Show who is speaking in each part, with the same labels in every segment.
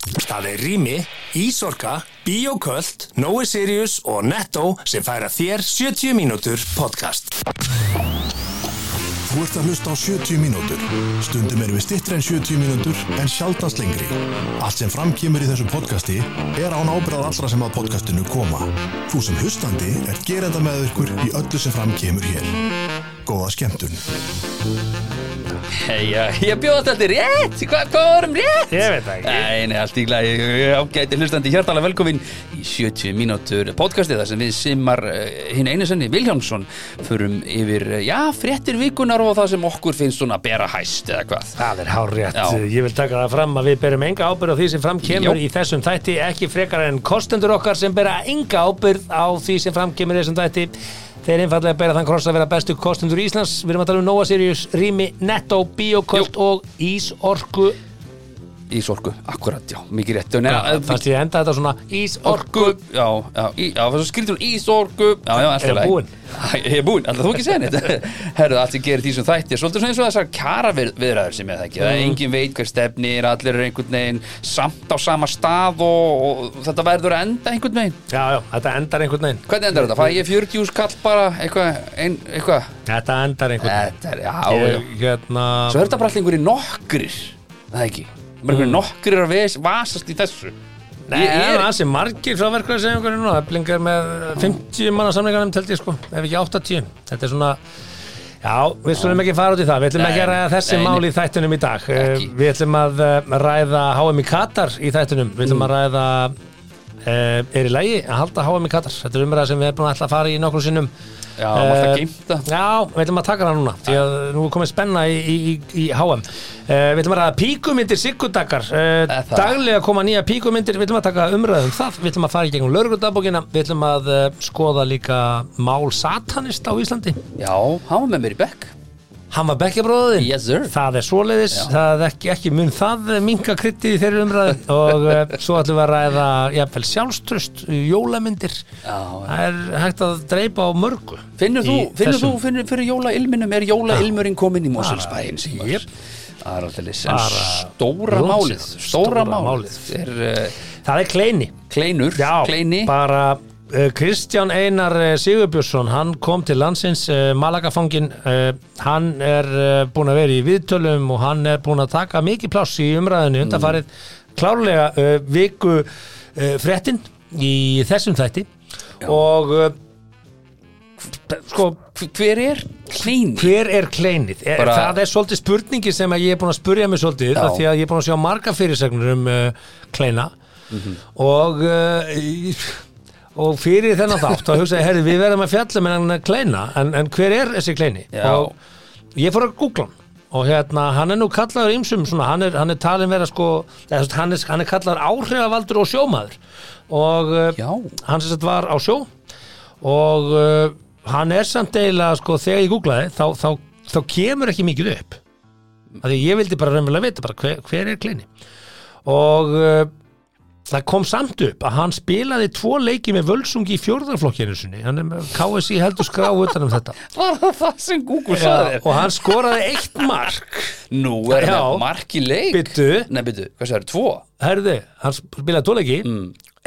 Speaker 1: Það er Rými, Ísorka, Bíoköld, Nói Sirius og Netto sem færa þér 70 mínútur podcast.
Speaker 2: Þú ert að hlusta á 70 mínútur. Stundum erum við stittri en 70 mínútur en sjaldast lengri. Allt sem framkýmur í þessu podcasti er án ábyrðað allra sem að podcastinu koma. Þú sem hlustandi er gerenda með ykkur í öllu sem framkýmur hér. Góða skemmtun.
Speaker 3: Hei, já, uh, ég bjóðast alltaf rétt, hvað, hvað varum rétt?
Speaker 4: Ég veit það ekki.
Speaker 3: Nei, nei, allt í glæði, ágæti hlustandi hjartalega velkomin í 70 mínútur podcastið þar sem við simmar uh, hinn einu senni Viljánsson förum yfir, eh, já, fréttir vikunar og það sem okkur finnst svona að bera hæst eða hvað.
Speaker 4: Það er hár rétt.
Speaker 3: Já.
Speaker 4: Ég vil taka það fram að við berum enga ábyrð á því sem fram kemur
Speaker 3: Jó.
Speaker 4: í þessum þætti, ekki frekar en kostendur okkar sem bera enga ábyrð á því sem fram kemur í þessum þætti. Þeir einfallega bera þann kross að vera bestu kostendur Íslands. Við erum að tala um Nova Sirius, Rými, Netto, Bioköld og Ísorku.
Speaker 3: Í sorku, akkurat, já, mikið rétt. Nei, eh,
Speaker 4: Fannst ég enda þetta svona Ísorku.
Speaker 3: Orku, já, já, í, já, það var svo skrýtur hún í sorgu Já, já, alltaf
Speaker 4: Er ég búinn?
Speaker 3: Ég er búinn, alltaf þú ekki segja neitt Herðu, allt sem gerir því sem þætti er Svolítið svona eins og þessar kjara viðræður sem ég það ekki Það
Speaker 4: Mm.
Speaker 3: er engin veit hver stefnir, allir er einhvern veginn Samt á sama stað og, og þetta verður að enda einhvern veginn
Speaker 4: Já, já, þetta endar einhvern veginn.
Speaker 3: Hvernig endar þetta? Fæ ég 40 skall bara, eitthvað, ein, eitthvað
Speaker 4: Þetta endar einhvern veginn.
Speaker 3: Þetta er, já, já
Speaker 4: Ég- Hérna...
Speaker 3: Svo er þetta bara allir einhverjir nokkrir Það er ekki Bara einhverjir nokkrir að ves- vasast í þessu
Speaker 4: Mm. Nei,
Speaker 3: Ég- ég
Speaker 4: það
Speaker 3: er-
Speaker 4: er ansi margir frá verkefnisefingunni núna Það blingar með 50 manna samlingarnum teldi ég sko, ef ekki 80 Þetta er svona, já, við skulum ekki fara út í það Við ætlum
Speaker 3: Nei,
Speaker 4: ekki að ræða þessi
Speaker 3: nei, nei.
Speaker 4: mál í þættunum í dag Eh,
Speaker 3: Ekki.
Speaker 4: Við ætlum að eh, ræða HM í Katar í þættunum Við
Speaker 3: Mm.
Speaker 4: ætlum að ræða, eh, er í lagi að halda HM í Katar Þetta er umræða sem við erum búin að ætla að fara í nokkru sinnum
Speaker 3: Já, maður ætla að
Speaker 4: Eh,
Speaker 3: geymt það.
Speaker 4: Já, við ætlum að taka það núna því að nú er komið spenna í, í, í, í HM uh, Við ætlum að ræða píkumyndir Sigurdakar uh,
Speaker 3: Er það?
Speaker 4: Daglega koma nýja píkumyndir Við ætlum að taka umræðum það Við ætlum að fara í gegnum lögreglutabókina Við ætlum að uh, skoða líka mál satanist á Íslandi
Speaker 3: Já, hann var með mér í bekk
Speaker 4: Hann var bekkjabróðin
Speaker 3: Yes, sir.
Speaker 4: Það er svoleiðis
Speaker 3: Já.
Speaker 4: Það er ekki, ekki mun það minga kryttið í þeirri umræðu og uh, svo ætlum við að ræða jafnvel sjálfströst, jólamyndir
Speaker 3: Já, já.
Speaker 4: Það er hægt að dreipa á mörgu
Speaker 3: Finnur þú,
Speaker 4: í
Speaker 3: finnur þú
Speaker 4: þessum.
Speaker 3: fyrir, fyrir jólailminum, er jólailmurinn kominn í Moselsbæinn símar?
Speaker 4: Jep.
Speaker 3: Það er alltaf lýs, en
Speaker 4: Bara
Speaker 3: stóra
Speaker 4: rúmsið,
Speaker 3: málið, stóra
Speaker 4: stóra
Speaker 3: málið
Speaker 4: málið.
Speaker 3: er uh,
Speaker 4: Það er kleini
Speaker 3: kleinur,
Speaker 4: Já,
Speaker 3: kleini,
Speaker 4: bara uh, Kristján Einar uh, Sigurbjörnsson hann kom til landsins uh, Malagafangin uh, hann er uh, búin að vera í viðtölum og hann er búin að taka mikið pláss í umræðinu undanfarið klárlega uh, viku uh, fréttin í þessum þætti og uh, sko
Speaker 3: H- hver er kleini?
Speaker 4: hver er kleinið? Er,
Speaker 3: Bara-
Speaker 4: það er svolítið spurningi sem að ég er búin að spurja mig svolítið
Speaker 3: Já.
Speaker 4: af því að ég er búin að sjá marga fyrirsegnur um uh, kleina
Speaker 3: Mhm.
Speaker 4: og uh, í- og fyrir þennan þátt þá hugsaði, herri, við verðum að fjalla með hann uh, kleina, en, en hver er þessi kleini?
Speaker 3: Já.
Speaker 4: og ég fór að googla hann og hérna, hann er nú kallaður ymsum svona, hann, er, hann er talin vera sko eða, þú veist, hann, er, hann er kallaður áhrifavaldur og sjómaður og uh,
Speaker 3: Já,
Speaker 4: hann sem sagt var á sjó og uh, hann er samt eiginlega sko þegar ég googlaði þá, þá, þá kemur ekki mikið upp af því ég vildi bara raunverulega vita bara hver, hver er kleini og uh, það kom samt upp að hann spilaði tvo leiki með völsungi í fjórðarflokkinu sinni hann er með KSI heldur skrá utan um þetta
Speaker 3: var það það sem Google sagði
Speaker 4: Já,
Speaker 3: þér?
Speaker 4: og hann skoraði eitt mark
Speaker 3: Nú er
Speaker 4: Já.
Speaker 3: það marki leik.
Speaker 4: Bíddu.
Speaker 3: Nei, byttu, hvað sagði, tvo?
Speaker 4: herði, hann spilaði tvo leiki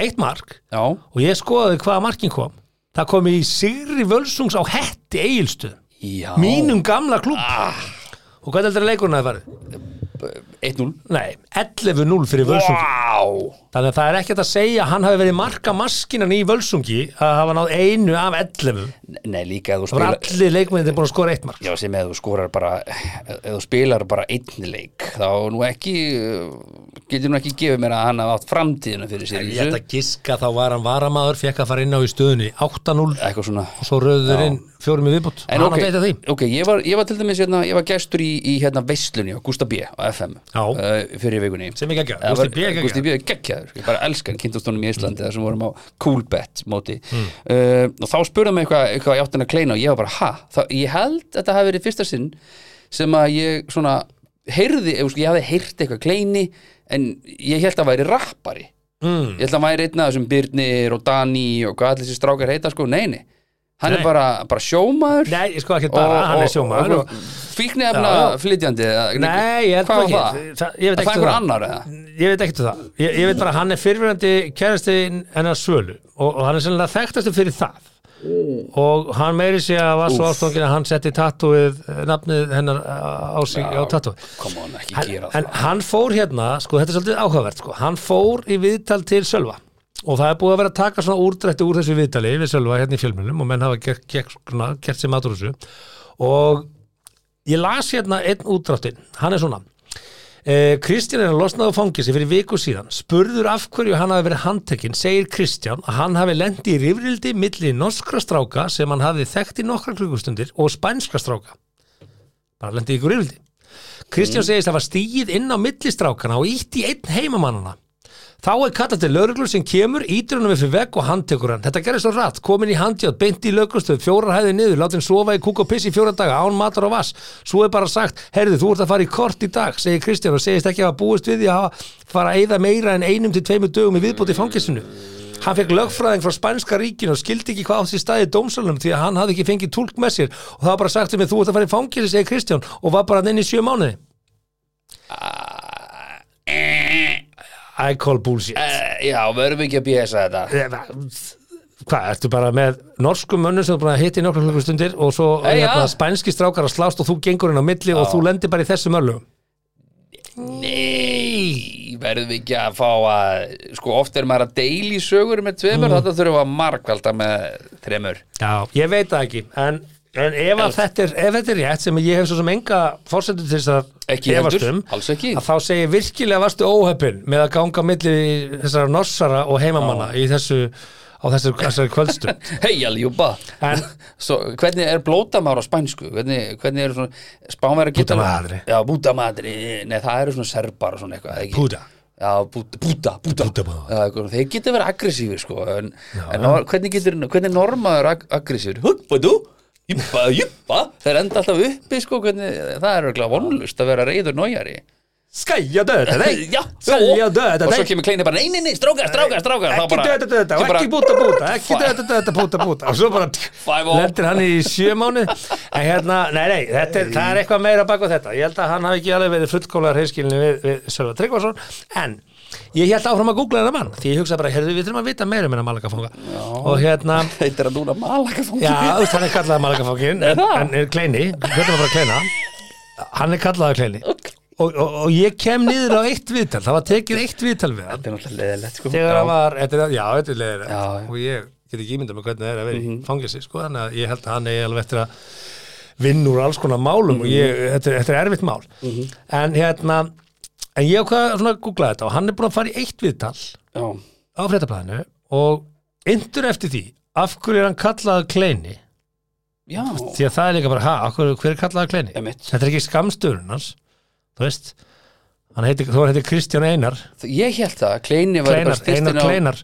Speaker 4: eitt mark
Speaker 3: Já,
Speaker 4: og ég skoðaði hvaða markin kom það kom í Sigri Völsungs á Hetti Egilstuð
Speaker 3: já.
Speaker 4: mínum gamla klúb og hvað heldur að leikurinn að farið?
Speaker 3: 1-0.
Speaker 4: Nei, 11-0 fyrir Völsungi
Speaker 3: Vá,
Speaker 4: þannig að það er ekkert að segja að hann hafi verið marka maskinan í Völsungi að hafa náð einu af 11
Speaker 3: nei líka að þú
Speaker 4: það var
Speaker 3: spila...
Speaker 4: allir leikmennir búin að skora eitt mark
Speaker 3: Já, sem eða þú skorar bara eða þú spilar bara einn leik þá nú ekki uh, getur nú ekki gefið mér að hann hafa átt framtíðina fyrir sér í
Speaker 4: ég ætla
Speaker 3: þessu.
Speaker 4: að giska þá var hann varamaður fekk að fara inn á í stöðunni 8-0
Speaker 3: eitthvað svona
Speaker 4: og svo röður inn fjórum í viðbútt
Speaker 3: En
Speaker 4: hann
Speaker 3: ok,
Speaker 4: að deyta því
Speaker 3: ok, ég var, ég var til dæmis hérna, ég var gestur í, í hérna veislunni á Gústa B á FM
Speaker 4: Já.
Speaker 3: uh, fyrir vikunni
Speaker 4: Sem er geggjaður.
Speaker 3: Það
Speaker 4: Gústi
Speaker 3: var-
Speaker 4: B er geggjaður.
Speaker 3: Gústi B er geggjaður, ég bara elska hann kynntastónum í Íslandi þar sem vorum á Coolbet móti
Speaker 4: Hmm.
Speaker 3: uh, og þá spurði mig eitthvað eitthvað ég átti hann að kleina og ég var bara ha, það, ég held að þetta hafi verið fyrsta sinn sem að ég svona heyrði, sko, ég, ég hafi heyrt eitthvað kleini en ég held að það væri rappari
Speaker 4: mm.
Speaker 3: ég held að hann væri einn af þessum Byrnir og Dani og hvað allir þessi strákar heita sko, neini hann
Speaker 4: Nei.
Speaker 3: er bara, bara sjómaður
Speaker 4: Nei, ég sko ekki bara, hann er sjómaður og,
Speaker 3: fíknefna
Speaker 4: Já, já.
Speaker 3: flytjandi eða-
Speaker 4: Nei, ég held
Speaker 3: hvað
Speaker 4: nú
Speaker 3: var
Speaker 4: ekki.
Speaker 3: það?
Speaker 4: Það- ég veit
Speaker 3: það
Speaker 4: ekkert
Speaker 3: er einhver
Speaker 4: um það.
Speaker 3: annar eða
Speaker 4: Ég veit ekkert um það Ég, ég veit bara að hann er fyrirverandi kærasti hennar Svölu og, og hann er sennilega þekktastu fyrir það og hann meiri sig að var svo ástofngin að hann setti tattúið eh, nafnið hennar eh, á sig á tattúið
Speaker 3: kom on, ekki
Speaker 4: en,
Speaker 3: gera
Speaker 4: en
Speaker 3: það
Speaker 4: hann fór hérna, sko, þetta er svolítið áhugavert sko. hann fór í viðtal til Sölva og það er búið að vera að taka svona úrdrætti úr þessu viðtali við Sölva hérna í fjölmjölum og menn hafa gert, gert, svona, gert sér matur úr þessu og ég las hérna einn útdráttin, hann er svona eh, Kristján er að losnaðu fangisi fyrir viku síðan, spurður af hverju hann hafi verið handtekinn, segir Kristján að hann hafi lendi í rifrildi milli norskra stráka sem hann hafi þekkt í nokkra klukkustundir og spænskra stráka bara lendi í ykkur rifrildi Kristján segist að var stíð inn á millistrákana og ítt í einn heimamannana. Þá er kallað til lögreglur sem kemur, ítur hann við fyrir vegg og handtekur hann. Þetta gerir svo rætt, komin í handjátt, beint í lögreglustöð, fjórar hæði niður, látin sofa í kúk og piss í fjóra daga, án matar og vass. Svo er bara sagt, herðu, þú ert að fara í kort í dag, segir Kristján og segist ekki að hafa búist við því að hafa fara að eyða meira en einum til tveimur dögum í viðbóti fangisinu. Hann fekk lögfræðing frá spænska ríkinu og skildi ekki hvað átt sér staði í dómsalunum því að hann hafði ekki fengið túlk með sér og það var bara sagt um mig þú ert að fara í fangilsi, segir Kristján og var bara inn í sjö mánuði. I call bullshit.
Speaker 3: Eh, já, verðum ekki að bjösa þetta
Speaker 4: Eh, Hvað, ertu bara með norskum mönnum sem þú búin að hitta í nokkra klukkustundir og svo
Speaker 3: Hey,
Speaker 4: hérna,
Speaker 3: ja.
Speaker 4: spænski strákar að slást og þú gengur inn á milli og þú lendir bara í þessum öllum.
Speaker 3: nei, verðum við ekki að fá að sko, oft er maður að deili sögur með tveimur,
Speaker 4: Mm.
Speaker 3: þetta þurfum við að markvalda með þremur
Speaker 4: Já, ég veit það ekki, en, en ef, að þetta er, ef þetta er rétt sem ég hef svo sem enga fórsendur til þess að
Speaker 3: Ekki
Speaker 4: efast
Speaker 3: heldur,
Speaker 4: um,
Speaker 3: alls ekki.
Speaker 4: að þá segir virkilega varstu óheppin með að ganga á milli þessara norsara og heimamanna í þessu, á þessari, þessari kvöldstund.
Speaker 3: hei, aljúba
Speaker 4: En-
Speaker 3: Svo, hvernig er blótamár á spænsku hvernig, hvernig eru svona spánverðar geta-
Speaker 4: Bútamadri.
Speaker 3: já, bútamadri, nei það eru svona serbar og svona eitthvað eða ekki?
Speaker 4: Púta.
Speaker 3: já, búta, búta, búta.
Speaker 4: Bútamadr.
Speaker 3: Já, eitthvað, þeir geta verið aggressífir sko en, en nor, hvernig getur, hvernig er normaður ag aggressífir, huppa þú júpa, júpa, þeir enda alltaf uppi sko, hvernig, það er örugglega vonlust að vera reyður nójari
Speaker 4: Skæja döða þeir!
Speaker 3: já,
Speaker 4: Selja döða
Speaker 3: og svo
Speaker 4: þeir!
Speaker 3: kemur kleinir bara, nei, nei, nei, strákar, strákar, strákar
Speaker 4: ekki döða döða, og ekki búta búta ekki döða döða, búta búta og svo bara
Speaker 3: Five oh.
Speaker 4: lendir hann í sjö mánu en hérna, nei, nei, þetta er, það er eitthvað meira bak á þetta, ég held að hann hafi ekki alveg verið fullkólaðar heilskilinu við, við Sölva Tryggvason en ég held áfram að googla hennar mann því ég hugsa bara, heyrðu, við þurfum að vita meira um hennar malakafunga og hérna
Speaker 3: heitir að núna malakafangi
Speaker 4: Já, úst, hann er kallaðið malakafangin en,
Speaker 3: það?
Speaker 4: en er kleini, hvernig var bara kleina Hann er kallaðið kleini
Speaker 3: Ok.
Speaker 4: og, og, og ég kem niður á eitt viðtal Það var tekið eitt viðtal við hann
Speaker 3: Þetta er náttúrulega leðilegt sko
Speaker 4: þegar
Speaker 3: Já.
Speaker 4: hann var, þetta er, já, þetta er leiðir
Speaker 3: Já, já.
Speaker 4: og ég get ekki ímyndað með hvernig það er að vera í fangelsi, sko, þannig að ég held að hann eigi alveg eftir að vinna úr alls konar málum og ég, þetta, er- þetta er erfitt mál en hérna en ég ákvað svona að googla þetta og hann er búin að fara í eitt viðtal
Speaker 3: Já,
Speaker 4: á fréttablaðinu og yndur eftir því af hverju er hann kallaður kleini
Speaker 3: já,
Speaker 4: því að það er líka bara, ha, af hverju, hver er kallaður kleini
Speaker 3: Einmitt.
Speaker 4: þetta er ekki skamstöðurinn hans þú veist, hann heitir, þú heitir Kristján Einar
Speaker 3: ég held það, Kleini var
Speaker 4: Kleinar, Einar Kleinar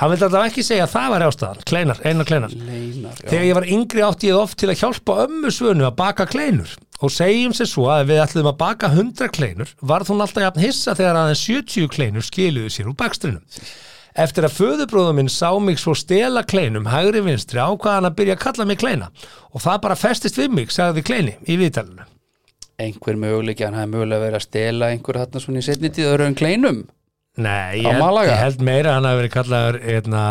Speaker 4: hann vildi alltaf ekki segja að það var ástæðan Kleinar, Einar Kleinar
Speaker 3: Kleinar já.
Speaker 4: þegar ég var yngri átti ég oft til að hjálpa ömmu svönu að baka kleinur og segjum sér svo að ef við ætlum að baka 100 kleinur varð hún alltaf jafn hissa þegar aðeins 70 kleinur skiluðu sér úr bakstrinum Eftir að föðubróðum minn sá mig svo stela kleinum hægri vinstri ákvað hann að byrja að kalla mig kleina og það bara festist við mig, sagði kleini í viðtalinu.
Speaker 3: Einhver möguleiki, hann hafði mögulega verið að stela einhver hann svona í setni tíð öðru en Kleinum Á
Speaker 4: Nei, ég held,
Speaker 3: Malaga?
Speaker 4: ég held meira að hann hafi verið kallaður hérna,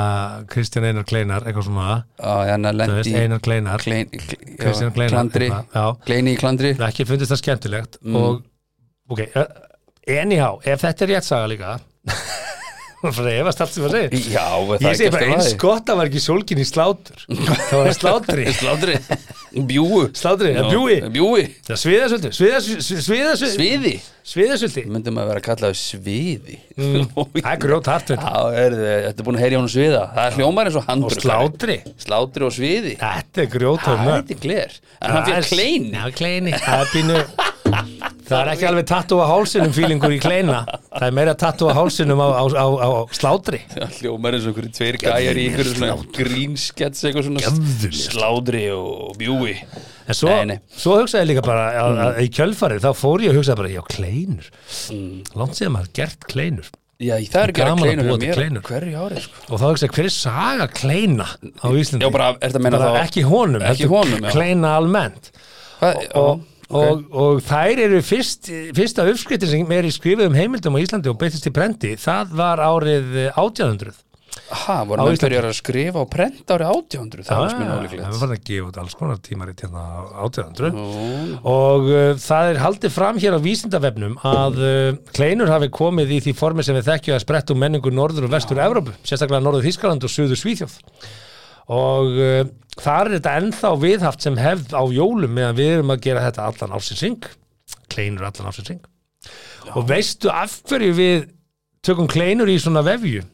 Speaker 4: Kristján Einar Kleinar, eitthvað svona
Speaker 3: Já, hann að
Speaker 4: Þú
Speaker 3: lendi
Speaker 4: veist, Einar Kleinar
Speaker 3: Klein, Klein,
Speaker 4: Kristján Kleinar,
Speaker 3: Klandri,
Speaker 4: hérna, já.
Speaker 3: Kleini í Klandri
Speaker 4: Það ekki fundist það skemmtilegt
Speaker 3: Mm.
Speaker 4: og ok, eh, anyhow ef þetta er rétt saga líka freyfast allt sem það segir
Speaker 3: Já, það
Speaker 4: ég
Speaker 3: er
Speaker 4: segi
Speaker 3: gert
Speaker 4: bara
Speaker 3: að
Speaker 4: eins sko. gott að var ekki sólgin í slátur það var slátri
Speaker 3: Slátri, bjúu
Speaker 4: Slátri,
Speaker 3: Já,
Speaker 4: bjúi.
Speaker 3: Bjúi,
Speaker 4: það sviðasöldi sviðasöldi
Speaker 3: sviði
Speaker 4: sviðasöldi
Speaker 3: Myndum að vera að kalla sviði
Speaker 4: Mm. það er grjót hart
Speaker 3: Já, er, þetta er búin að heyri honum sviða Það er hljómar eins og
Speaker 4: og
Speaker 3: handbrug
Speaker 4: slátri
Speaker 3: Slátri og sviði
Speaker 4: þetta er grjót
Speaker 3: Það er
Speaker 4: hart
Speaker 3: þetta gler En hann fyrir kleini
Speaker 4: já, kleini það er pínu það er ekki alveg tattúa hálsinum fílingur í kleina það er meira tattúa hálsinum á, á, á, á slátri
Speaker 3: Það hljómar eins og einhverju tveir gæjar í einhverju svona grínskets eitthvað svona
Speaker 4: Gefðu mér.
Speaker 3: sládri og bjúi
Speaker 4: En svo,
Speaker 3: Nei, nei.
Speaker 4: svo hugsaði ég líka bara að, að, að í kjölfarið þá fór ég að hugsa bara, já, kleinur. Mm. Langt síðan maður gert kleinur.
Speaker 3: Já, það er ekki að
Speaker 4: Gaman
Speaker 3: Mm.
Speaker 4: að
Speaker 3: kleinur
Speaker 4: búa
Speaker 3: hjá
Speaker 4: til
Speaker 3: mér
Speaker 4: kleinur.
Speaker 3: Hverju árið, sko
Speaker 4: og þá ekki hver er saga kleina á Íslandi
Speaker 3: Já, bara, ertu að meina
Speaker 4: Bara
Speaker 3: þá-
Speaker 4: ekki honum,
Speaker 3: Ekki
Speaker 4: heldur
Speaker 3: honum, já.
Speaker 4: kleina almennt
Speaker 3: Hvað,
Speaker 4: og,
Speaker 3: ok.
Speaker 4: og, og þær eru fyrst, fyrsta uppskriftin sem er í skrifuðum heimildum á Íslandi og beittist í brendi, það var árið 1800
Speaker 3: Ha, voru
Speaker 4: Á
Speaker 3: menn
Speaker 4: Íslandi.
Speaker 3: byrjar að skrifa og prenta árið 1800 Það var smina
Speaker 4: það var
Speaker 3: ólíklegt
Speaker 4: farin að gefa út alls konar tímarit hérna á 1800 og uh, það er haldið fram hér á vísindavefnum að uh, kleinur hafi komið í því formi sem við þekkjum að spretta um menningu norður og vestur Evrópu, sérstaklega norður Þískaland og suður Svíþjóð og uh, þar er þetta ennþá viðhaft sem hefð á jólum meðan við erum að gera þetta allan ásinsing kleinur allan ásinsing og veistu af hverju við tökum kleinur í svona vefju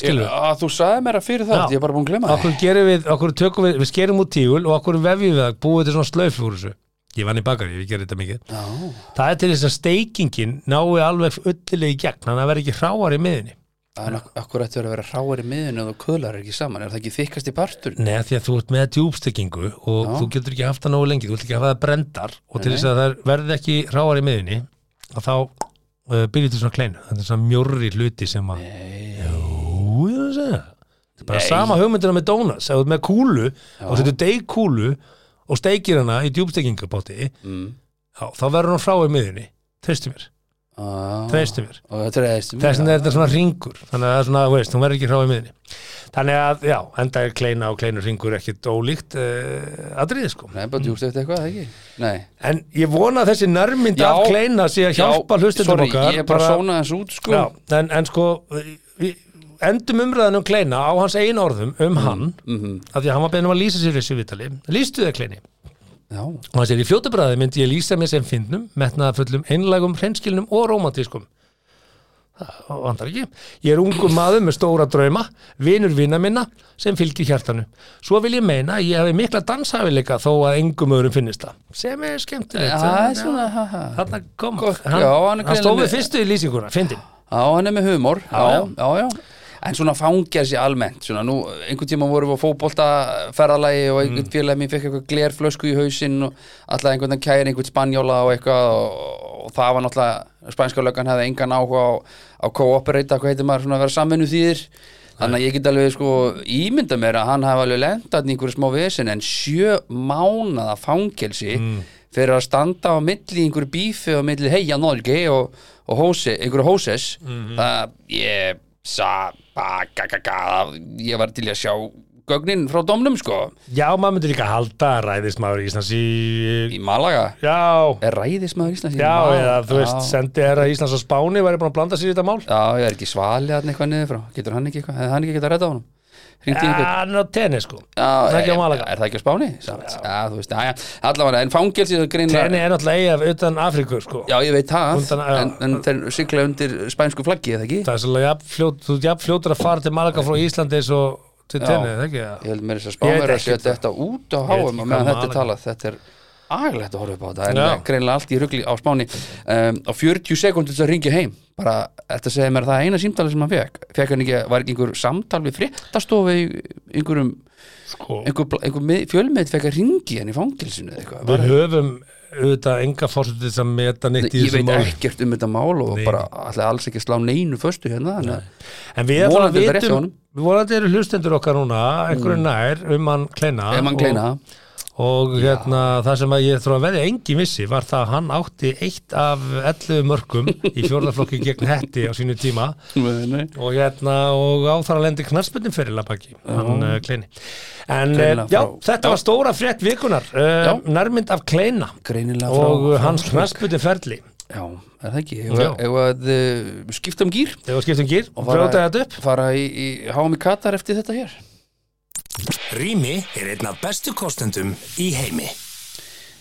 Speaker 4: skilur
Speaker 3: Ég- að Þú sagði mér að fyrir það,
Speaker 4: Já.
Speaker 3: ég er bara búin að glemma
Speaker 4: okkur gerum við, okkur tökum við, við skerum út tígul og okkur vefjum við það, búið til svona slöf úr þessu. Ég vann í bakari, ég gerir þetta mikið.
Speaker 3: það
Speaker 4: Það er til þess að steikingin nái alveg öllilega í gegn, þannig að það verði ekki hráar í miðinni.
Speaker 3: En ak- akkur ættu að vera hráir í miðinu og köðlar er ekki saman, er það ekki þykkast í partur?
Speaker 4: Nei, af því að þú ert með djúbstekingu og
Speaker 3: Já.
Speaker 4: þú getur ekki haft það nógu lengi, þú ert ekki að hafa það brendar og til
Speaker 3: Nei,
Speaker 4: þess að það verði ekki hráar í miðinni, að þá uh, byrjum til svona kleinu, þetta er svona mjórri hluti sem að...
Speaker 3: Nei.
Speaker 4: Jú, ég er að segja það. Þetta er bara
Speaker 3: Nei.
Speaker 4: sama hugmyndina með donuts, ef þú ert með kúlu og þetta er deigkúlu og steikir hana í djúbstekingabóti
Speaker 3: Mm.
Speaker 4: já, þá verður hún frá í miðunni treystu mér,
Speaker 3: Ah.
Speaker 4: treystu mér
Speaker 3: Og þetta er eðistum
Speaker 4: þess vegna er þetta svona ringur þannig að það er svona, þú veist, hún verður ekki frá í miðunni þannig að, já, enda er kleina og kleinur ringur ekkit ólíkt uh, aðrið, sko
Speaker 3: Nei, bara djúkst eftir eitthvað, ekki? Nei
Speaker 4: en ég vona að þessi nærmynd
Speaker 3: Já.
Speaker 4: af kleina sé að hjálpa hlustendum
Speaker 3: sorry,
Speaker 4: okkar
Speaker 3: Ég er bara sónað þessu út, sko
Speaker 4: já, en, en sko eh, við endum umræðan um kleina á hans einu orðum um hann
Speaker 3: Mhm.
Speaker 4: af því að hann var beðin um að lýsa sér þessu vitali lýstu þið kleini
Speaker 3: Já,
Speaker 4: og hann segir í fljótu bræði myndi ég lýsa mér sem finnum metnaðafullum, einlægum, hreinskilnum og romantískum það vandar ekki ég er ungur maður með stóra drauma vinur vina minna sem fylgir hjartanu svo vil ég meina að ég hafi mikla danshafileika þó að engum öðrum finnist það sem er skemmtilegt
Speaker 3: Já, það er svona, ha, ha.
Speaker 4: þarna kom
Speaker 3: Gott,
Speaker 4: hann,
Speaker 3: já, hann
Speaker 4: hann,
Speaker 3: er
Speaker 4: hann
Speaker 3: greinilega
Speaker 4: stóð
Speaker 3: með-
Speaker 4: við fyrstu í lýsinguna, fyndin
Speaker 3: Já, hann er með humor
Speaker 4: Já,
Speaker 3: já, já, já. En svona fangar sér almennt svona, nú, einhvern tíma vorum við á fótboltaferðalagi og einhvern mm. félag mér fekk eitthvað glerflösku í hausinn og alltaf einhvern veginn kæri einhvern spanjóla og eitthvað og, og það var náttúrulega spænska löggan hefði engan áhuga á, á kooperata, hvað heitir maður, svona að vera samvinnu þýðir Þannig að ég get alveg sko ímynda mér að hann hafi alveg lendat í einhverju smá vesen en sjö mánaða fangelsi
Speaker 4: Mm.
Speaker 3: fyrir að standa á milli í einhverju bífi og milli heia nólgi og, og hósi, einhverju hóses
Speaker 4: Mhm.
Speaker 3: það ég sa, ba, ga, ga, ga, ég var til í að sjá gögnin frá domnum sko
Speaker 4: já, maður myndi líka halda að ræðismaður Íslands í
Speaker 3: í Malaga
Speaker 4: já,
Speaker 3: er ræðismæður Íslands í
Speaker 4: já,
Speaker 3: Malaga?
Speaker 4: eða þú veist,
Speaker 3: já,
Speaker 4: sendi herra Íslands á Spáni væri búin að blanda sér í þetta mál
Speaker 3: já, ég er ekki svalið hann eitthvað niður frá getur hann ekki eitthvað, hefði hann ekki getað að redda honum hringdi í einhvern
Speaker 4: Já, hann er á tenni sko
Speaker 3: Já,
Speaker 4: Það er ekki á
Speaker 3: er-
Speaker 4: Malaga.
Speaker 3: Er það ekki á Spáni? Samt. Já, þú veist, já, já, allavega, en fangelsi það greinlega
Speaker 4: Tenni er náttúrulega eiga utan Afríku sko
Speaker 3: Já, ég veit það,
Speaker 4: Undan- já.
Speaker 3: en, en þeir sigla undir spænsku flaggi, eða ekki?
Speaker 4: Það er svolítið jafn fljót, þú ert jafn fljótur að fara til Malaga frá Íslandi eins og til tenni, það ekki
Speaker 3: Ég
Speaker 4: það?
Speaker 3: held meira þess að
Speaker 4: Ég veit
Speaker 3: spánverða að
Speaker 4: ekkert
Speaker 3: setja þetta út á
Speaker 4: veit
Speaker 3: háum
Speaker 4: ekki
Speaker 3: og meðan þetta
Speaker 4: hvað
Speaker 3: er
Speaker 4: Malaga-
Speaker 3: talað, þetta er agalegt að horfa upp á þetta,
Speaker 4: Já.
Speaker 3: en greinlega allt í rugli á Spáni um, á 40 sekundur þess að ringja heim bara, þetta segir mér það eina símtali sem hann fekk fekk hann ekki, var ekki einhver samtal við fréttastofu í einhverjum
Speaker 4: Sko,
Speaker 3: einhver, bla- einhver fjölmið fekk að ringi hann í fangelsinu eða eitthvað
Speaker 4: við höfum auðvitað enga fórsetið þess að meta neitt í
Speaker 3: ég
Speaker 4: þessu
Speaker 3: veit
Speaker 4: mál
Speaker 3: ekkert um þetta mál og
Speaker 4: Nei.
Speaker 3: bara ætla alls ekki að slá neinu föstu hérna þannig að-
Speaker 4: En við ætlum að
Speaker 3: Vonandi er þetta rétt hjá
Speaker 4: vitum,
Speaker 3: honum.
Speaker 4: við vonandi eru hlustendur okkar núna einhverju nær um hann kleina
Speaker 3: ef mann kleina það
Speaker 4: Og, og hérna, það sem að ég þrú að veðja engin vissi var það að hann átti eitt af 11 mörgum í fjórðaflokki gegn hetti á sínu tíma
Speaker 3: Nei, nei.
Speaker 4: og hérna og á þar að lendi knarspöndin fyrir labaki hann uh, Kleini en uh,
Speaker 3: Greinilega
Speaker 4: já,
Speaker 3: frá-
Speaker 4: þetta var stóra frétt vikunar uh, nærmynd af Kleina
Speaker 3: greinilega frá
Speaker 4: og
Speaker 3: frá-
Speaker 4: hans knarspöndin ferli
Speaker 3: já, er það ekki,
Speaker 4: Já.
Speaker 3: ef að uh, skipta um gýr
Speaker 4: þegar við skiptum gýr og
Speaker 3: fara-
Speaker 4: brjóta þetta upp
Speaker 3: fara í, í háum í Katar eftir þetta hér
Speaker 1: Rými er einn af bestu kostendum í heimi.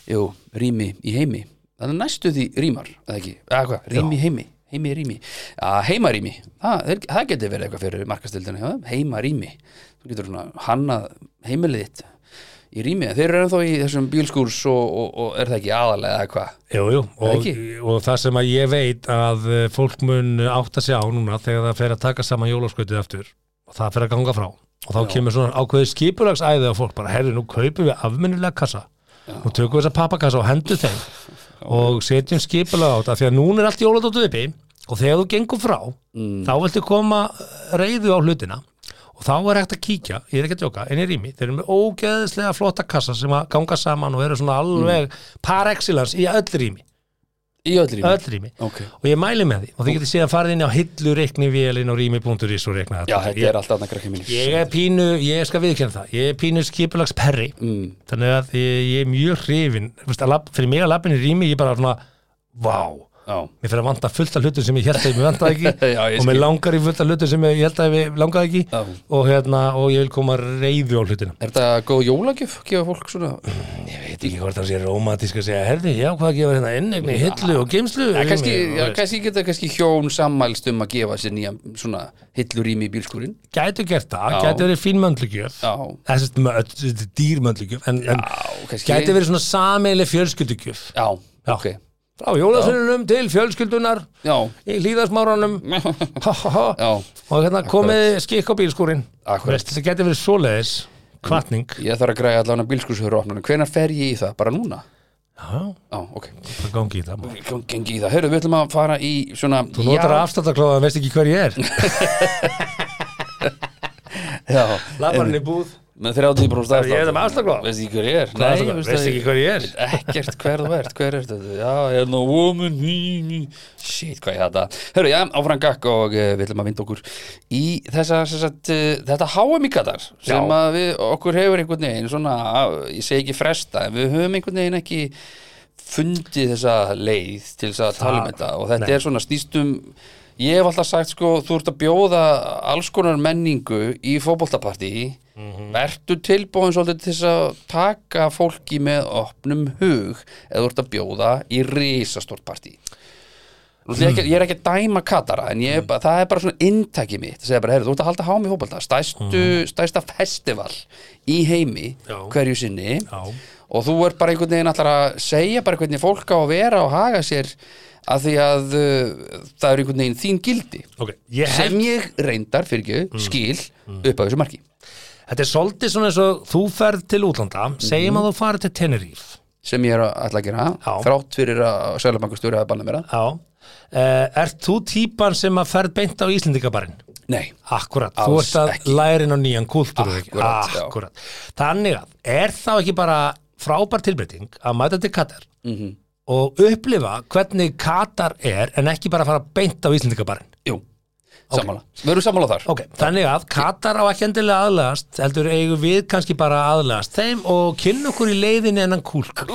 Speaker 3: jú, rými í heimi það er næstu því rýmar, eða ekki eða hvað, rými í heimi, heimi í rými að heimarými, það, þeir- það getur verið eitthvað fyrir markastildina, já, heimarými þú getur svona hannað heimilið þitt í rými, þeir eru ennþá í þessum bílskúrs og, og, og er það ekki aðalega eða hvað
Speaker 4: Jú, jú, og,
Speaker 3: Ekki?
Speaker 4: og það sem að ég veit að eh, fólk mun átta sig á núna þegar það fer að taka saman jólaskautið aftur og það fer að ganga frá og þá kemur svona ákveðið skipulagsæði á fólk bara, herri, nú kaupum við afminnilega kassa og tökum þessa pappakassa og hendur þeim og setjum skipulag á þetta því að núna er allt jóladóttu uppi og þegar þú gengur frá þá viltu koma reyðu á hlutina og þá er hægt að kíkja, ég er ekki að djóka en ég rými, þeir eru með ógeðslega flotta kassa sem að ganga saman og eru svona alveg par excellence í öll rými
Speaker 3: í öll Mm. rými
Speaker 4: öll rými
Speaker 3: Ok.
Speaker 4: og ég mæli með því og þið getið síðan farið inn á hillureiknivélin og rými.is og reikna
Speaker 3: Já,
Speaker 4: þetta
Speaker 3: þetta
Speaker 4: ég,
Speaker 3: er alltaf annað krakki mín
Speaker 4: ég er pínu, ég skal viðkjönda það ég er pínu skipulags perri
Speaker 3: mm.
Speaker 4: þannig að ég, ég er mjög hrifin Vist, lab, fyrir mig að lappin í rými, ég er bara svona vá,
Speaker 3: Já,
Speaker 4: mér fyrir að vanta fullt af hlutum sem ég held að ég vantaði ekki
Speaker 3: Já, ég
Speaker 4: og mér
Speaker 3: skil.
Speaker 4: langar í fullt af hlutum sem ég held að ég langaði ekki
Speaker 3: Já.
Speaker 4: og, hérna, og ég vil koma reyðu á hlutina
Speaker 3: Er þetta góð jólagjöf, gefa fólk svona
Speaker 4: ég veit ekki hvort það sé rómatísk að segja herði, já, hvað gefa hérna innegni, hillu og geimslu
Speaker 3: ja, kannski,
Speaker 4: rými?"
Speaker 3: ja, kannski geta kannski hjón sammælst um að gefa sér nýja svona hillurými í bílskúrin
Speaker 4: gætu gert það,
Speaker 3: Já.
Speaker 4: gætu verið fín möndlugjöf
Speaker 3: Já,
Speaker 4: þessi dýr möndlugjöf en, en
Speaker 3: kannski
Speaker 4: gætu verið svona sameileg fjölskyldugjöf
Speaker 3: Já,
Speaker 4: Já.
Speaker 3: ok
Speaker 4: frá jólasununum til fjölskyldunar
Speaker 3: Já,
Speaker 4: í hlýðasmáranum
Speaker 3: Mm.
Speaker 4: Ha, ha, ha.
Speaker 3: já
Speaker 4: og hérna komið skikk á bílskúrin
Speaker 3: Akkurat. Mm.
Speaker 4: Veist, þetta gæti verið svoleiðis kvartning
Speaker 3: Ég þarf að græja allan að bílskúrshöru opnunum Hvenær fer ég í það? Bara núna?
Speaker 4: það
Speaker 3: Já, ok
Speaker 4: gangi í það maður.
Speaker 3: Gengi í það Hörru, við ætlum að fara í svona
Speaker 4: þú notar afstættaklóða en veist ekki hver ég er
Speaker 3: Já,
Speaker 4: labarinn í búð
Speaker 3: með 30 brúst
Speaker 4: Ég er með afslaglofa.
Speaker 3: Veist ekki hver ég er?
Speaker 4: Nei, veist ekki hver ég er
Speaker 3: Veit ekkert hver þú ert, hver ert þetta já, ég er nú woman he, he. shit, hvað ég þetta hörru, já, áfram gakk og uh, við ætlum að vinda okkur í þessa, sem sagt, uh, þetta HM í Katar sem
Speaker 4: Já.
Speaker 3: að við, okkur hefur einhvern veginn svona, uh, ég segi ekki fresta en við höfum einhvern veginn ekki fundið þessa leið til þess að tala um þetta og þetta
Speaker 4: nei.
Speaker 3: er svona snýstum ég hef alltaf sagt sko, þú ert að bjóða alls konar menningu í fótboltapartí mm vertu tilbúin svolítið til þess að taka fólki með opnum hug eða þú ert að bjóða í risastort partí Nú ætla ég
Speaker 4: Hmm.
Speaker 3: ekki- ég er ekki að dæma Katara en ég, er bara, það er bara svona inntækið mitt að segja bara, heyrðu, þú ert að halda hámi í fótbolta stæstu, stæsta festival í heimi
Speaker 4: Hmm. Já.
Speaker 3: hverju sinni
Speaker 4: Já.
Speaker 3: og þú ert bara einhvern veginn allar að segja bara hvernig fólk á að vera og haga sér að því að uh, það er einhvern veginn þín gildi
Speaker 4: ok, ég Hmm. hef
Speaker 3: sem ég reyndar fyrir ekki skil upp á þessu marki
Speaker 4: Þetta er svolítið svona eins og þú ferð til útlanda, segjum
Speaker 3: Mhm.
Speaker 4: að þú farið til Tenerife.
Speaker 3: sem ég er að ætla að gera
Speaker 4: Já.
Speaker 3: þrátt fyrir að Sælabankastjóri að banna mér það
Speaker 4: Já. Uh, ert þú típan sem að ferð beint á Íslendingabarinn?
Speaker 3: nei,
Speaker 4: Akkurat, þú
Speaker 3: Alls
Speaker 4: ert að
Speaker 3: ekki.
Speaker 4: lærin á nýjan kúltúr
Speaker 3: Akkúrat, já.
Speaker 4: Akkurat. Þannig að, er þá ekki bara frábær tilbreyting að mæta til Katar
Speaker 3: Mhm.
Speaker 4: -hmm. og upplifa hvernig Katar er en ekki bara fara beint á Íslendingabarinn?
Speaker 3: jú sammála, við erum sammála þar
Speaker 4: Ok, þannig að Katar á ekki endilega aðlagast, heldur eigum við kannski bara að aðlagast þeim og kynna okkur í leiðinni ennan kúlk.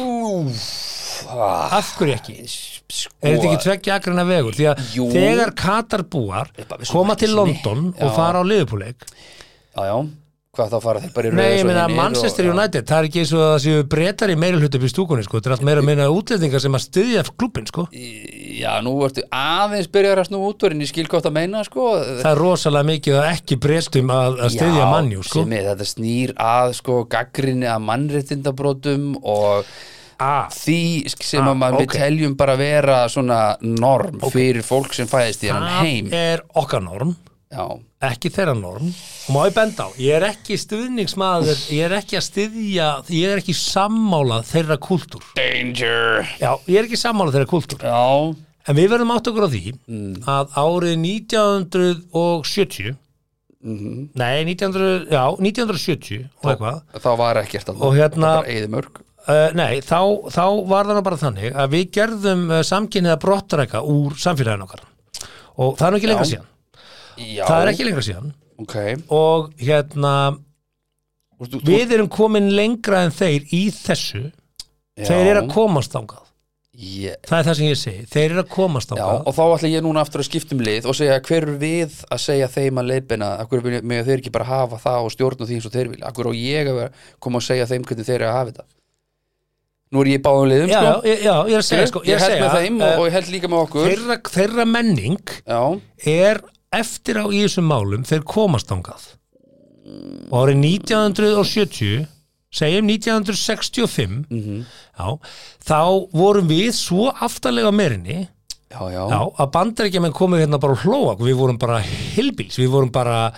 Speaker 3: ah.
Speaker 4: Af hverju ekki?
Speaker 3: sko,
Speaker 4: Er þetta ekki tveggja akreina vegur? Því að
Speaker 3: Jú.
Speaker 4: þegar Katarbúar
Speaker 3: bara við
Speaker 4: koma
Speaker 3: svona
Speaker 4: til
Speaker 3: ekki
Speaker 4: London
Speaker 3: sinni.
Speaker 4: og
Speaker 3: Já.
Speaker 4: fara á liðupúleik
Speaker 3: já, já, hvað þá fara þeir bara í
Speaker 4: Nei, ég
Speaker 3: svo
Speaker 4: meina
Speaker 3: hinir
Speaker 4: Manchester
Speaker 3: og- já.
Speaker 4: United, það er ekki eins og það séu breytar í meira hlutu upp í stúkunni, sko, þetta er allt meira að meina útlendingar sem að styðja klubin, sko
Speaker 3: já, nú ertu aðeins byrjar að snú útverðin ég skil gott að meina sko
Speaker 4: Það er rosalega mikið að ekki breytum að, að styðja
Speaker 3: Já,
Speaker 4: mannjú, sko
Speaker 3: sem er, þetta snýr að sko gaggrinni að mannréttindabrotum og
Speaker 4: A,
Speaker 3: því sem
Speaker 4: Ah,
Speaker 3: að maður
Speaker 4: ok.
Speaker 3: við teljum bara vera svona norm fyrir fólk sem fæðist í hann
Speaker 4: Ah,
Speaker 3: heim
Speaker 4: það er okkar norm
Speaker 3: já,
Speaker 4: ekki þeirra norm og má ég benda á, ég er ekki stuðningsmaður ég er ekki að styðja, ég er ekki sammála þeirra kúltúr
Speaker 3: danger
Speaker 4: Já, ég er ekki sammála þeirra kúltúr
Speaker 3: já,
Speaker 4: En við verðum átt okkur á því
Speaker 3: Mm.
Speaker 4: að árið 1970
Speaker 3: Mhm.
Speaker 4: Nei, 1900, já, 1970 og eitthvað
Speaker 3: þá var ekkert að
Speaker 4: Og hérna-
Speaker 3: eða mörg
Speaker 4: uh, Nei, þá, þá var það nú bara þannig að við gerðum uh, samkynniða brottræka úr samfélaginu okkar og það er nú ekki lengra
Speaker 3: Já.
Speaker 4: síðan
Speaker 3: já,
Speaker 4: Það er ekki lengra síðan
Speaker 3: ok,
Speaker 4: og hérna,
Speaker 3: Þú- þú-
Speaker 4: við erum komin lengra en þeir í þessu
Speaker 3: já,
Speaker 4: Þeir eru að komast þangað
Speaker 3: ég,
Speaker 4: Það er það sem ég segi, þeir eru að komast
Speaker 3: já,
Speaker 4: þangað
Speaker 3: og þá ætla ég núna aftur að skipta um lið og segja hver er við að segja þeim að leiðbina akkur með þeir ekki bara hafa það og stjórna því eins og þeir vilja, akkur og ég að vera- koma að segja þeim hvernig þeir eru að hafa þetta nú er ég í báðum liðum
Speaker 4: já,
Speaker 3: sko.
Speaker 4: já, ég- já, ég er að segja sko,
Speaker 3: ég,
Speaker 4: er að
Speaker 3: held
Speaker 4: segja,
Speaker 3: með þeim
Speaker 4: eh,
Speaker 3: og, og ég held líka með okkur
Speaker 4: þeirra, þeirra menning
Speaker 3: já,
Speaker 4: er eftir á í þessum málum þeir komast þangað og árið 1970 segjum 1965
Speaker 3: Mhm.
Speaker 4: já, þá vorum við svo aftarlega á merinni
Speaker 3: já, já,
Speaker 4: já, að bandaríkjamenn komið hérna bara og hlóa við vorum bara hilbils, við vorum bara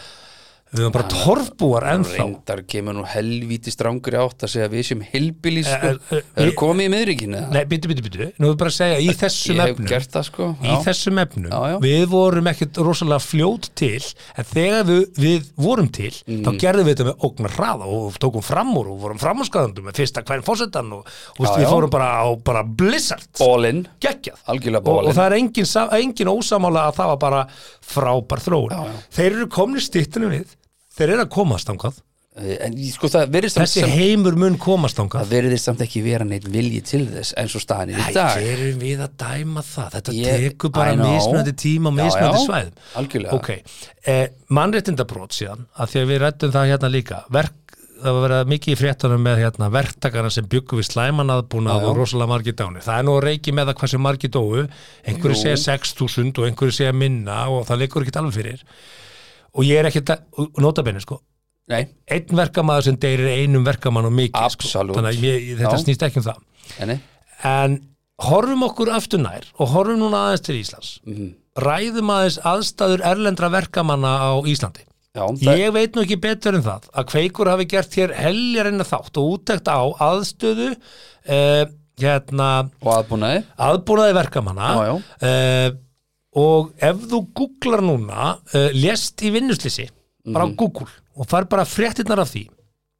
Speaker 4: við erum bara torfbúar ennþá
Speaker 3: reyndar kemur nú helvíti strangur í átt að segja að við sem helbilís sko,
Speaker 4: Eh, eh, eh,
Speaker 3: er
Speaker 4: ég-
Speaker 3: komið í miðrikinu
Speaker 4: Nei, byttu, byttu, byttu, nú erum bara að segja í þessum
Speaker 3: ég hef
Speaker 4: efnum
Speaker 3: gert það sko
Speaker 4: í þessum efnum,
Speaker 3: Já, já.
Speaker 4: við vorum ekkert rosalega fljót til, en þegar við, við vorum til, þá gerðum við þetta með ógnar hraða og tókum fram úr og vorum framúrskaðandum með fyrsta hvern fósettan og, og veist,
Speaker 3: Já,
Speaker 4: við
Speaker 3: já.
Speaker 4: fórum bara á bara blizzard,
Speaker 3: bólinn,
Speaker 4: geggjað
Speaker 3: Algjörlega
Speaker 4: og, og
Speaker 3: bólinn.
Speaker 4: það er engin, sa- engin ósamála að það var bara frábær þróun
Speaker 3: Já, já.
Speaker 4: þeir eru komni stýttinu við þeir eru að komast ángað
Speaker 3: en ég- sko það verðist samt-
Speaker 4: þessi
Speaker 3: samt-
Speaker 4: heimur mun komast ángað
Speaker 3: það verðist samt ekki vera neitt vilji til þess eins og staðan er í dag
Speaker 4: erum við að dæma það þetta
Speaker 3: Ég-
Speaker 4: tekur
Speaker 3: I
Speaker 4: bara
Speaker 3: know.
Speaker 4: mismunandi tíma og
Speaker 3: Já,
Speaker 4: mismunandi
Speaker 3: já,
Speaker 4: svæðum
Speaker 3: algjörlega.
Speaker 4: ok, eh, mannréttindabrót síðan að því að við rættum það hérna líka verk, það var verið mikið í fréttunum með hérna, verktakana sem byggu við slæman aðbúnað
Speaker 3: Já, já.
Speaker 4: og rosalega margir dánir það er nú að reiki með það hversu margir dóu einhverju
Speaker 3: Jú.
Speaker 4: segja 6.000 og einhverju segja minna og það leikur ekki alveg fyrir og ég er ekki, og notabenni sko
Speaker 3: nei,
Speaker 4: einn verkamaður sem deyrir einum verkamann og mikið
Speaker 3: Absolutt.
Speaker 4: sko. þannig að ég, þetta
Speaker 3: Já.
Speaker 4: snýst ekki um það
Speaker 3: enni
Speaker 4: en horfum okkur aftur nær og horfum núna aðeins til Íslands
Speaker 3: Mhm.
Speaker 4: ræðum aðeins aðstæður erlendra verkamanna á Íslandi
Speaker 3: já, það,
Speaker 4: ég veit nú ekki betur en það að kveikur hafi gert hér heljar en þátt og úttekt á aðstöðu eh, hérna
Speaker 3: og aðbúnaði
Speaker 4: aðbúnaði verkamanna
Speaker 3: Já, já.
Speaker 4: Eh, og ef þú googlar núna eh, lest í vinnuslisi bara á Google og far bara fréttinnar af því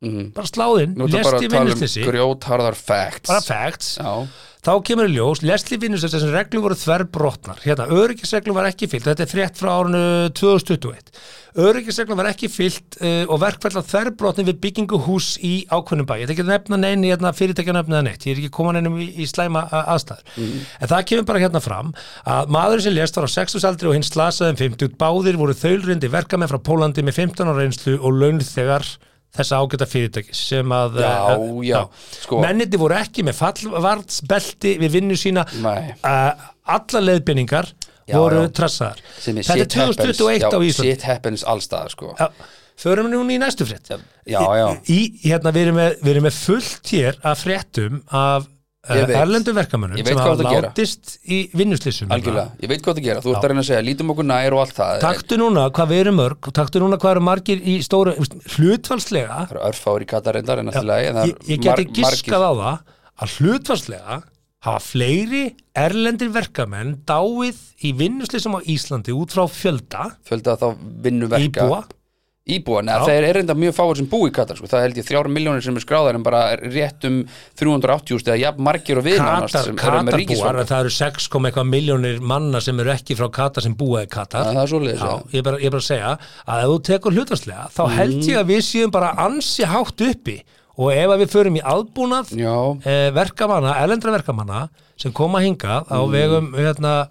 Speaker 3: Mhm.
Speaker 4: bara sláðinn,
Speaker 3: nú er
Speaker 4: lest
Speaker 3: bara
Speaker 4: í
Speaker 3: að tala um
Speaker 4: vinnuslisi
Speaker 3: grjótharðar facts
Speaker 4: bara facts
Speaker 3: já,
Speaker 4: þá kemur í ljós, Leslie vinnur þess að reglum voru þverbrotnar, hérna, öryggisreglum var ekki fyllt, þetta er frétt frá árinu 2021, öryggisreglum var ekki fyllt uh, og verkfælla þverbrotni við byggingu hús í ákveðnum bæ ég ætla ekki að nefna neini, hérna, fyrirtækja nefna neitt ég er ekki að koma neinum í, í slæma a- aðstæður
Speaker 3: Mhm.
Speaker 4: en það kemur bara hérna fram að maður sem lest var á 60 aldri og hinn slasaðum 50, báðir voru þaulrindi verkamenn frá Pólandi með 15 ára reynslu og launþegar þessa ágæta fyrirtækis sem að
Speaker 3: Já,
Speaker 4: eh, eh,
Speaker 3: já, sko.
Speaker 4: menniti voru ekki með fallvartsbelti við vinnu sína
Speaker 3: Nei.
Speaker 4: uh, alla leiðbynningar
Speaker 3: Já,
Speaker 4: voru
Speaker 3: já.
Speaker 4: trassaðar
Speaker 3: sem er
Speaker 4: þetta er
Speaker 3: shit happens.
Speaker 4: 2021
Speaker 3: já,
Speaker 4: á Íslandi
Speaker 3: shit happens allstaðar sko
Speaker 4: Já, förum við núna í næstu frétt
Speaker 3: já, já,
Speaker 4: Í, hérna, við, erum með, við erum með fullt hér af fréttum af uh,
Speaker 3: Ég veit.
Speaker 4: erlendu verkamönnum
Speaker 3: Ég veit
Speaker 4: sem
Speaker 3: hvað
Speaker 4: hafa
Speaker 3: þú ert að gera.
Speaker 4: látist í hérna. vinnuslýsum
Speaker 3: algjörlega, ég veit hvað það gera þú ert að reyna að segja, lítum okkur nær og allt það en
Speaker 4: taktu núna hvað við erum mörg taktu núna hvað eru margir í stóru hlutfalslega
Speaker 3: það eru örfáir í Katarindar en
Speaker 4: Já,
Speaker 3: allt í lagi en það
Speaker 4: ég,
Speaker 3: eru
Speaker 4: ég geti
Speaker 3: mar-
Speaker 4: giskað á það að hlutvarslega hafa fleiri erlendir verkamenn dáið í vinnuslisum á Íslandi út frá fjölda
Speaker 3: fjölda þá vinnu verka
Speaker 4: íbúa
Speaker 3: Íbúa, neða,
Speaker 4: Já.
Speaker 3: það er reynda mjög fáir sem búi í Katar sko. það held ég þrjára miljónir sem er skráðar en bara rétt um 380 eða jafn margir og við nánast
Speaker 4: Katar,
Speaker 3: sem eru með
Speaker 4: Katarbúar,
Speaker 3: ríkisvang
Speaker 4: það eru 6, kom eitthvað miljónir manna sem eru ekki frá Katar sem búa í Katar
Speaker 3: Það er svoleiðis,
Speaker 4: Já,
Speaker 3: já.
Speaker 4: ég er bara, ég er bara að segja að ef þú tekur hlutvarslega þá
Speaker 3: Mhm.
Speaker 4: held ég að við séum bara ansi hátt uppi og ef að við förum í aðbúnað
Speaker 3: Já,
Speaker 4: eh, verkamanna, erlendra verkamanna sem koma
Speaker 3: Mhm.
Speaker 4: hingað á vegum hérna,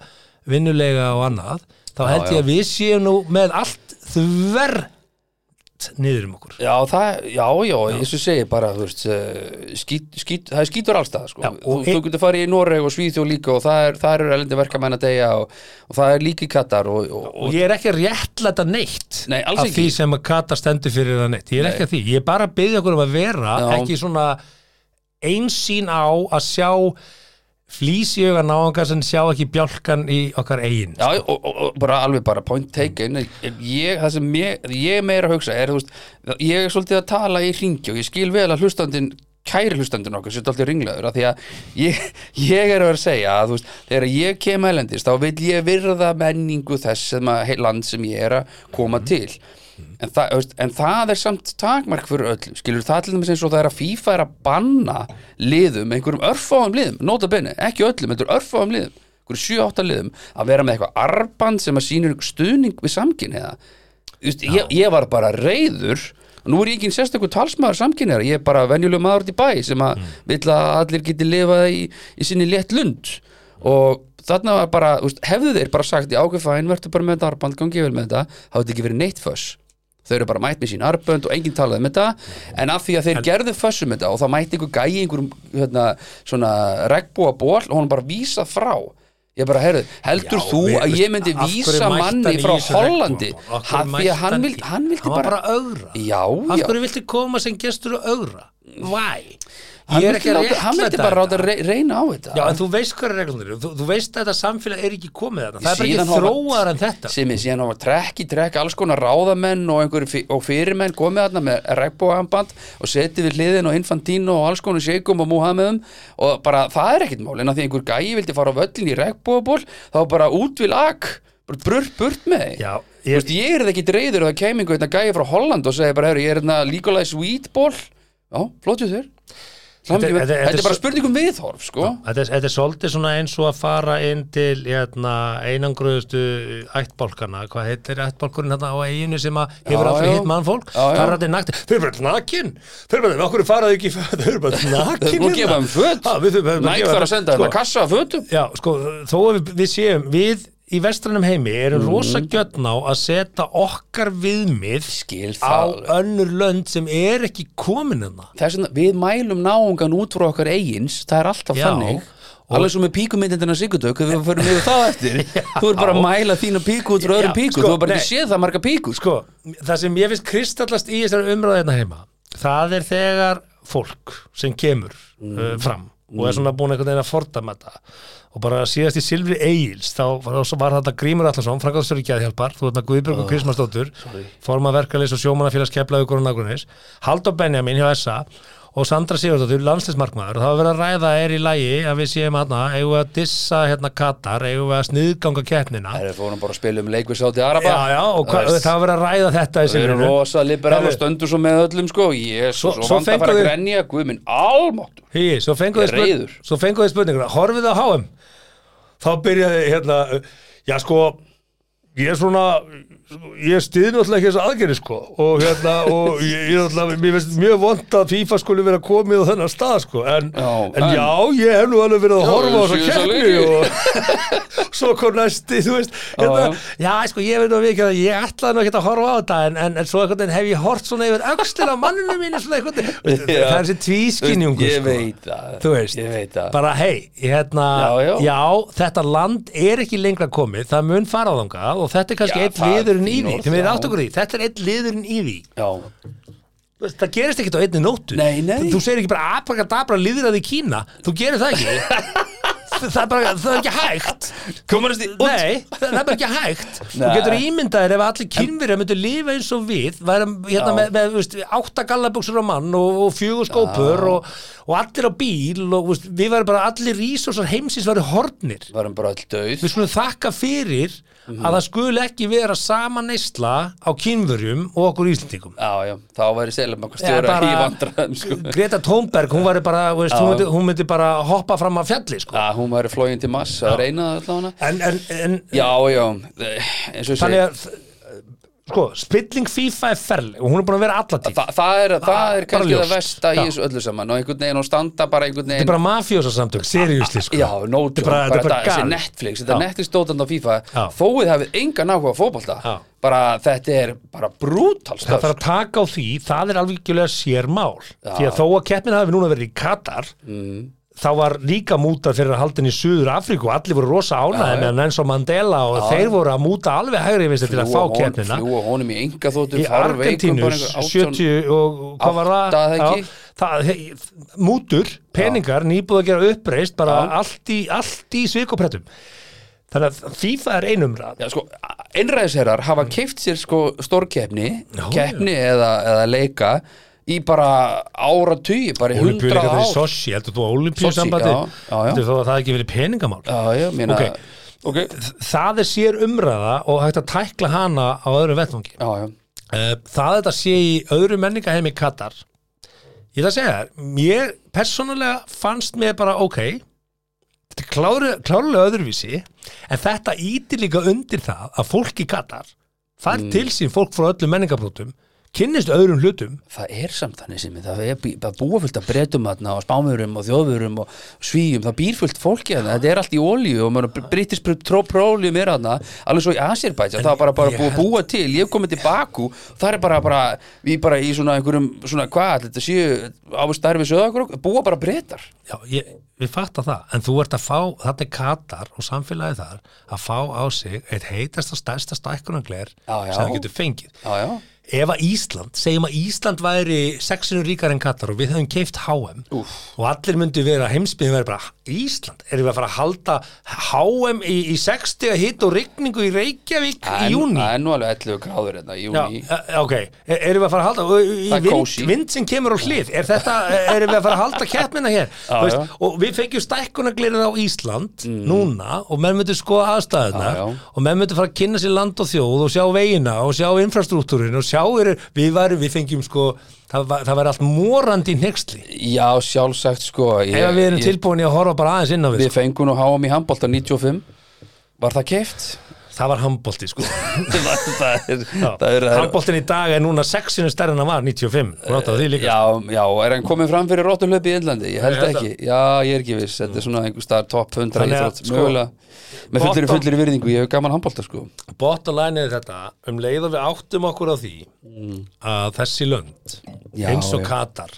Speaker 4: vinnulega og annað þá held ég að við séum nú með allt þvert niður um okkur
Speaker 3: Já, það, já, já, eins og segi bara, þú veist, eh, skít, skít, það er skítur allstað, sko.
Speaker 4: Já,
Speaker 3: þú,
Speaker 4: og
Speaker 3: þú
Speaker 4: ein-
Speaker 3: getur farið í Noreg og Svíþjóð líka og það er, það er erlendi verkamenn að deyja og, og það er líka í Katar og, og,
Speaker 4: og
Speaker 3: og
Speaker 4: ég er ekki að réttlæta neitt
Speaker 3: Nei, alls
Speaker 4: af
Speaker 3: ekki.
Speaker 4: því sem að Kata stendur fyrir það neitt ég er ekki að því, ég er bara að byggja okkur um að vera
Speaker 3: Já.
Speaker 4: ekki svona einsýn á að sjá flýs í auga náðungar sem sjá ekki bjálkan í okkar eigin
Speaker 3: Já, og, og, og bara alveg bara point taken ég, það sem ég, ég er meira að hugsa er, þú veist, ég er svolítið að tala í hringi og ég skil vel að hlustandinn kæri hlustandinn okkar, sér dálítið ringlaður af því að ég, ég er að vera að segja að, þú veist, þegar ég kem ælendist þá vil ég virða menningu þess sem að, hey, land sem ég er að koma til en, það, þú veist, en það er samt takmark fyrir öllum, skilur það til dæmis eins og það er að FIFA er að banna liðum, einhverjum örfáum liðum, nota bene ekki öllum, þetta er örfáum liðum einhverjum 7-8 liðum, að vera með eitthvað arband sem að sýnir stuðning við samkynniða Just, ég, ég var bara reyður og nú er ég ekki sérstakur talsmaður samkynniðar ég er bara venjuleg maður út í bæ sem að vill að allir geti lifað í, í sinni létt lund og þarna var bara, þú veist, hefðu þeir bara sagt í ákveðfæn, verður bara með þetta arband, gangi vel með þetta þá hefði ekki verið neitt föss þau eru bara mætt með sín arbönd og enginn talaði með þetta en af því að þeir gerðu fössum þetta og það mætti einhver gæi einhverjum hérna, svona regnbúa ból og honum bara vísað frá ég bara, heyrðu, heldur
Speaker 4: Já,
Speaker 3: þú
Speaker 4: við-
Speaker 3: að ég myndi
Speaker 4: af hverju
Speaker 3: vísa
Speaker 4: mætti hann
Speaker 3: manni
Speaker 4: í
Speaker 3: frá
Speaker 4: þessu
Speaker 3: Hollandi
Speaker 4: regnbogaborð? Af
Speaker 3: af því að
Speaker 4: hverju mætti
Speaker 3: hann
Speaker 4: hann
Speaker 3: vildi,
Speaker 4: í-
Speaker 3: hann vildi
Speaker 4: hann var
Speaker 3: bara
Speaker 4: bara ögra
Speaker 3: já,
Speaker 4: af
Speaker 3: já,
Speaker 4: hverju viltu koma sem gestur og ögra why?
Speaker 3: hann
Speaker 4: Ég er
Speaker 3: vildi
Speaker 4: ekki að
Speaker 3: láta- hann vildi
Speaker 4: réttlæta
Speaker 3: bara ráta
Speaker 4: þetta.
Speaker 3: re- reyna á þetta
Speaker 4: Já, en þú veist hvað er reglunir eru. þú, þú veist að þetta samfélag er ekki komið þarna Það er
Speaker 3: Síðan
Speaker 4: bara
Speaker 3: hafa-
Speaker 4: ekki þróaðar en þetta
Speaker 3: sem er síðan á að trekk í trekk alls konar ráðamenn og, einhverjir fy- og fyrirmenn komið þarna með regnbóðanband og setið við hliðin og Infantino og alls konar Sheikum og Muhammedum og bara það er ekkit mál en að því einhver gæi vildi fara á völlin í regnbóðaból þá bara út vil ak bara burt, burt með þig
Speaker 4: Já,
Speaker 3: Þú
Speaker 4: ég,
Speaker 3: veist, ég er það ekki reyður og það kæmi einhver hérna gæi frá Holland og segi bara, herru, ég er hérna Legalize Weed Ball já, flottu þér
Speaker 4: Þetta-
Speaker 3: Þetta
Speaker 4: þetta- þetta
Speaker 3: er
Speaker 4: er
Speaker 3: bara
Speaker 4: svo-
Speaker 3: spurning um viðhorf, sko
Speaker 4: þetta, er, þetta er svolítið svona eins og að fara inn til hérna, einangruðustu ættbálkana Hvað heitir ættbálkurinn hérna á eiginu sem að hefur
Speaker 3: Já,
Speaker 4: alltaf
Speaker 3: já.
Speaker 4: hitt mannfólk
Speaker 3: Já, já.
Speaker 4: Það er alltaf nakt Þau eru bara nakin Þau eru bara, okkur faraðu ekki í föt? Þau eru bara
Speaker 3: Þau
Speaker 4: nakin
Speaker 3: erum búin að gefa þeim föt
Speaker 4: Já, við þurfum-
Speaker 3: Næk
Speaker 4: gefa
Speaker 3: þarf að
Speaker 4: þeim-
Speaker 3: senda
Speaker 4: sko,
Speaker 3: þeim að kassa af fötum
Speaker 4: Já, sko, þó að við, við séum við í vestrænum heimi erum rosa gjötn á að setja okkar viðmið
Speaker 3: Skil
Speaker 4: á
Speaker 3: það alveg.
Speaker 4: önnur lönd sem er ekki komin hérna. hennar
Speaker 3: Þess vegna, við mælum náungan út frá okkar eigins Það er alltaf
Speaker 4: Já.
Speaker 3: þannig Alveg svo með píkumyndindina Sigurdök Þegar við förum yfir það eftir Þú er bara að mæla þína píku út frá öðrum
Speaker 4: Já,
Speaker 3: píku
Speaker 4: sko,
Speaker 3: Þú er bara ekki
Speaker 4: nei.
Speaker 3: séð það marga píku sko.
Speaker 4: Sko, það sem ég finnst kristallast í þessari umræðu hérna heima það er þegar fólk sem kemur uh, fram og er svona búin einhvern veginn að fordama þetta og bara síðast í Silvi Egils þá var, þá var þetta Grímur Allarsson, frangaðstöru Gæðhjálpar þú veit maður Guðbjörg og Kristmarsdóttur forma verkalýs og sjómannafélags keflaðu og nágrunis, Haldur Benjamin hjá SA og Sandra Sigurðardóttur, landslismarkmaður og það var verið að ræða er í lægi að við séum hana, eigum við að dissa hérna Katar, eigum við að sniðganga keppnina
Speaker 3: Það er fórum bara að spila um leik við sátti Araba
Speaker 4: Já, já, og hva,
Speaker 3: Þú veist,
Speaker 4: það var verið að ræða þetta í
Speaker 3: Þau eru
Speaker 4: Silvínu.
Speaker 3: rosa liberal
Speaker 4: Herðu.
Speaker 3: og stöndur svo með öllum sko Jésus,
Speaker 4: Svo-
Speaker 3: og
Speaker 4: svo
Speaker 3: vanda
Speaker 4: fengu
Speaker 3: bara að
Speaker 4: þau-
Speaker 3: grenja Guð minn almáttur
Speaker 4: Hí, svo fengu
Speaker 3: Ég er
Speaker 4: þið spurning,
Speaker 3: reiður.
Speaker 4: svo fengu þið spurninguna, horfið á HM þá byrjaði hérna uh, já sko ég er svona, ég stiði náttúrulega ekki þessu aðgerði sko og hérna og ég, ég náttúrulega, mér finnst mjög vond að FIFA skuli vera komið á þennan stað sko en já,
Speaker 3: Já,
Speaker 4: en,
Speaker 3: en-
Speaker 4: já ég hef nú alveg verið að
Speaker 3: Já, ég
Speaker 4: horfa á
Speaker 3: sé
Speaker 4: þessu
Speaker 3: þessa
Speaker 4: keppni og svo kom næsti, þú veist hérna, já, sko ég veit nú ekki að ég ætlaði nú ekki að horfa á þetta en, en, en svo einhvern veginn hef ég hort svona yfir öxlina á manninu mínu svona einhvern veginn
Speaker 3: Já.
Speaker 4: það er þessi tvískinjungur
Speaker 3: Ég
Speaker 4: sko
Speaker 3: veit það
Speaker 4: þú veist,
Speaker 3: Ég veit það
Speaker 4: bara hei hérna,
Speaker 3: Já, já.
Speaker 4: þetta land er ekki lengra komið, það mun fara þangað og þetta er
Speaker 3: Já,
Speaker 4: kannski einn
Speaker 3: það er
Speaker 4: liðurinn í
Speaker 3: fín
Speaker 4: því
Speaker 3: orð,
Speaker 4: þeim er
Speaker 3: já.
Speaker 4: átt okkur í, því. þetta er einn liðurinn í því
Speaker 3: Já,
Speaker 4: Þú veist, það gerist ekkit á einni nóttu
Speaker 3: Nei, nei.
Speaker 4: þú segir ekki bara apakadabra liðraði í Kína þú gerir það ekki það er bara, það er ekki hægt
Speaker 3: Komarist í
Speaker 4: Nei, það er bara ekki hægt Þú
Speaker 3: Nei.
Speaker 4: getur ímyndaðir ef allir kynverja myndu lifa eins og við værum hérna
Speaker 3: Já.
Speaker 4: með, með þú veist, átta gallabuxur á mann og, og fjögur skópur og, og allir á bíl og þú veist, við værum bara allir rísósar heimsins væri hornir
Speaker 3: Varum bara öll döð
Speaker 4: Við skulum þakka fyrir að það skuli ekki vera sama neysla á kynverjum og okkur íslendingum
Speaker 3: Já, já, þá væri selum okkar
Speaker 4: Eða
Speaker 3: stjóra
Speaker 4: bara-
Speaker 3: í vandræðum sko.
Speaker 4: Greta Thunberg, hún, væri bara, þú veist, hún, myndi, hún myndi bara hoppa fram af fjalli sko.
Speaker 3: Já, hún væri flóin til mass að reyna það allavega
Speaker 4: en, en, en
Speaker 3: Já, já, eins og ég segi
Speaker 4: þannig að sko, spilling FIFA er ferleg og hún er búin að vera allatíð
Speaker 3: Þa, það, er, það er
Speaker 4: bara
Speaker 3: kannski
Speaker 4: ljóst.
Speaker 3: það versta í
Speaker 4: Já.
Speaker 3: þessu öllu saman og einhvern veginn og standa bara einhvern
Speaker 4: Þetta er
Speaker 3: veginn
Speaker 4: bara mafjósa samtök, seriúsli sko.
Speaker 3: Já, no
Speaker 4: Þetta
Speaker 3: joke,
Speaker 4: er bara,
Speaker 3: bara,
Speaker 4: þetta er bara
Speaker 3: þetta- þessi
Speaker 4: galið.
Speaker 3: Netflix, þetta er
Speaker 4: Já.
Speaker 3: Netflix dótand á FIFA
Speaker 4: Já.
Speaker 3: þóið hafið engan áhuga á fótbolta
Speaker 4: Já.
Speaker 3: bara þetta er bara brútal
Speaker 4: Það
Speaker 3: stöð
Speaker 4: þarf að taka á því, það er alveg ekki sérmál, því að þó að keppnin hafi núna verið í Katar
Speaker 3: Mm.
Speaker 4: þá var líka mútar fyrir að haldin í Suður Afríku og allir voru rosa ánæði meðan eins og Mandela og þeir voru að múta alveg hægri vinstri til að fá keppnina
Speaker 3: Fljúa honum í enga þóttu
Speaker 4: í Argentínus 70 og hvað var
Speaker 3: Átta,
Speaker 4: það?
Speaker 3: eða ekki?
Speaker 4: það he, mútur, peningar, nýbúð að gera uppreist bara
Speaker 3: Já.
Speaker 4: allt í, allt í svikuprettum þannig að FIFA er einumrað
Speaker 3: Já, sko, einræðisherrar hafa
Speaker 4: Mm.
Speaker 3: keift sér sko stórkeppni, keppni eða, eða leika í bara ára tugi, bara í hundra
Speaker 4: Olimpíu líka það í
Speaker 3: ár
Speaker 4: Sochi, heldur þú að Olimpíu sambandi
Speaker 3: Sochi, já, já, já.
Speaker 4: heldur þú að það ekki verið peningamál
Speaker 3: Já, já, meina
Speaker 4: Ok.
Speaker 3: okay.
Speaker 4: það er sér umræða og hægt að tækla hana á öðru vettvangi
Speaker 3: Já, já,
Speaker 4: Eh, það að þetta sé í öðru menningaheimi Katar ég ætla að segja þér mér persónulega fannst mér bara ok þetta er kláru, klárulega öðruvísi en þetta ítir líka undir það að fólk í Katar fær
Speaker 3: Mm.
Speaker 4: til sín fólk frá öllum menningabrótum kynnist öðrum hlutum
Speaker 3: það er samt þannig sem það er bí- bara búa fullt af breytum þarna og spámurum og þjóðurum og svíjum, það býr fullt fólki þarna, þetta er allt í olíu og maður brittis prólium er þarna, alveg svo í Asirbætja, það er bara, bara
Speaker 4: ég
Speaker 3: búið að búa til, ég hef komið til Baku, það er bara, bara við bara í svona einhverjum, svona hvað, þetta séu á starfi söðakrók, búa bara breytar
Speaker 4: já, ég, við fatta það, en þú ert að fá þetta er Katar og samfélagið þar að fá á sig eitt heitasta stærsta stækkunangler
Speaker 3: Já, já.
Speaker 4: sem þú getur fengið
Speaker 3: já, já,
Speaker 4: ef að Ísland, segjum að Ísland væri sexinu ríkar en Katar og við hefum keift HM
Speaker 3: Úff.
Speaker 4: og allir myndu vera heimsbyðin verið bara, Ísland, erum við að fara að halda HM í, í 60 hitt og rigningu í Reykjavík í júni
Speaker 3: það er nú alveg 11 gráður hérna, í
Speaker 4: Já,
Speaker 3: júni
Speaker 4: eh, ok, E- erum við að fara að halda og í
Speaker 3: Það er
Speaker 4: vind,
Speaker 3: kósí.
Speaker 4: vind sem kemur á hlið, er þetta erum við að fara að halda keppnina hér
Speaker 3: Já,
Speaker 4: Þú
Speaker 3: já. Mm.
Speaker 4: og við fengjum stækkunaglirinn á Ísland núna og menn myndu skoða aðstæðunar
Speaker 3: Já, já.
Speaker 4: og menn myndu fara að kynna sér land og þjóð og sjá veginna og sjá infrastruktúrin og sjá er, við varum, við fengjum sko það, var- það væri allt morandi í nexli
Speaker 3: já, sjálfsagt sko ég,
Speaker 4: ef við erum
Speaker 3: ég-
Speaker 4: tilbúin í að horfa bara aðeins inn á við,
Speaker 3: við fengum nú háum í handbólta 95 var það keift?
Speaker 4: sko. það var handbolti sko
Speaker 3: það, það er, það er, það er
Speaker 4: handboltin í dag er núna sexinu stærri en hann var 95, rátaðu því líka
Speaker 3: Já, já, er hann komið fram fyrir róttuhlaupi í Índlandi? Ég held
Speaker 4: Ég held
Speaker 3: ekki, já, ég er ekki viss Þetta er svona einhver staðar topp 100
Speaker 4: Þannig að,
Speaker 3: íþrótt
Speaker 4: sko,
Speaker 3: Mögulega, með fullir,
Speaker 4: bottom-
Speaker 3: fullir virðingu Ég hef gaman handbólta, sko
Speaker 4: bottom line er þetta um leið og við áttum okkur á því að þessi lönd
Speaker 3: Mm. Já,
Speaker 4: eins og
Speaker 3: já.
Speaker 4: Katar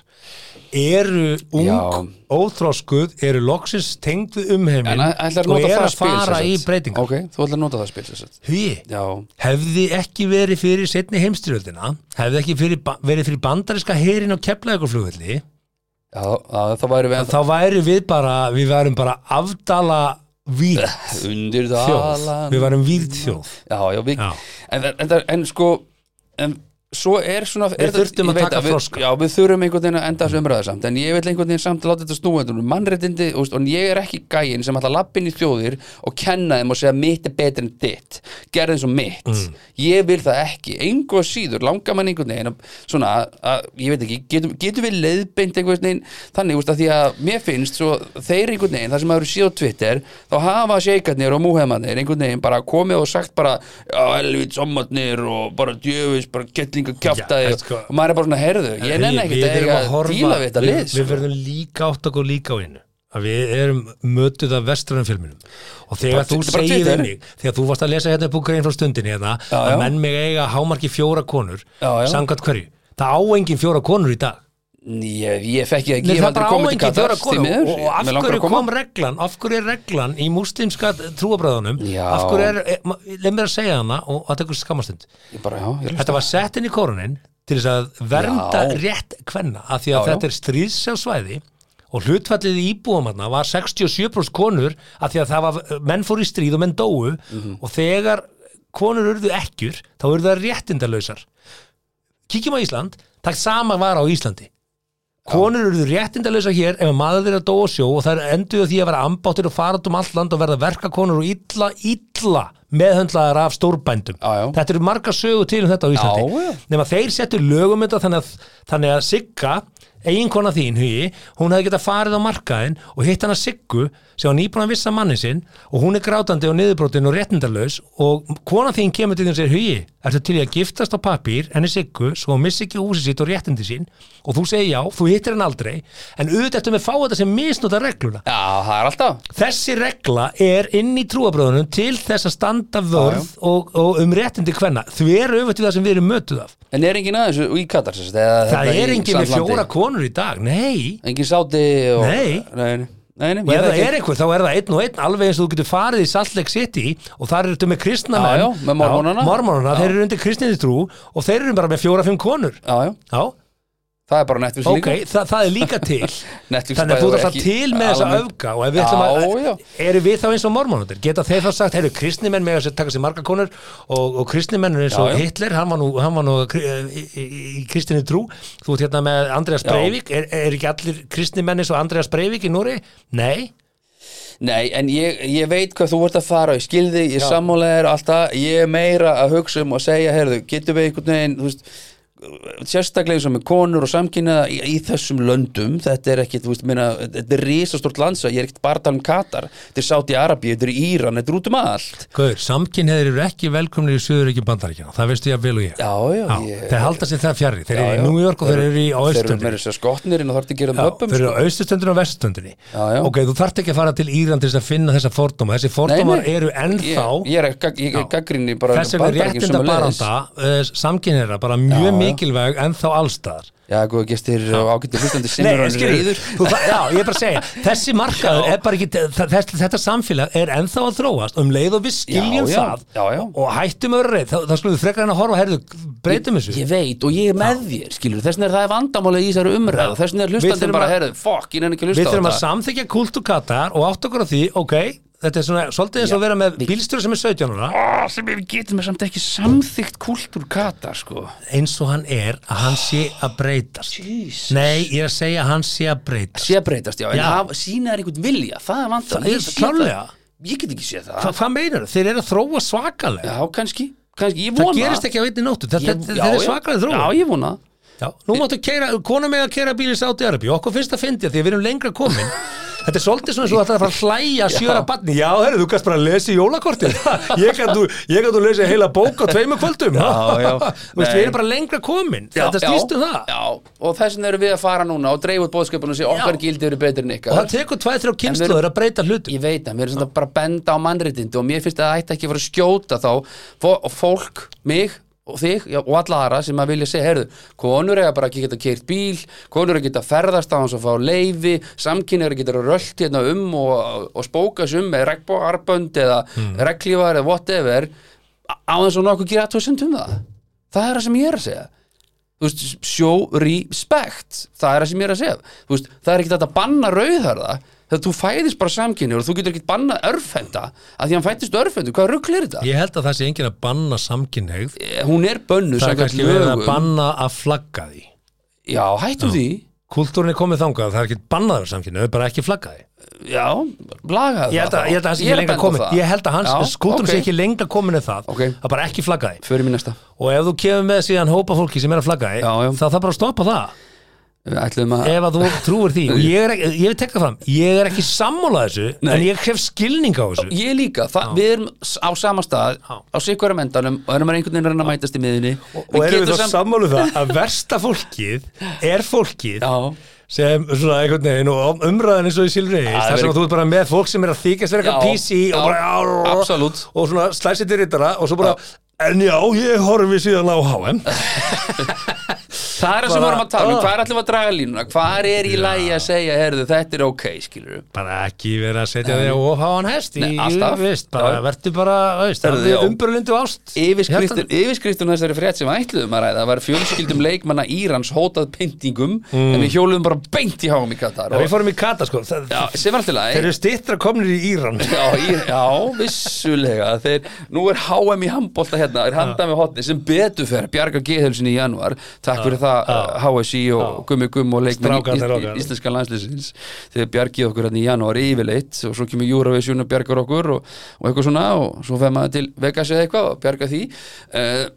Speaker 4: eru ung,
Speaker 3: Já.
Speaker 4: óþroskuð eru loksins tengd við
Speaker 3: En
Speaker 4: umheimin
Speaker 3: að- ætlar að
Speaker 4: og
Speaker 3: nota
Speaker 4: eru
Speaker 3: það
Speaker 4: sko, að
Speaker 3: spil
Speaker 4: fara
Speaker 3: sem
Speaker 4: í
Speaker 3: sagt?
Speaker 4: breytingar
Speaker 3: Ok, þú ætlar að nota það spil sem sagt.
Speaker 4: Hugi,
Speaker 3: Já,
Speaker 4: hefði ekki verið fyrir setni heimstyrjöldina, hefði ekki fyrir, ba- verið fyrir bandariska herin á Keflavíkurflugvelli
Speaker 3: já, að, það væri við
Speaker 4: þá væri við bara, við værum bara afdala vírt
Speaker 3: Undir
Speaker 4: þjóð,
Speaker 3: dalan
Speaker 4: við værum vírt þjóð
Speaker 3: Já, já, við
Speaker 4: Já.
Speaker 3: En, en, en, en sko En svo er svona er
Speaker 4: Við
Speaker 3: þetta- ég
Speaker 4: þurftum að
Speaker 3: veit
Speaker 4: taka
Speaker 3: við,
Speaker 4: froska.
Speaker 3: Já, við þurfum einhvern veginn að enda þessu umræðu samt En ég vil einhvern veginn samt að láta þetta snúa þetta um Mannréttindi, og, og ég er ekki gæin sem ætla að labba inn í þjóðir og kenna þeim og segja mitt er betur en ditt Gerðu eins og mitt
Speaker 4: Mm.
Speaker 3: Ég vil það ekki, engu að síður langar mann einhvern veginn að, Svona, að, að, ég veit ekki, getum, getum við leiðbeint einhvern veginn Þannig, þú veist að því að mér finnst svo, Þeir einhvern veginn, það sem maður séð á Twitter Þá hafa sjeikarnir og múheimarnir einhvern veginn bara komið og sagt bara Já, helvit, sommarnir og bara djöfis, bara kettlinga kjaftaði
Speaker 4: Já,
Speaker 3: og,
Speaker 4: sko.
Speaker 3: og maður er bara svona, herðu, ég nenni
Speaker 4: Við-
Speaker 3: ekkert
Speaker 4: við
Speaker 3: að
Speaker 4: erum
Speaker 3: eiga
Speaker 4: að horfa-
Speaker 3: díla við þetta
Speaker 4: við-
Speaker 3: lið
Speaker 4: Við
Speaker 3: sko.
Speaker 4: verðum líka átt okkur líka á einu að við erum mötuð af vestranum filminum og þegar
Speaker 3: Bara-
Speaker 4: þú
Speaker 3: þetta er bara
Speaker 4: segir
Speaker 3: Twitter.
Speaker 4: við mig þegar þú varst að lesa hérna upp úr grein frá stundinni hérna,
Speaker 3: Já,
Speaker 4: að
Speaker 3: já.
Speaker 4: menn mig eiga hámarki fjóra konur
Speaker 3: Já, já.
Speaker 4: samkvæmt hverju, það á engin fjóra konur í dag
Speaker 3: ég, ég fekk ég ekki,
Speaker 4: Nei,
Speaker 3: ég hef
Speaker 4: það
Speaker 3: aldrei
Speaker 4: bara á
Speaker 3: komið til
Speaker 4: engin
Speaker 3: Katar
Speaker 4: fjóra konur
Speaker 3: því miður.
Speaker 4: og, og af
Speaker 3: Mig langar
Speaker 4: hverju
Speaker 3: að koma.
Speaker 4: kom reglan af hverju er reglan í múslimska trúabræðunum
Speaker 3: Já.
Speaker 4: af hverju er, e, ma- leið mér að segja hana og, og að tekur skamastund
Speaker 3: Ég bara, já, ég
Speaker 4: Þetta var sett inn í korunin til þess að vernda
Speaker 3: Já.
Speaker 4: rétt kvenna af því að
Speaker 3: Já, já.
Speaker 4: þetta er stríðsjálf svæði og hlutfallið í íbúum hann var 67% konur af því að það var menn fór í stríð og menn dóu
Speaker 3: Mhm.
Speaker 4: og þegar konur urðu ekkjur þá urðu það réttindalausar Kíkjum á Ísland, það sama var á Íslandi Konur urðu réttindalausar hér ef að maður þeirra dó á sjó og það enduðu því að vera ambáttir og fara út um allt land og verða verkakonur og illa, illa meðhöndlaðar af stórbændum
Speaker 3: Já, já.
Speaker 4: þetta eru marga sögur til um þetta á Íslandi
Speaker 3: Já, já.
Speaker 4: nema þeir settu lögum þetta þannig að, þannig að Sigga eiginkona þín hugi, hún hefði getað farið á markaðin og hitt hana Siggu sem var nýbúin að vissa manni sinn og hún er grátandi og niðurbrotin og réttindarlaus og kona þín kemur til þín og segir hugi, ertu til í að giftast á pappír henni Siggu, svo hún missi ekki húsið sitt og réttindi sín og þú segir já, þú hittir hann aldrei en auðvitað ertu með að fá þetta sem misnota regluna
Speaker 3: Já, það er alltaf
Speaker 4: Þessi regla er inn í trúabröðunum til þess að standa vörð Og, og um réttindi hvenna. Því er auðvitað við það sem við erum mötuð af.
Speaker 3: En er engin aðeins í Katar sem sagt, eða
Speaker 4: Það
Speaker 3: þarna
Speaker 4: er
Speaker 3: í
Speaker 4: engin með
Speaker 3: Sandlandi?
Speaker 4: fjóra konur í dag, nei.
Speaker 3: Engin sáti og
Speaker 4: Nei.
Speaker 3: Nei, nei, nei, nei
Speaker 4: Og
Speaker 3: ég
Speaker 4: ef það
Speaker 3: þekki-
Speaker 4: er einhver, þá er það einn og einn alveg eins og þú getur farið í Salt Lake City og þar eru þetta með kristna
Speaker 3: Já,
Speaker 4: menn.
Speaker 3: já, með mormónana.
Speaker 4: mormónana,
Speaker 3: Já.
Speaker 4: þeir eru undir kristinni trú og þeir eru bara með fjóra-fimm konur.
Speaker 3: Já, já,
Speaker 4: Já,
Speaker 3: það er bara Netflix
Speaker 4: ok,
Speaker 3: líka
Speaker 4: það, það er líka til.
Speaker 3: Netflix
Speaker 4: Þannig að
Speaker 3: bæði
Speaker 4: þú
Speaker 3: var
Speaker 4: þarf það
Speaker 3: ekki
Speaker 4: til með þessa
Speaker 3: almennt-
Speaker 4: öfga og ef við ætlum
Speaker 3: Já, já.
Speaker 4: að, eru við þá eins og mormónundir? Geta þeir þá sagt, heyrðu, kristnimenn með að taka sér marga konur og, og kristnimenn er eins og
Speaker 3: Já, já.
Speaker 4: Hitler, hann var nú, hann var nú kri- í, í, í kristinni trú, þú ert hérna með Andreas
Speaker 3: Já.
Speaker 4: Breivik, er, er ekki allir kristnimenn eins og Andreas Breivik í Núri? Nei,
Speaker 3: Nei, en ég, ég veit hvað þú ert að fara og ég skilði, ég sammálaðir alltaf ég er meira að hugsa um og segja heyrðu, getum við einhvern veginn þú veist, sérstaklega eins og með konur og samkynnaða í, í þessum löndum þetta er ekki, þú veist, minna, þetta er risastort landsa ég er ekkert bara að tala um Katar þetta er Sáti Arabíu, þetta er Íran, þetta er út um allt
Speaker 4: Guður, samkynniðir eru ekki velkomni í Suðuríkjum bandaríkjana, það veistu ég að vel og ég.
Speaker 3: Já, já,
Speaker 4: Já,
Speaker 3: ég
Speaker 4: þeir halda sér það fjarrri, þeir
Speaker 3: Já,
Speaker 4: eru í
Speaker 3: já.
Speaker 4: New York og þeir eru í á
Speaker 3: Þeir eru
Speaker 4: Östundir.
Speaker 3: meira þess að skotnir en það þarf að gera um
Speaker 4: Já,
Speaker 3: pöppum
Speaker 4: þeir eru
Speaker 3: sko.
Speaker 4: á austurstundinni og vesturstundinni
Speaker 3: Já, já.
Speaker 4: ok, þú þarft ekki að fara til Íran til þess að finna þessa fordóma þessi fordómar eru ennþá
Speaker 3: Ég, ég er, gag, ég er
Speaker 4: Já.
Speaker 3: gaggrinni bara
Speaker 4: þess að
Speaker 3: Bandaríkin
Speaker 4: réttinda
Speaker 3: sömuleiðis.
Speaker 4: baranda uh, samkynneira bara mjög
Speaker 3: Já, já.
Speaker 4: mikilvæg en þá allstaðar
Speaker 3: Já, góða gestir og ágættu hlustandi
Speaker 4: Nei,
Speaker 3: sinnur
Speaker 4: en
Speaker 3: hann
Speaker 4: skilur,
Speaker 3: reyður
Speaker 4: þú, það- já, ég er bara að segja þessi markaður er bara ekki þa- þess, þetta samfélag er ennþá að þróast um leið og við skiljum
Speaker 3: Já, já, já,
Speaker 4: það
Speaker 3: já.
Speaker 4: og hættum að vera reyð þá, þá skulum við frekar en að horfa herðu, breytum þessu
Speaker 3: Ég veit og ég er með þér, skilur Þessin er það er vandamálið í þessari umræð og Þessin er
Speaker 4: Við þurfum
Speaker 3: hlustandi bara,
Speaker 4: að-
Speaker 3: herðu, fuck, ég nefnir ekki að
Speaker 4: við
Speaker 3: hlusta á
Speaker 4: þurfum að
Speaker 3: þetta
Speaker 4: samþykja kúlt og katar og átt okkur á því, ok þetta er svona, svolítið eins og að vera með
Speaker 3: við-
Speaker 4: bílstjóri sem er 17 ára
Speaker 3: Á, sem við getum við samt ekki samþygt kúltúr kata, sko
Speaker 4: eins og hann er að hann sé að breytast
Speaker 3: Jesus.
Speaker 4: nei, ég er að segja að hann sé að breytast
Speaker 3: sé að breytast, já, en
Speaker 4: Já.
Speaker 3: það sína er einhvern vilja það er vant
Speaker 4: Það er klárlega.
Speaker 3: ég get ekki séð
Speaker 4: Hva,
Speaker 3: það,
Speaker 4: hvað meinar þau? þeir eru að þróa svakalega
Speaker 3: já, kannski, kannski ég
Speaker 4: það
Speaker 3: vona
Speaker 4: gerist ekki á einni nóttu þetta,
Speaker 3: Ég-
Speaker 4: þetta,
Speaker 3: já,
Speaker 4: þetta
Speaker 3: já.
Speaker 4: er svakalega þróa
Speaker 3: já, ég vona
Speaker 4: Já, nú máttu keira, konum með að keira bíl í Sáti Arabi okkur finnst að fyndi að því að við erum lengra komin Þetta er svolítið svona svo að það er að fara að hlæja sjöra barni, já, herri, þú kannst bara að lesa í jólakortið ég kann þú, ég kann þú lesa heila bók á tveimur kvöldum
Speaker 3: Já, já.
Speaker 4: Þú veist,
Speaker 3: Nei.
Speaker 4: við erum bara lengra komin Þetta snýst um það
Speaker 3: já, og þess vegna erum við að fara núna og dreifu út bóðsköpunum og segja okkar gildi eru betur en
Speaker 4: og
Speaker 3: ykkar
Speaker 4: það tekur tvæð, þrjá kynnslóður að breyta hlutum
Speaker 3: ég veit það, við erum svona bara að benda á mannréttindi og mér finnst að það ætti ekki að fara að skjóta þá fó- og fólk, mig og þig já, og alla aðra sem að vilja segja, heyrðu konur eiga bara ekki að geta keirt bíl konur eiga að geta ferðast á hans og fá leifi samkynningar geta að röllt hérna um og, og spóka sig um með regnbóarbönd eða mm. reglífar eða whatever á- á þess að nokkuð gera aðtöðsend um það það er það sem ég er að segja þú veist, show respect það er það sem ég er að segja Þú veist, það er ekki þetta að banna rauðharða þegar þú fæðist bara samkynni og þú getur ekki banna örfenda að því hann fættist örfendu, hvað rugl er þetta?
Speaker 4: Ég held að það sé engin að banna samkynneigð
Speaker 3: Eh, hún er bönnu
Speaker 4: Það er
Speaker 3: samkvæmt
Speaker 4: kannski verið að
Speaker 3: lögum.
Speaker 4: banna að flagga því
Speaker 3: já, hættu því,
Speaker 4: Kultúrin er komið þangað, það er ekki bannaður samkynneigð, bara ekki flagga því
Speaker 3: já, laga það
Speaker 4: Ég held að,
Speaker 3: þá.
Speaker 4: ég held að hans sé ekki
Speaker 3: er að benda á
Speaker 4: lengra komin
Speaker 3: það.
Speaker 4: Ég held að hans
Speaker 3: Já,
Speaker 4: skúltúrin sé
Speaker 3: ok.
Speaker 4: ekki lengra komin en það
Speaker 3: Ok.
Speaker 4: að bara ekki flagga því
Speaker 3: förum í næsta,
Speaker 4: og ef þú kemur með síðan hópa fólki sem er að flagga því
Speaker 3: Já, já.
Speaker 4: þá þarf bara að stoppa það
Speaker 3: við ætlum að
Speaker 4: ef að þú trúir því og ég er ekki, ég vil tekka fram ég er ekki sammála þessu
Speaker 3: Nei.
Speaker 4: en ég hef skilning á þessu
Speaker 3: ég líka, það, við erum s- á sama stað
Speaker 4: Já.
Speaker 3: á sikvarum endanum og erum að einhvern veginn að reyna að mætast í miðinni
Speaker 4: og erum við þá sammálu það að versta fólkið er fólkið
Speaker 3: já,
Speaker 4: sem svona einhvern veginn og um- umræðan eins og í Silvreis
Speaker 3: Já, það
Speaker 4: þar sem
Speaker 3: verið-
Speaker 4: þú ert bara með fólk sem er að þykast vera eitthvað
Speaker 3: Já,
Speaker 4: PC og
Speaker 3: já,
Speaker 4: bara já,
Speaker 3: absolút.
Speaker 4: og svona slæsið til rittara og svo bara en já, ég horfi síðan á HM
Speaker 3: Það er það sem við
Speaker 4: Bara-
Speaker 3: vorum að tala um,
Speaker 4: Ah.
Speaker 3: hvað er allir að draga línuna, hvað er í lagi að segja, heyrðu, þetta er ok, skilur við.
Speaker 4: bara ekki vera að setja þig á ofháan hest í,
Speaker 3: Nei, alltaf.
Speaker 4: veist, bara
Speaker 3: Já.
Speaker 4: verður bara, veist,
Speaker 3: Herðu,
Speaker 4: það
Speaker 3: já.
Speaker 4: er umburlindi og ást Hérna.
Speaker 3: Yfirskriftin, yfirskriftin þessari frétt sem við ætluðum að ræða var fjölskyldum leikmanna Írans hótað pyntingum, en við hjóluðum bara beint í háum í Katar.
Speaker 4: Mm. Já,
Speaker 3: Og,
Speaker 4: við fórum í Kata sko, það,
Speaker 3: já, sem var alltaf
Speaker 4: þeir
Speaker 3: lagi.
Speaker 4: eru stittra komnir í Íran
Speaker 3: Já, í- já, vissulega þeir, Nú er HM í handbólta hérna er handað með hotni sem betur fer bjarga geðhölsinni í januar Takk fyrir það uh, HSI og Gummi Gumm og leikmenn í-
Speaker 4: Strákarnir
Speaker 3: í-
Speaker 4: okkar.
Speaker 3: íslenska landslýsins þegar bjargið okkur hérna í janúar yfirleitt og svo kemur Eurovision og bjargar okkur og, og eitthvað svona og svo fer maður til Vegas eða eitthvað og bjarga því uh,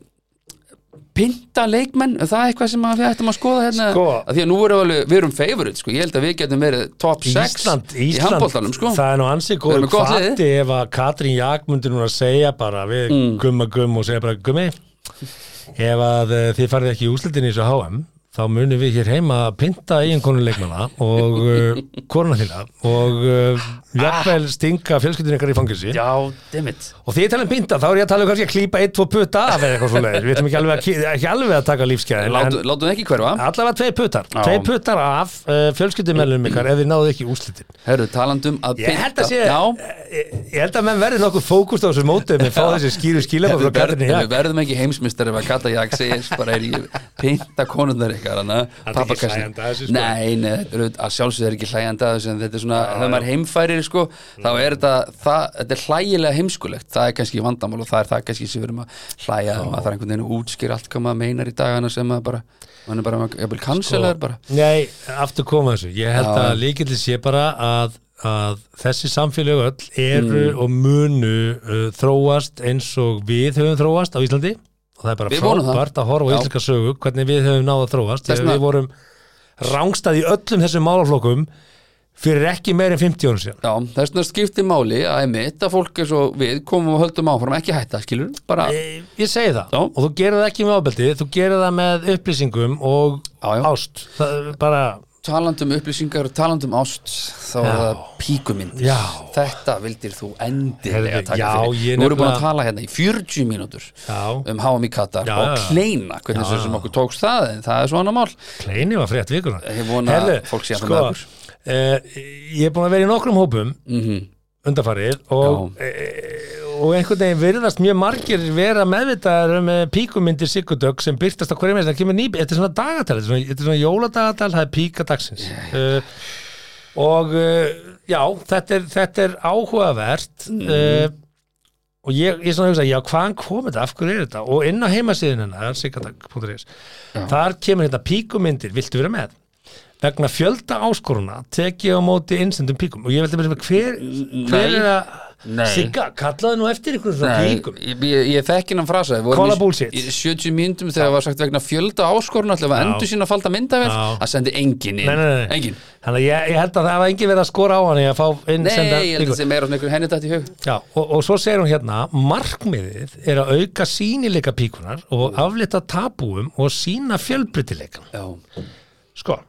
Speaker 3: Pinta leikmenn, er það eitthvað sem að við ættum að skoða hérna
Speaker 4: Sko.
Speaker 3: að því að nú erum við, alveg, við erum favorite sko. ég held að við getum verið top 6
Speaker 4: Ísland,
Speaker 3: í handbóltanum
Speaker 4: Ísland,
Speaker 3: sko.
Speaker 4: það er nú ansið
Speaker 3: Við erum með
Speaker 4: góð
Speaker 3: gott lið.
Speaker 4: hvati ef að Katrín Jak myndi núna að segja bara við
Speaker 3: Mm.
Speaker 4: gumma gumm og segja bara gummi ef að eh, þið farið ekki í úslitin í þessu HM þá munum við hér heima að pynta eiginkonu leikmanna og uh, koruna þína og uh, jafnvel stinga fjölskyldinu ykkar í fangelsi
Speaker 3: Já, dammit
Speaker 4: og því ég tala um pynta þá er ég að tala um kannski að klípa eitt, tvo putta af eða eitthvað svo við ætlum ekki alveg að, ki- ekki alveg að taka lífskeiðin en-
Speaker 3: Látum látum það ekki hverfa
Speaker 4: Allavega tvei puttar,
Speaker 3: Já.
Speaker 4: tvei puttar af uh, fjölskyldumellum ykkar ef þið náðu ekki úslitin
Speaker 3: Herru, talandum að
Speaker 4: Ég held að sé,
Speaker 3: Já,
Speaker 4: ég, ég held að menn verði nokkuð fókust á þessu mótum með fá þessi skýru skilabóð
Speaker 3: við,
Speaker 4: frá
Speaker 3: verð,
Speaker 4: Katrinni
Speaker 3: við
Speaker 4: Jakk
Speaker 3: verðum ekki heimsmyndstar ef að Kata Jak segir bara er ég pinta konundar ykkar hana,
Speaker 4: er ekki
Speaker 3: pappakassin
Speaker 4: hlæjandi að þessu, sko.
Speaker 3: Nei, nei, þetta er auðvitað- að sjálfsögð er ekki hlægjandi að þessu en þetta er svona, þegar maður heimfærir sko, þá
Speaker 4: Mm.
Speaker 3: er þetta, það, þetta er hlægilega heimskulegt það er kannski vandamál og það er það kannski sem við erum að hlæja, maður þarf einhvern veginn að útskýra allt hvað maður meinar í dagana sem maður bara maður er bara, ég vil
Speaker 4: Sko,
Speaker 3: kanselar bara
Speaker 4: Nei, aftur koma þessu Ég held
Speaker 3: Já.
Speaker 4: að líkildi sé bara að, að þessi samfélög öll eru
Speaker 3: Mm.
Speaker 4: og munu uh, þróast eins og við höfum þróast á Íslandi og það er bara
Speaker 3: Við vonum það.
Speaker 4: frábært að horfa á
Speaker 3: Já.
Speaker 4: íslenska sögu hvernig við höfum náða að þróast
Speaker 3: Þess
Speaker 4: Þegar
Speaker 3: vegna-
Speaker 4: við vorum rángstað í öllum þessum málaflokkum fyrir ekki meir en 50 árum síðan
Speaker 3: Já, þess vegna skiptir máli að einmitt að fólk eins og við komum og höldum áfram ekki hætta, skilur, bara
Speaker 4: Eh, Ég segi það
Speaker 3: Já.
Speaker 4: og þú gerir það ekki með ábeldi, þú gerir það með upplýsingum og
Speaker 3: Já, já.
Speaker 4: ást það er bara
Speaker 3: talandum upplýsingar og talandum ást þá er
Speaker 4: Já.
Speaker 3: það píkumyndir
Speaker 4: Já.
Speaker 3: þetta vildir þú endilega
Speaker 4: Heyrðu,
Speaker 3: taka
Speaker 4: já, ég
Speaker 3: fyrir nú erum við búin
Speaker 4: nefnilega-
Speaker 3: að tala hérna í 40 mínútur
Speaker 4: Já.
Speaker 3: um háum í Katar
Speaker 4: Já, já,
Speaker 3: og
Speaker 4: já.
Speaker 3: kleina hvernig
Speaker 4: Já,
Speaker 3: svo sem
Speaker 4: já.
Speaker 3: okkur tókst það en það er svo annar mál
Speaker 4: Kleini var frétt vikuna
Speaker 3: Ég vona að fólk sé að
Speaker 4: sko,
Speaker 3: það með okkur.
Speaker 4: Eh, Ég er búin að vera í nokkrum hópum
Speaker 3: mm
Speaker 4: undarfarið og, e, og einhvern veginn virðast mjög margir vera meðvitaðar um eh, píkumyndir Sigurdögg sem byrtast á hverju með það kemur nýp þetta er svona dagatal, þetta er svona, þetta er svona jóladagatal það er píkadagsins uh, og uh, já þetta er, þetta er áhugavert uh, og ég, ég svona hugsa já hvaðan kom þetta, af hverju er þetta og inn á heimasíðin hennar, sigurdag.is þar kemur hérna píkumyndir, viltu vera með vegna fjölda áskoruna tek ég á móti innsendum píkum og ég veldi með hver, hver er
Speaker 3: Nei.
Speaker 4: að Sigga, kallaði nú eftir ykkur svona
Speaker 3: Nei,
Speaker 4: píkum
Speaker 3: ég, ég, ég þekki hann frasa við vorum
Speaker 4: Call
Speaker 3: í-
Speaker 4: a bullshit.
Speaker 3: í 70 myndum þegar var sagt vegna fjölda áskorun allavega
Speaker 4: Já.
Speaker 3: endur sín að falda myndavel
Speaker 4: Já.
Speaker 3: að sendi engin inn
Speaker 4: Nei, nei, nei, nei.
Speaker 3: engin
Speaker 4: þannig að ég, ég held að það var engin verið að skora á hann í að fá
Speaker 3: Nei,
Speaker 4: innsenda
Speaker 3: ég held að
Speaker 4: píkum
Speaker 3: það sé meira svona einhver henni dætt í hug
Speaker 4: Já, og, og svo segir hún hérna markmiðið er að auka sýnileika píkunar og aflita tabúum og sína fjölbrytileikan
Speaker 3: Já,
Speaker 4: sko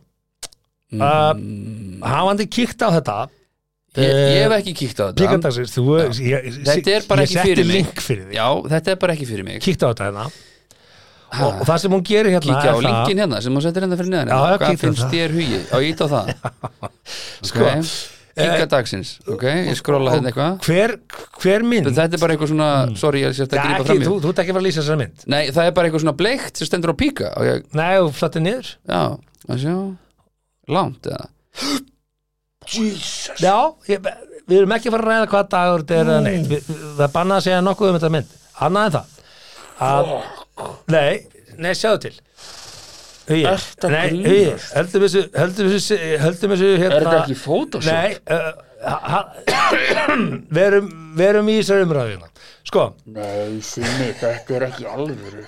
Speaker 4: mm. uh, hafandi kíkt á þetta
Speaker 3: ég, ég
Speaker 4: Eh,
Speaker 3: hef ekki kíkt á þetta
Speaker 4: píkandagsins, þú ég,
Speaker 3: Þetta er bara
Speaker 4: ég
Speaker 3: ekki
Speaker 4: setti
Speaker 3: fyrir mig.
Speaker 4: link fyrir þig
Speaker 3: Já, þetta er bara ekki fyrir mig
Speaker 4: kíkta á þetta hérna
Speaker 3: Ha.
Speaker 4: og, og það sem hún gerir hérna
Speaker 3: Kíkja á
Speaker 4: er það-
Speaker 3: linkin hérna sem hún setur hérna fyrir neðan
Speaker 4: Já, já,
Speaker 3: Hvað
Speaker 4: kíktu á
Speaker 3: finnst
Speaker 4: það.
Speaker 3: þér hugið? Já, ég ít á það
Speaker 4: Sko,
Speaker 3: okay. Kíkja dagsins, ok, ég skrolla hérna eitthvað
Speaker 4: hver, hver mynd
Speaker 3: Þetta er bara eitthvað svona, sorry, ég sérst
Speaker 4: Já,
Speaker 3: að grípa
Speaker 4: ekki,
Speaker 3: fram í
Speaker 4: Mm. þú, þú ert ekki að fara að lýsa þessari mynd
Speaker 3: Nei, það er bara eitthvað svona bleikt sem stendur á píka og ég,
Speaker 4: nei, þú flattir niður
Speaker 3: já, að sjá Langt, eða
Speaker 4: já, ég, við erum ekki að fara að ræða hvað dagur þetta er eða neitt Vi, það er bannað að segja nokkuð um þetta mynd annað en það að, nei, nei, sjáðu til Hugi,
Speaker 3: Ertu að
Speaker 4: nei,
Speaker 3: grínast?
Speaker 4: Hugi, heldum þessu heldum þessu, heldum þessu hérna,
Speaker 3: Photoshop?
Speaker 4: Nei, uh, ha- ha- verum, verum í þessari umræðina Sko,
Speaker 5: Nei, Simmi, þetta er ekki alvöru.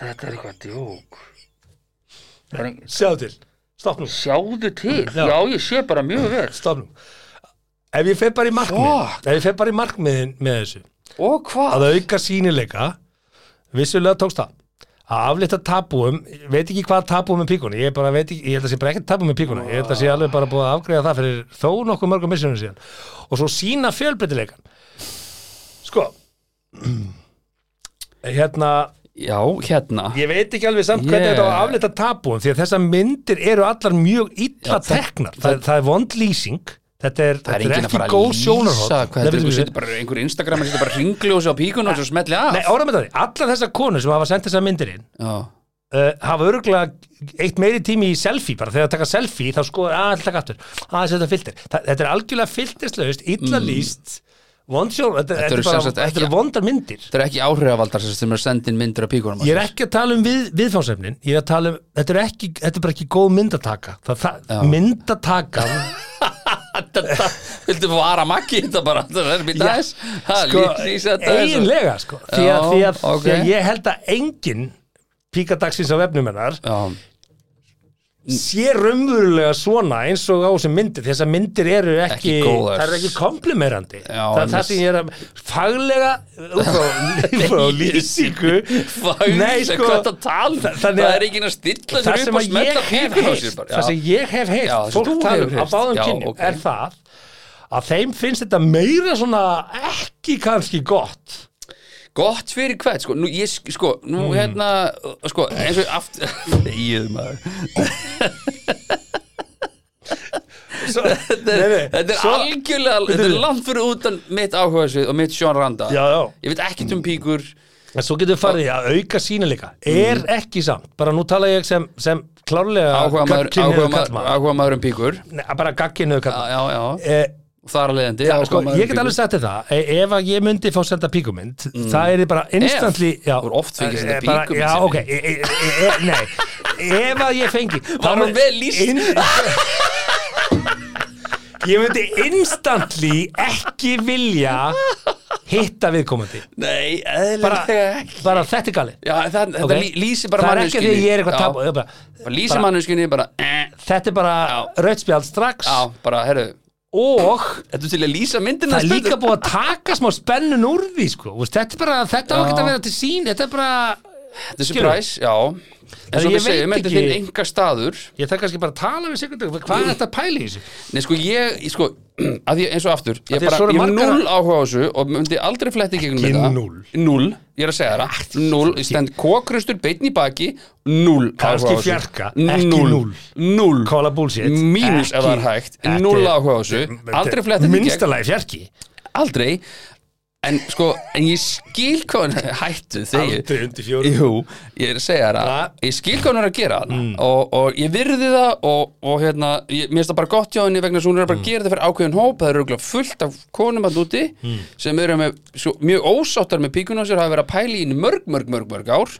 Speaker 5: Þetta er eitthvað djók. Það er ein-
Speaker 4: sjáðu til, stopp nú
Speaker 5: Sjáðu til.
Speaker 4: Já.
Speaker 5: Já. ég sé bara mjög vel.
Speaker 4: stopp nú ef ég fer bara í markmiðin ef ég fer bara í markmiðin með þessu
Speaker 3: Og hvað?
Speaker 4: að auka sínileika vissulega tókst það að aflita tabúum, ég veit ekki hvað tabúum með píkuna, ég bara veit ekki, ég held að sé bara ekki tabúum með píkuna, ég held að sé alveg bara búið að afgreiða það fyrir þó nokkuð mörgum missunum síðan og svo sína fjölbreytileikan sko hérna,
Speaker 3: Já, hérna
Speaker 4: ég veit ekki alveg samt
Speaker 3: Ég-
Speaker 4: hvernig þetta á að aflita tabúum því að þessar myndir eru allar mjög
Speaker 3: Já,
Speaker 4: illa
Speaker 3: það-
Speaker 4: teknar, það, það, er vond lýsing þetta er,
Speaker 3: Það er
Speaker 4: þetta
Speaker 3: enginn
Speaker 4: er
Speaker 3: að fara að
Speaker 4: ekki góð
Speaker 3: lýsa
Speaker 4: sjónarhótt
Speaker 3: hvað þetta er einhver setur bara einhver Instagram setur bara ringljósi á píkun og svo smelli af
Speaker 4: Nei, ára með það, allar þessar konur sem hafa sendt þessar myndir inn
Speaker 3: Já,
Speaker 4: uh, hafa örgulega eitt meiri tími í selfie bara, þegar það taka selfie þá sko, að það taka aftur, að þetta filter Þa, þetta er algjörlega filterslaust, illa líst vond sjón, þetta, þetta,
Speaker 3: Mm. eru
Speaker 4: er bara,
Speaker 3: sem sagt ekki-
Speaker 4: þetta eru vondar myndir
Speaker 3: það er ekki áhrifavaldar sem sem er að senda inn myndir af píkunum
Speaker 4: Ég er ekki að tala um við, viðfánsefnin Ég er að tala um, þetta er, ekki, þetta er bara ekki góð myndataka það, það,
Speaker 3: Já.
Speaker 4: Myndataka
Speaker 3: Þetta, viltu vara makki þetta bara Það er býta þess Það er
Speaker 4: sko,
Speaker 3: líklís þetta er svo-
Speaker 4: Eiginlega sko því að,
Speaker 3: Já,
Speaker 4: því, að,
Speaker 3: ok.
Speaker 4: því að ég held að engin píkadagsins á vefnum hennar
Speaker 3: Já,
Speaker 4: sé raunverulega svona eins og á þessum myndir þessar myndir eru ekki,
Speaker 3: Ekki góðar.
Speaker 4: það er ekki komplimerandi
Speaker 3: Já,
Speaker 4: það er
Speaker 3: en-
Speaker 4: það sem ég er að faglega út frá- út frá lýsingu
Speaker 3: Faglega,
Speaker 4: Nei, sko,
Speaker 3: hvað það tala
Speaker 4: þa-
Speaker 3: um?
Speaker 4: þannig
Speaker 3: Það
Speaker 4: að-
Speaker 3: er ekki að stilla
Speaker 4: það
Speaker 3: sér upp
Speaker 4: sem
Speaker 3: og
Speaker 4: að
Speaker 3: smetla
Speaker 4: ég hef
Speaker 3: píkun á sér
Speaker 4: heyrt
Speaker 3: bara
Speaker 4: það sem ég
Speaker 3: Já,
Speaker 4: hef
Speaker 3: það
Speaker 4: heyrt
Speaker 3: sem
Speaker 4: fólk
Speaker 3: þú
Speaker 4: tala
Speaker 3: hefur
Speaker 4: um á
Speaker 3: heyrt.
Speaker 4: báðum
Speaker 3: Já,
Speaker 4: kynjum
Speaker 3: ok.
Speaker 4: er það að þeim finnst þetta meira svona ekki kannski gott
Speaker 3: Gott fyrir hvert, sko, nú ég, sk- sko, nú
Speaker 4: Hmm.
Speaker 3: hérna, sko, eins og aftur, ég maður,
Speaker 4: Svo, nei, nei,
Speaker 3: þetta er
Speaker 4: svo-
Speaker 3: algjörlega, þetta er langt fyrir utan mitt áhugaðsvið og mitt Sjón Randa,
Speaker 4: Já, já. Hmm.
Speaker 3: ég veit ekkert um píkur,
Speaker 4: En svo getur við farið í að auka sínileika Er ekki samt, bara nú tala ég sem, sem klárlega
Speaker 3: áhuga maður,
Speaker 4: gagnkynhneigður karlmaður. Hmm.
Speaker 3: um píkur,
Speaker 4: Nei, bara gagginnuðu
Speaker 3: já,
Speaker 4: kallað
Speaker 3: já, já, þar að leiðandi,
Speaker 4: sko,
Speaker 3: áhugamaður um
Speaker 4: Ég get
Speaker 3: píkur.
Speaker 4: alveg sagt þetta e- Ef að ég myndi fá senda píkumynd Það er bara instantly
Speaker 3: Mm. Ef? Þú er oft fengið senda
Speaker 4: Eh, bara-
Speaker 3: píkumynd,
Speaker 4: Já,
Speaker 3: Simmi.
Speaker 4: ok e, e, e, e, Nei Ef að ég fengi
Speaker 3: Var hún vel lýst?
Speaker 4: Ég myndi instantly ekki vilja hitta viðkomandi
Speaker 3: Nei,
Speaker 4: bara,
Speaker 3: eðlilega ekki.
Speaker 4: bara þetta er galið
Speaker 3: Já, það, þetta
Speaker 4: Ok.
Speaker 3: lý- lýsir bara
Speaker 4: það er ekki að því að ég er eitthvað tabu ég bara,
Speaker 3: tab Lýsir manneskinni bara, eh,
Speaker 4: þetta er bara rauðspjald strax
Speaker 3: já, bara, herru,
Speaker 4: og
Speaker 3: þetta er til að lýsa myndina
Speaker 4: það er
Speaker 3: spennandi.
Speaker 4: líka búið að taka smá spennun úr því sko. Þú veist, þetta er bara, þetta á
Speaker 3: Já.
Speaker 4: ekki að vera til sín þetta er bara
Speaker 3: Þetta er
Speaker 4: Skilur.
Speaker 3: surprise, já En
Speaker 4: Þannig
Speaker 3: svo
Speaker 4: ég
Speaker 3: við segjum,
Speaker 4: veit
Speaker 3: þetta er þinn
Speaker 4: ekki-
Speaker 3: enga staður
Speaker 4: Ég þarf kannski bara að tala við sekundar Hvað er þetta að pæla í þessu?
Speaker 3: Nei, sko, ég, ég- sko, að ég, eins og aftur Ég
Speaker 4: því að
Speaker 3: bara,
Speaker 4: svo eru
Speaker 3: ég hef
Speaker 4: margar-
Speaker 3: null áhuga á þessu og myndi aldrei fletti gegnum
Speaker 4: Ekki
Speaker 3: þetta
Speaker 4: núll.
Speaker 3: Null, ég er að segja það Null, ég stend kókrustur, beitn í baki Null áhuga
Speaker 4: Kannski
Speaker 3: á þessu
Speaker 4: fjarka, ekki núll.
Speaker 3: Null
Speaker 4: Kóla bullshit
Speaker 3: Mínus ef það er
Speaker 4: Ekki-
Speaker 3: hægt,
Speaker 4: Þetta
Speaker 3: null
Speaker 4: er-
Speaker 3: áhuga á þessu
Speaker 4: Þetta er
Speaker 3: Aldrei fletti gegn
Speaker 4: Minnstalega fjarki
Speaker 3: aldrei en sko, en ég skil hvað hann hættu þegar
Speaker 4: Aldrei undir fjórum.
Speaker 3: Jú, ég er að segja það
Speaker 4: Ja.
Speaker 3: ég skil hvað hann er að gera það og, og ég virði það og, og hérna, ég, mér finnst það bara gott hjá henni vegna þess að hún er að bara gera þetta fyrir ákveðin hóp það eru örugglega fullt af konum að núti sem eru með, svo, mjög ósáttar með píkun á sér, hafa verið að pæla í henni mörg, mörg, mörg, mörg ár,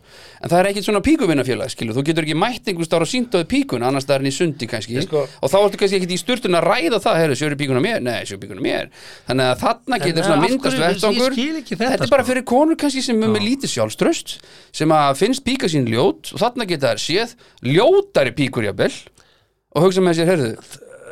Speaker 3: en það er ekkit svona píkuvinnafélag, skilu, þú getur ekki mætt einhvers þar og sínt á þig píkun, annars það er henni sundi kannski,
Speaker 4: sko-
Speaker 3: og þá ertu kannski ekkit í sturtun að ræða það, herru, sjóri píkuna mér, nei, sjóri píkuna mér þannig að þarna getur
Speaker 4: en
Speaker 3: svona
Speaker 4: af
Speaker 3: myndast
Speaker 4: hverju- ég
Speaker 3: vettvangur
Speaker 4: skil ekki þetta,
Speaker 3: þetta er bara
Speaker 4: sko.
Speaker 3: fyrir konur kannski sem er með lítið sjálfströst sem að finnst píka sín ljót og þarna geta þær séð ljótari píkur jafnvel og hugsa með sér, herðu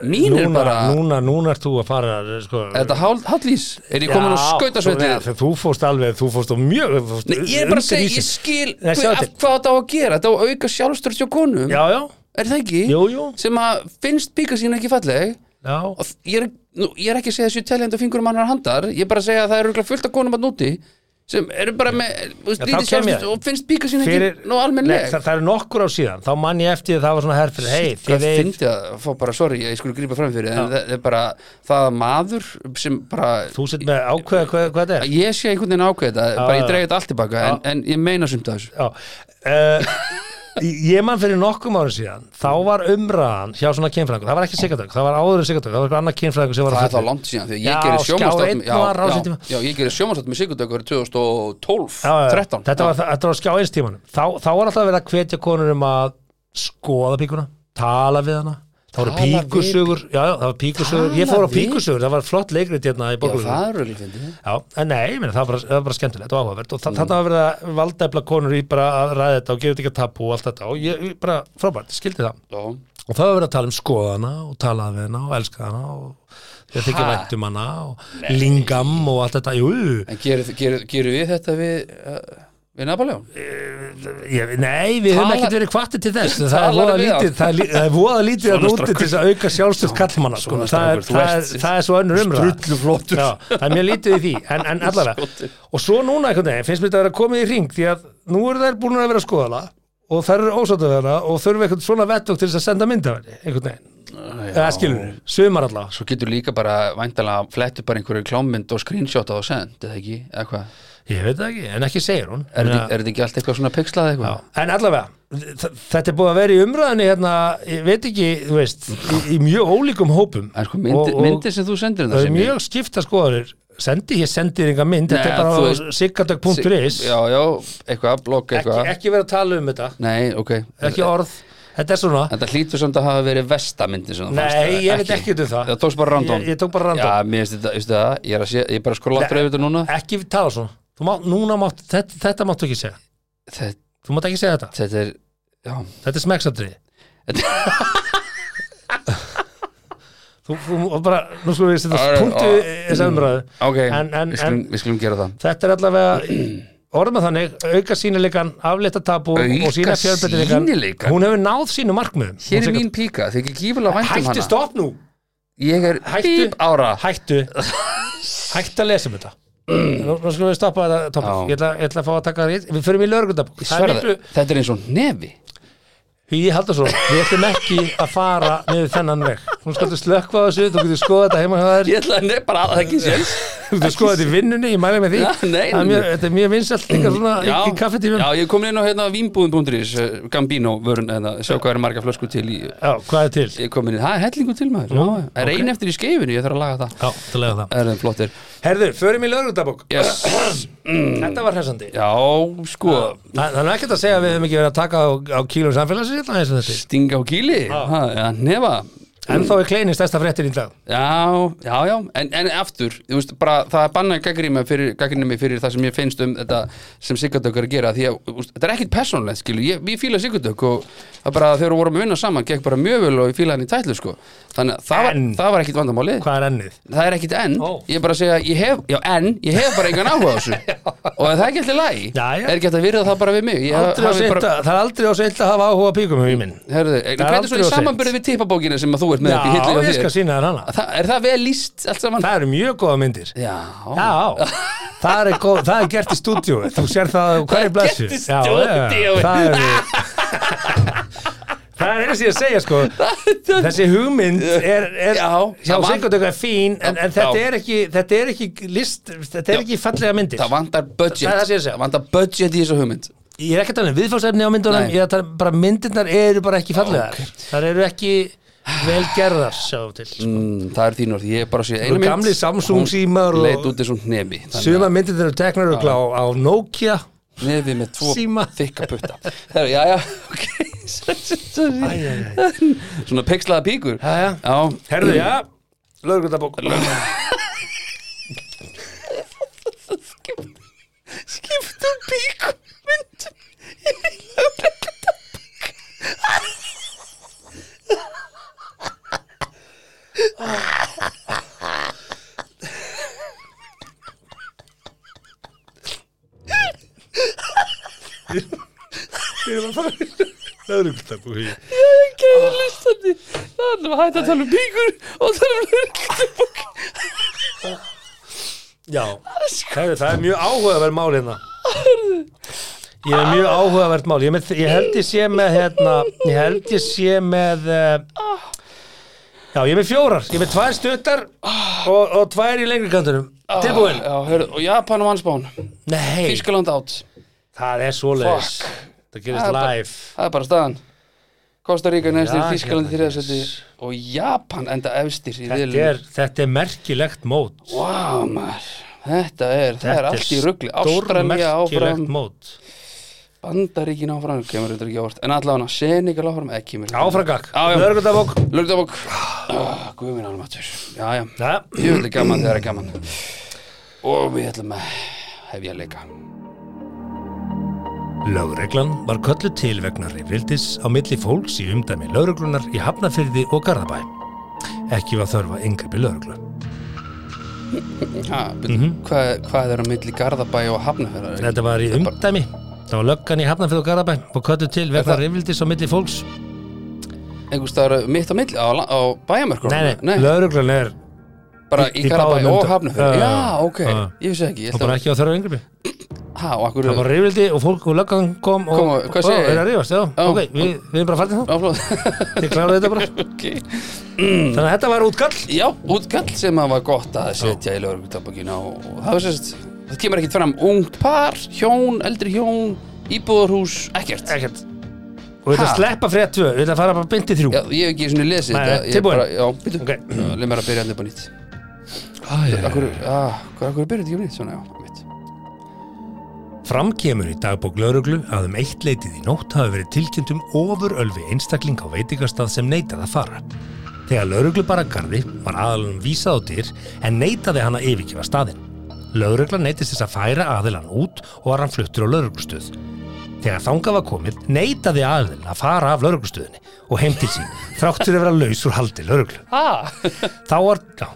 Speaker 3: mín er
Speaker 4: núna,
Speaker 3: bara,
Speaker 4: núna, núna ert þú að fara sko,
Speaker 3: er þetta hál- hálflís er ég komin á
Speaker 4: Já,
Speaker 3: skautasveitið
Speaker 4: þú- Þú fórst alveg, þú fórst á mjög þú fórst
Speaker 3: Nei, ég er bara að
Speaker 4: undir
Speaker 3: segja, ég
Speaker 4: ísinn.
Speaker 3: skil
Speaker 4: Nei,
Speaker 3: hver,
Speaker 4: sjáðu
Speaker 3: af,
Speaker 4: til.
Speaker 3: hvað þetta á að gera, þetta á að auka sjálfströst hjá konum,
Speaker 4: Já, já,
Speaker 3: er það ekki?
Speaker 4: Jú, jú.
Speaker 3: sem að finnst píka sín ekki falleg
Speaker 4: já
Speaker 3: og þ- ég er, nú, ég er ekki að segja þessu teljandi á fingurum annar handar, ég er bara að segja að það eru örugglega fullt af konum að núti sem eru bara með þú veist,
Speaker 4: Já, þá
Speaker 3: lítið
Speaker 4: kem ég.
Speaker 3: sjálfsvist og finnst píka sín ekki nú
Speaker 4: Nei,
Speaker 3: almennleg
Speaker 4: það, það eru nokkur á síðan, þá man ég eftir því að það var svona herfyrir Hei,
Speaker 3: Hvað
Speaker 4: þið veit
Speaker 3: fyndi að fá bara, sorry, ég skulle grípa fram fyrir en það er bara, það að maður sem bara,
Speaker 4: Þú sett með ákveða hvað, hvað þetta er
Speaker 3: ég sé einhvern veginn ákveða þetta, bara
Speaker 4: já.
Speaker 3: ég dreigði þetta allt tilbaka en, en ég meina sumt að þessu
Speaker 4: Já, uh, ég man fyrir nokkum árum síðan þá var umræðan hjá svona kynfræðingur það var ekki sigatök, það var áður en sigatök það var eitthvað annað kynfræðingur sem var
Speaker 3: Það er
Speaker 4: að
Speaker 3: þá
Speaker 4: fullu.
Speaker 3: langt síðan, því
Speaker 4: Já,
Speaker 3: ég gerir
Speaker 4: Skjár einn
Speaker 3: sjómanstáttum
Speaker 4: var rásinn tíma.
Speaker 3: já, ég gerir sjómanstáttum í Sigurdökur 2012,
Speaker 4: Já, já,
Speaker 3: 13
Speaker 4: þetta var, þetta var skjá eins tímanum þá, þá var alltaf verið að hvetja konur um að skoða píkuna, tala við hana það voru
Speaker 3: Tala við-
Speaker 4: píkusögur já, já, það var píkusögur, ég fór á
Speaker 3: Tala við-
Speaker 4: píkusögur það var flott leikrit hérna í
Speaker 3: Já,
Speaker 4: borgulegu
Speaker 3: það eru líka fyndið
Speaker 4: Já, en nei, ég meina, það, var bara, það var bara skemmtilegt og áhugavert og þa- þarna var verið að valdæfla konur í bara að ræða þetta og gefa þetta ekki að tapu og allt þetta og ég, ég bara, frábært, ég skildi það
Speaker 3: Já,
Speaker 4: og það var verið að tala um skoðana og talaði við hana og elskaði hana og þegar þykja
Speaker 3: Ha?
Speaker 4: vænt um hana og lingam og allt þetta jú,
Speaker 3: En gerir gerir- gerir við þetta við, uh, við Napoleon?
Speaker 4: ég, nei, við höfum
Speaker 3: Tala-
Speaker 4: ekkert verið kvartir til þess það er
Speaker 3: Talar
Speaker 4: voða
Speaker 3: við
Speaker 4: lítið,
Speaker 3: hann?
Speaker 4: það er, lí- það er voða lítið að
Speaker 3: Svona
Speaker 4: úti til
Speaker 3: strákur.
Speaker 4: þess að auka sjálfstöld kallmanna sko.
Speaker 3: Svona
Speaker 4: það, er,
Speaker 3: strákur, þú
Speaker 4: það, er,
Speaker 3: ert
Speaker 4: það er svo önnur umræða
Speaker 3: drulluflottur.
Speaker 4: Já, það er mjög lítið í því, en, en allavega
Speaker 3: Skotinn.
Speaker 4: og svo núna einhvern veginn, finnst mér þetta að vera komið í ring því að nú eru þær búin að vera skoðala og þær eru ósáttu þeirra og þurfum eitthvað svona vettok til þess að senda myndavæli einhvern veginn, eða skilur sumar allavega sko.
Speaker 3: Svo getur líka bara væntalega flettu bara einhverju klámynd og screenshot og send, eða ekki, eða hvað
Speaker 4: Ég veit það ekki, en ekki segir hún
Speaker 3: er,
Speaker 4: en,
Speaker 3: þetta- er þetta ekki allt eitthvað svona pixlað
Speaker 4: já,
Speaker 3: eitthvað?
Speaker 4: en allavega, þ- þetta er búið að vera í umræðinni hérna, ég veit ekki, þú veist í, í mjög ólíkum hópum
Speaker 3: En sko myndi,
Speaker 4: Og- og
Speaker 3: myndir sem þú sendir
Speaker 4: það
Speaker 3: það
Speaker 4: er
Speaker 3: sem
Speaker 4: mjög skipta skoðanir sendi, ég sendi þér enga mynd, þetta
Speaker 3: Nei,
Speaker 4: er
Speaker 3: þú
Speaker 4: bara
Speaker 3: veist-
Speaker 4: á siggardag.is
Speaker 3: Já, já, eitthvað, blogg
Speaker 4: ekki,
Speaker 3: eitthvað
Speaker 4: ekki vera að tala um þetta
Speaker 3: Nei, ok
Speaker 4: ekki orð, þetta er svona
Speaker 3: Þetta hlýtur samt að hafa verið vestamyndi sem það fannst,
Speaker 4: Nei, ég
Speaker 3: eða
Speaker 4: veit ekki um það
Speaker 3: Það tókst bara random
Speaker 4: Ég, ég tók bara random,
Speaker 3: Já, mér finnst þetta, veistu það, ég er að sé, ég er bara að skrolla aftur yfir þetta núna
Speaker 4: ekki tala svona Þú má, núna mátt, þetta, þetta máttu ekki segja
Speaker 3: Þetta,
Speaker 4: þú mátt ekki segja þetta,
Speaker 3: þetta er, já
Speaker 4: þetta er smekksatriði þú, þú þú bara, nú skulum við setja
Speaker 3: All right,
Speaker 4: punktu
Speaker 3: all
Speaker 4: í þessa umræðu
Speaker 3: Ok,
Speaker 4: En- en-
Speaker 3: við, skulum, við skulum gera það
Speaker 4: þetta er allavega orðum að þannig, auka sínilegan aflita tabu
Speaker 3: Auka
Speaker 4: og sína fjölbreytilegan
Speaker 3: sýnileikann?
Speaker 4: hún hefur náð sínu markmiðum
Speaker 3: Hér er
Speaker 4: Hún
Speaker 3: mín píka, þið ekki gífulega
Speaker 4: segir,
Speaker 3: væntum hana
Speaker 4: hættu stopp nú,
Speaker 3: Ég er
Speaker 4: Hættu.
Speaker 3: bíp ára
Speaker 4: hættu hættu að lesa um þetta nú, nú skulum við stoppa þetta topic.
Speaker 3: Já.
Speaker 4: ég ætla, ég ætla að fá að taka það í- við förum í lögreglutabók
Speaker 3: Ég sverða, Þetta er eins og nefi
Speaker 4: Hugi Haldarsson, við ætlum ekki að fara niður þennan veg. Hún skaltu slökkva á þessu, þú getur skoðað þetta heima hjá þér,
Speaker 3: Ég ætla að nefn bara að það ekki séns
Speaker 4: þú getur skoðað þetta í vinnunni, ég mæli með því.
Speaker 3: Já, nei,
Speaker 4: Það er
Speaker 3: nei.
Speaker 4: mjög, þetta er mjög vinsælt líka svona í, í kaffetímum.
Speaker 3: já, ég er komin inn á hérna vínbúðin.is eh, Gambino vörun, hérna, sjá hvað eru marga flösku til í,
Speaker 4: Já, hvað er til?
Speaker 3: Ég er komin inn, það er hellingu til maður
Speaker 4: Nú,
Speaker 3: Já, Það er ein eftir í skeifinu, ég þarf að laga það
Speaker 4: Já, það lega það.
Speaker 3: Það er flottir
Speaker 4: Herðu, förum í lögrutabók.
Speaker 3: yes. Mm.
Speaker 4: Þetta var hressandi.
Speaker 3: Já, sko,
Speaker 4: Það það er ekkert að segja að við höfum ekki verið að taka á, á kílum samfélagsins hérna eins og þetta.
Speaker 3: stinga á gíli ha, ja, Nefa,
Speaker 4: En þá er kleinin stærsta fréttir í dag
Speaker 3: Já, já, já, en, en aftur þú veist, bara, það er bannað gagnrýma fyrir, gagnrýma mig fyrir það sem ég finnst um þetta sem Sigurdök er að gera, því að þú veist, þetta er ekkit persónlegt, skilu, ég, ég fíla Sigurdök og það bara þegar við vorum að vinna saman gekk bara mjög vel og ég fíla hann í tætlu, sko þannig að það, var,
Speaker 4: En-
Speaker 3: það var ekkit vandamálið
Speaker 4: Hvað er ennið?
Speaker 3: það er ekkit enn,
Speaker 4: Ó.
Speaker 3: ég er bara að segja ég hef, já, enn, ég hef bara engan áhuga á þessu og ef það er ekki allir lægi,
Speaker 4: Já, já.
Speaker 3: er ekki hægt að virða það bara við mig, ég
Speaker 4: Aldrei á
Speaker 3: hafi
Speaker 4: seint
Speaker 3: bara
Speaker 4: að- Það er aldrei á seint að hafa áhuga á píkum í minn
Speaker 3: Herðu, en
Speaker 4: Það er
Speaker 3: hvernig er svo
Speaker 4: aldrei
Speaker 3: í
Speaker 4: of seint.
Speaker 3: samanbyrði við tippabókina sem að þú ert með
Speaker 4: Já,
Speaker 3: upp í hillinu
Speaker 4: ég
Speaker 3: á
Speaker 4: skal
Speaker 3: þér?
Speaker 4: sína þér hana
Speaker 3: Það- Er það vel lýst allt saman?
Speaker 4: Það eru mjög góða myndir
Speaker 3: Já,
Speaker 4: Já, það er, góð, það er gert í stúdíu Þú sér það á hverju blessu
Speaker 3: gert í
Speaker 4: Já, já, já,
Speaker 3: stúdíói.
Speaker 4: Það er Það er eins ég að segja sko Þessi hugmynd er, er
Speaker 3: Já,
Speaker 4: hjá
Speaker 3: það van-
Speaker 4: Sigurdöku er fín en, en þetta,
Speaker 3: Já.
Speaker 4: er ekki, þetta er ekki list þetta er
Speaker 3: Já.
Speaker 4: ekki fallega myndir
Speaker 3: Það vantar budget
Speaker 4: Það er það sem ég að segja.
Speaker 3: Það vantar budget í þessu hugmynd
Speaker 4: Ég er ekki að tala um viðfáðsefni á myndunum
Speaker 3: Nei.
Speaker 4: ég er að tala, um bara myndirnar eru bara ekki fallegar Það eru ekki vel gerðar sjáum til
Speaker 3: mm, Það er þín orð, ég er bara að sé eina
Speaker 4: Og
Speaker 3: mynd
Speaker 4: gamlir Samsung
Speaker 3: hún
Speaker 4: símar og-
Speaker 3: Leit út eins og nemi þannig að
Speaker 4: Suma myndirnar eru teknar örugglega á, á Nokia
Speaker 3: Nefi með tvo
Speaker 4: Síma.
Speaker 3: þykka putta Heru, Já, já, ok Sorry. Svona pekslaða píkur
Speaker 4: Já, já.
Speaker 3: já
Speaker 4: Herðu, já, lögurkundabók
Speaker 3: Skiptu píkur um mynd
Speaker 4: Lögurkundabók
Speaker 3: Gæði listandi Þannig að hætta að tala um píkur Og tala um lögreglubók
Speaker 4: Já, Herðu, það er mjög áhugaverð mál hérna Ég er mjög áhugavert mál Ég, er með, ég held ég sé með hérna, Ég held ég sé með uh, Já, ég er með fjórar Ég er með tvær stuttar og, og tvær í lengri kantunum Tilbúin
Speaker 3: Ah, Já, heru, og Japan og Vansbán
Speaker 4: Nei,
Speaker 3: Þískaland átt
Speaker 4: það er svoleiðis Það gerist
Speaker 3: Það er bara-
Speaker 4: live
Speaker 3: Það er bara staðan Kosta Ríka næstir,
Speaker 4: Já,
Speaker 3: Þískalandi
Speaker 4: hérna,
Speaker 3: þriðarsætti og Japan enda efstir í
Speaker 4: Þetta er, þetta er merkilegt mót
Speaker 3: Vá maður Þetta er, það er allt í ruggli Ástralja áfram,
Speaker 4: Stórmerkilegt mót
Speaker 3: Bandaríkin áfram Kemur þetta ekki ávart En allavega, Senegal áfram Ekki kemur
Speaker 4: Áfragak,
Speaker 3: Já, Ah, já.
Speaker 4: lögurkundabók
Speaker 3: Lörgdabók Guðminn almatur Já, já
Speaker 4: Já,
Speaker 3: Ég vil gaman þegar það er gaman Og við ætlum að hefja leika
Speaker 4: Lögreglan var kölluð til vegna reyfrildis á milli fólks í umdæmi lögreglunar í Hafnafyrði og Garðabæ. Ekki var þörfa yngripi lögreglu.
Speaker 3: ha, mm -hmm.
Speaker 4: Mhm.
Speaker 3: hvað, hvað er á milli Garðabæ og Hafnafjörðar?
Speaker 4: Þetta var í umdæmi. Það var löggan í Hafnafyrði og Garðabæ og kölluð til vegna
Speaker 3: Þetta-
Speaker 4: reyfrildis á milli fólks.
Speaker 3: Einhvers staðar mitt á milli á, la- á bæjarmörkur
Speaker 4: Nei, nei, lögreglan er
Speaker 3: bara
Speaker 4: Í-
Speaker 3: í
Speaker 4: í
Speaker 3: Garabæ
Speaker 4: báðum
Speaker 3: og
Speaker 4: löndum.
Speaker 3: Hafnafjörð já,
Speaker 4: Já, já,
Speaker 3: ok,
Speaker 4: já.
Speaker 3: ég vissi ekki ég
Speaker 4: það
Speaker 3: ætla-
Speaker 4: bara ekki var þörfa yngripi.
Speaker 3: ha, og akkur
Speaker 4: Það var reyfrildi og fólk og löggan kom og...
Speaker 3: Kom og- hvað
Speaker 4: Ó,
Speaker 3: segir ég?
Speaker 4: Er að reyfast, já.
Speaker 3: Já.
Speaker 4: Ok, við, við erum bara fallið þá.
Speaker 3: áflóð
Speaker 4: Þið kláruðu þetta bara.
Speaker 3: okay. Mm.
Speaker 4: Þannig að þetta var útkall.
Speaker 3: já, útkall sem að var gott að setja í lögurkutabbakina og, og það var sérst það kemur ekkit fram ungt par, hjón, eldri hjón íbúðarhús, ekkert
Speaker 4: Ekkert. Og við ætlum
Speaker 3: Ha?
Speaker 4: að sleppa frétt tvö, við ætlum að fara bara beint í þrjú.
Speaker 3: já, ég hef ekki svona lesið
Speaker 4: Nei,
Speaker 3: þetta ég
Speaker 4: tilbúin.
Speaker 3: bara, já, byrju,
Speaker 4: Ok.
Speaker 3: leið mér að byrja hann upp á nýtt akkur, ah, akkur, akkur byrja þetta ekki á nýtt svona, já, mitt
Speaker 4: Fram kemur í dagbók lauruglu að um eitt leitið í nótt hafi verið tilkynnt um ofurölvi einstakling á veitingastað sem neitaði að fara. Þegar lauruglu bara garði var aðalunum vísað á dyr en neitaði hann að yfirgefa staðinn. Lauruglan neitist þess að færa aðilan út og var hann fluttur á lauruglustöð. Þegar þangað var komið neitaði aðilin að fara af lauruglustöðinni og heim til sín þráttur að vera laus úr haldi lauruglu. Þá var, já,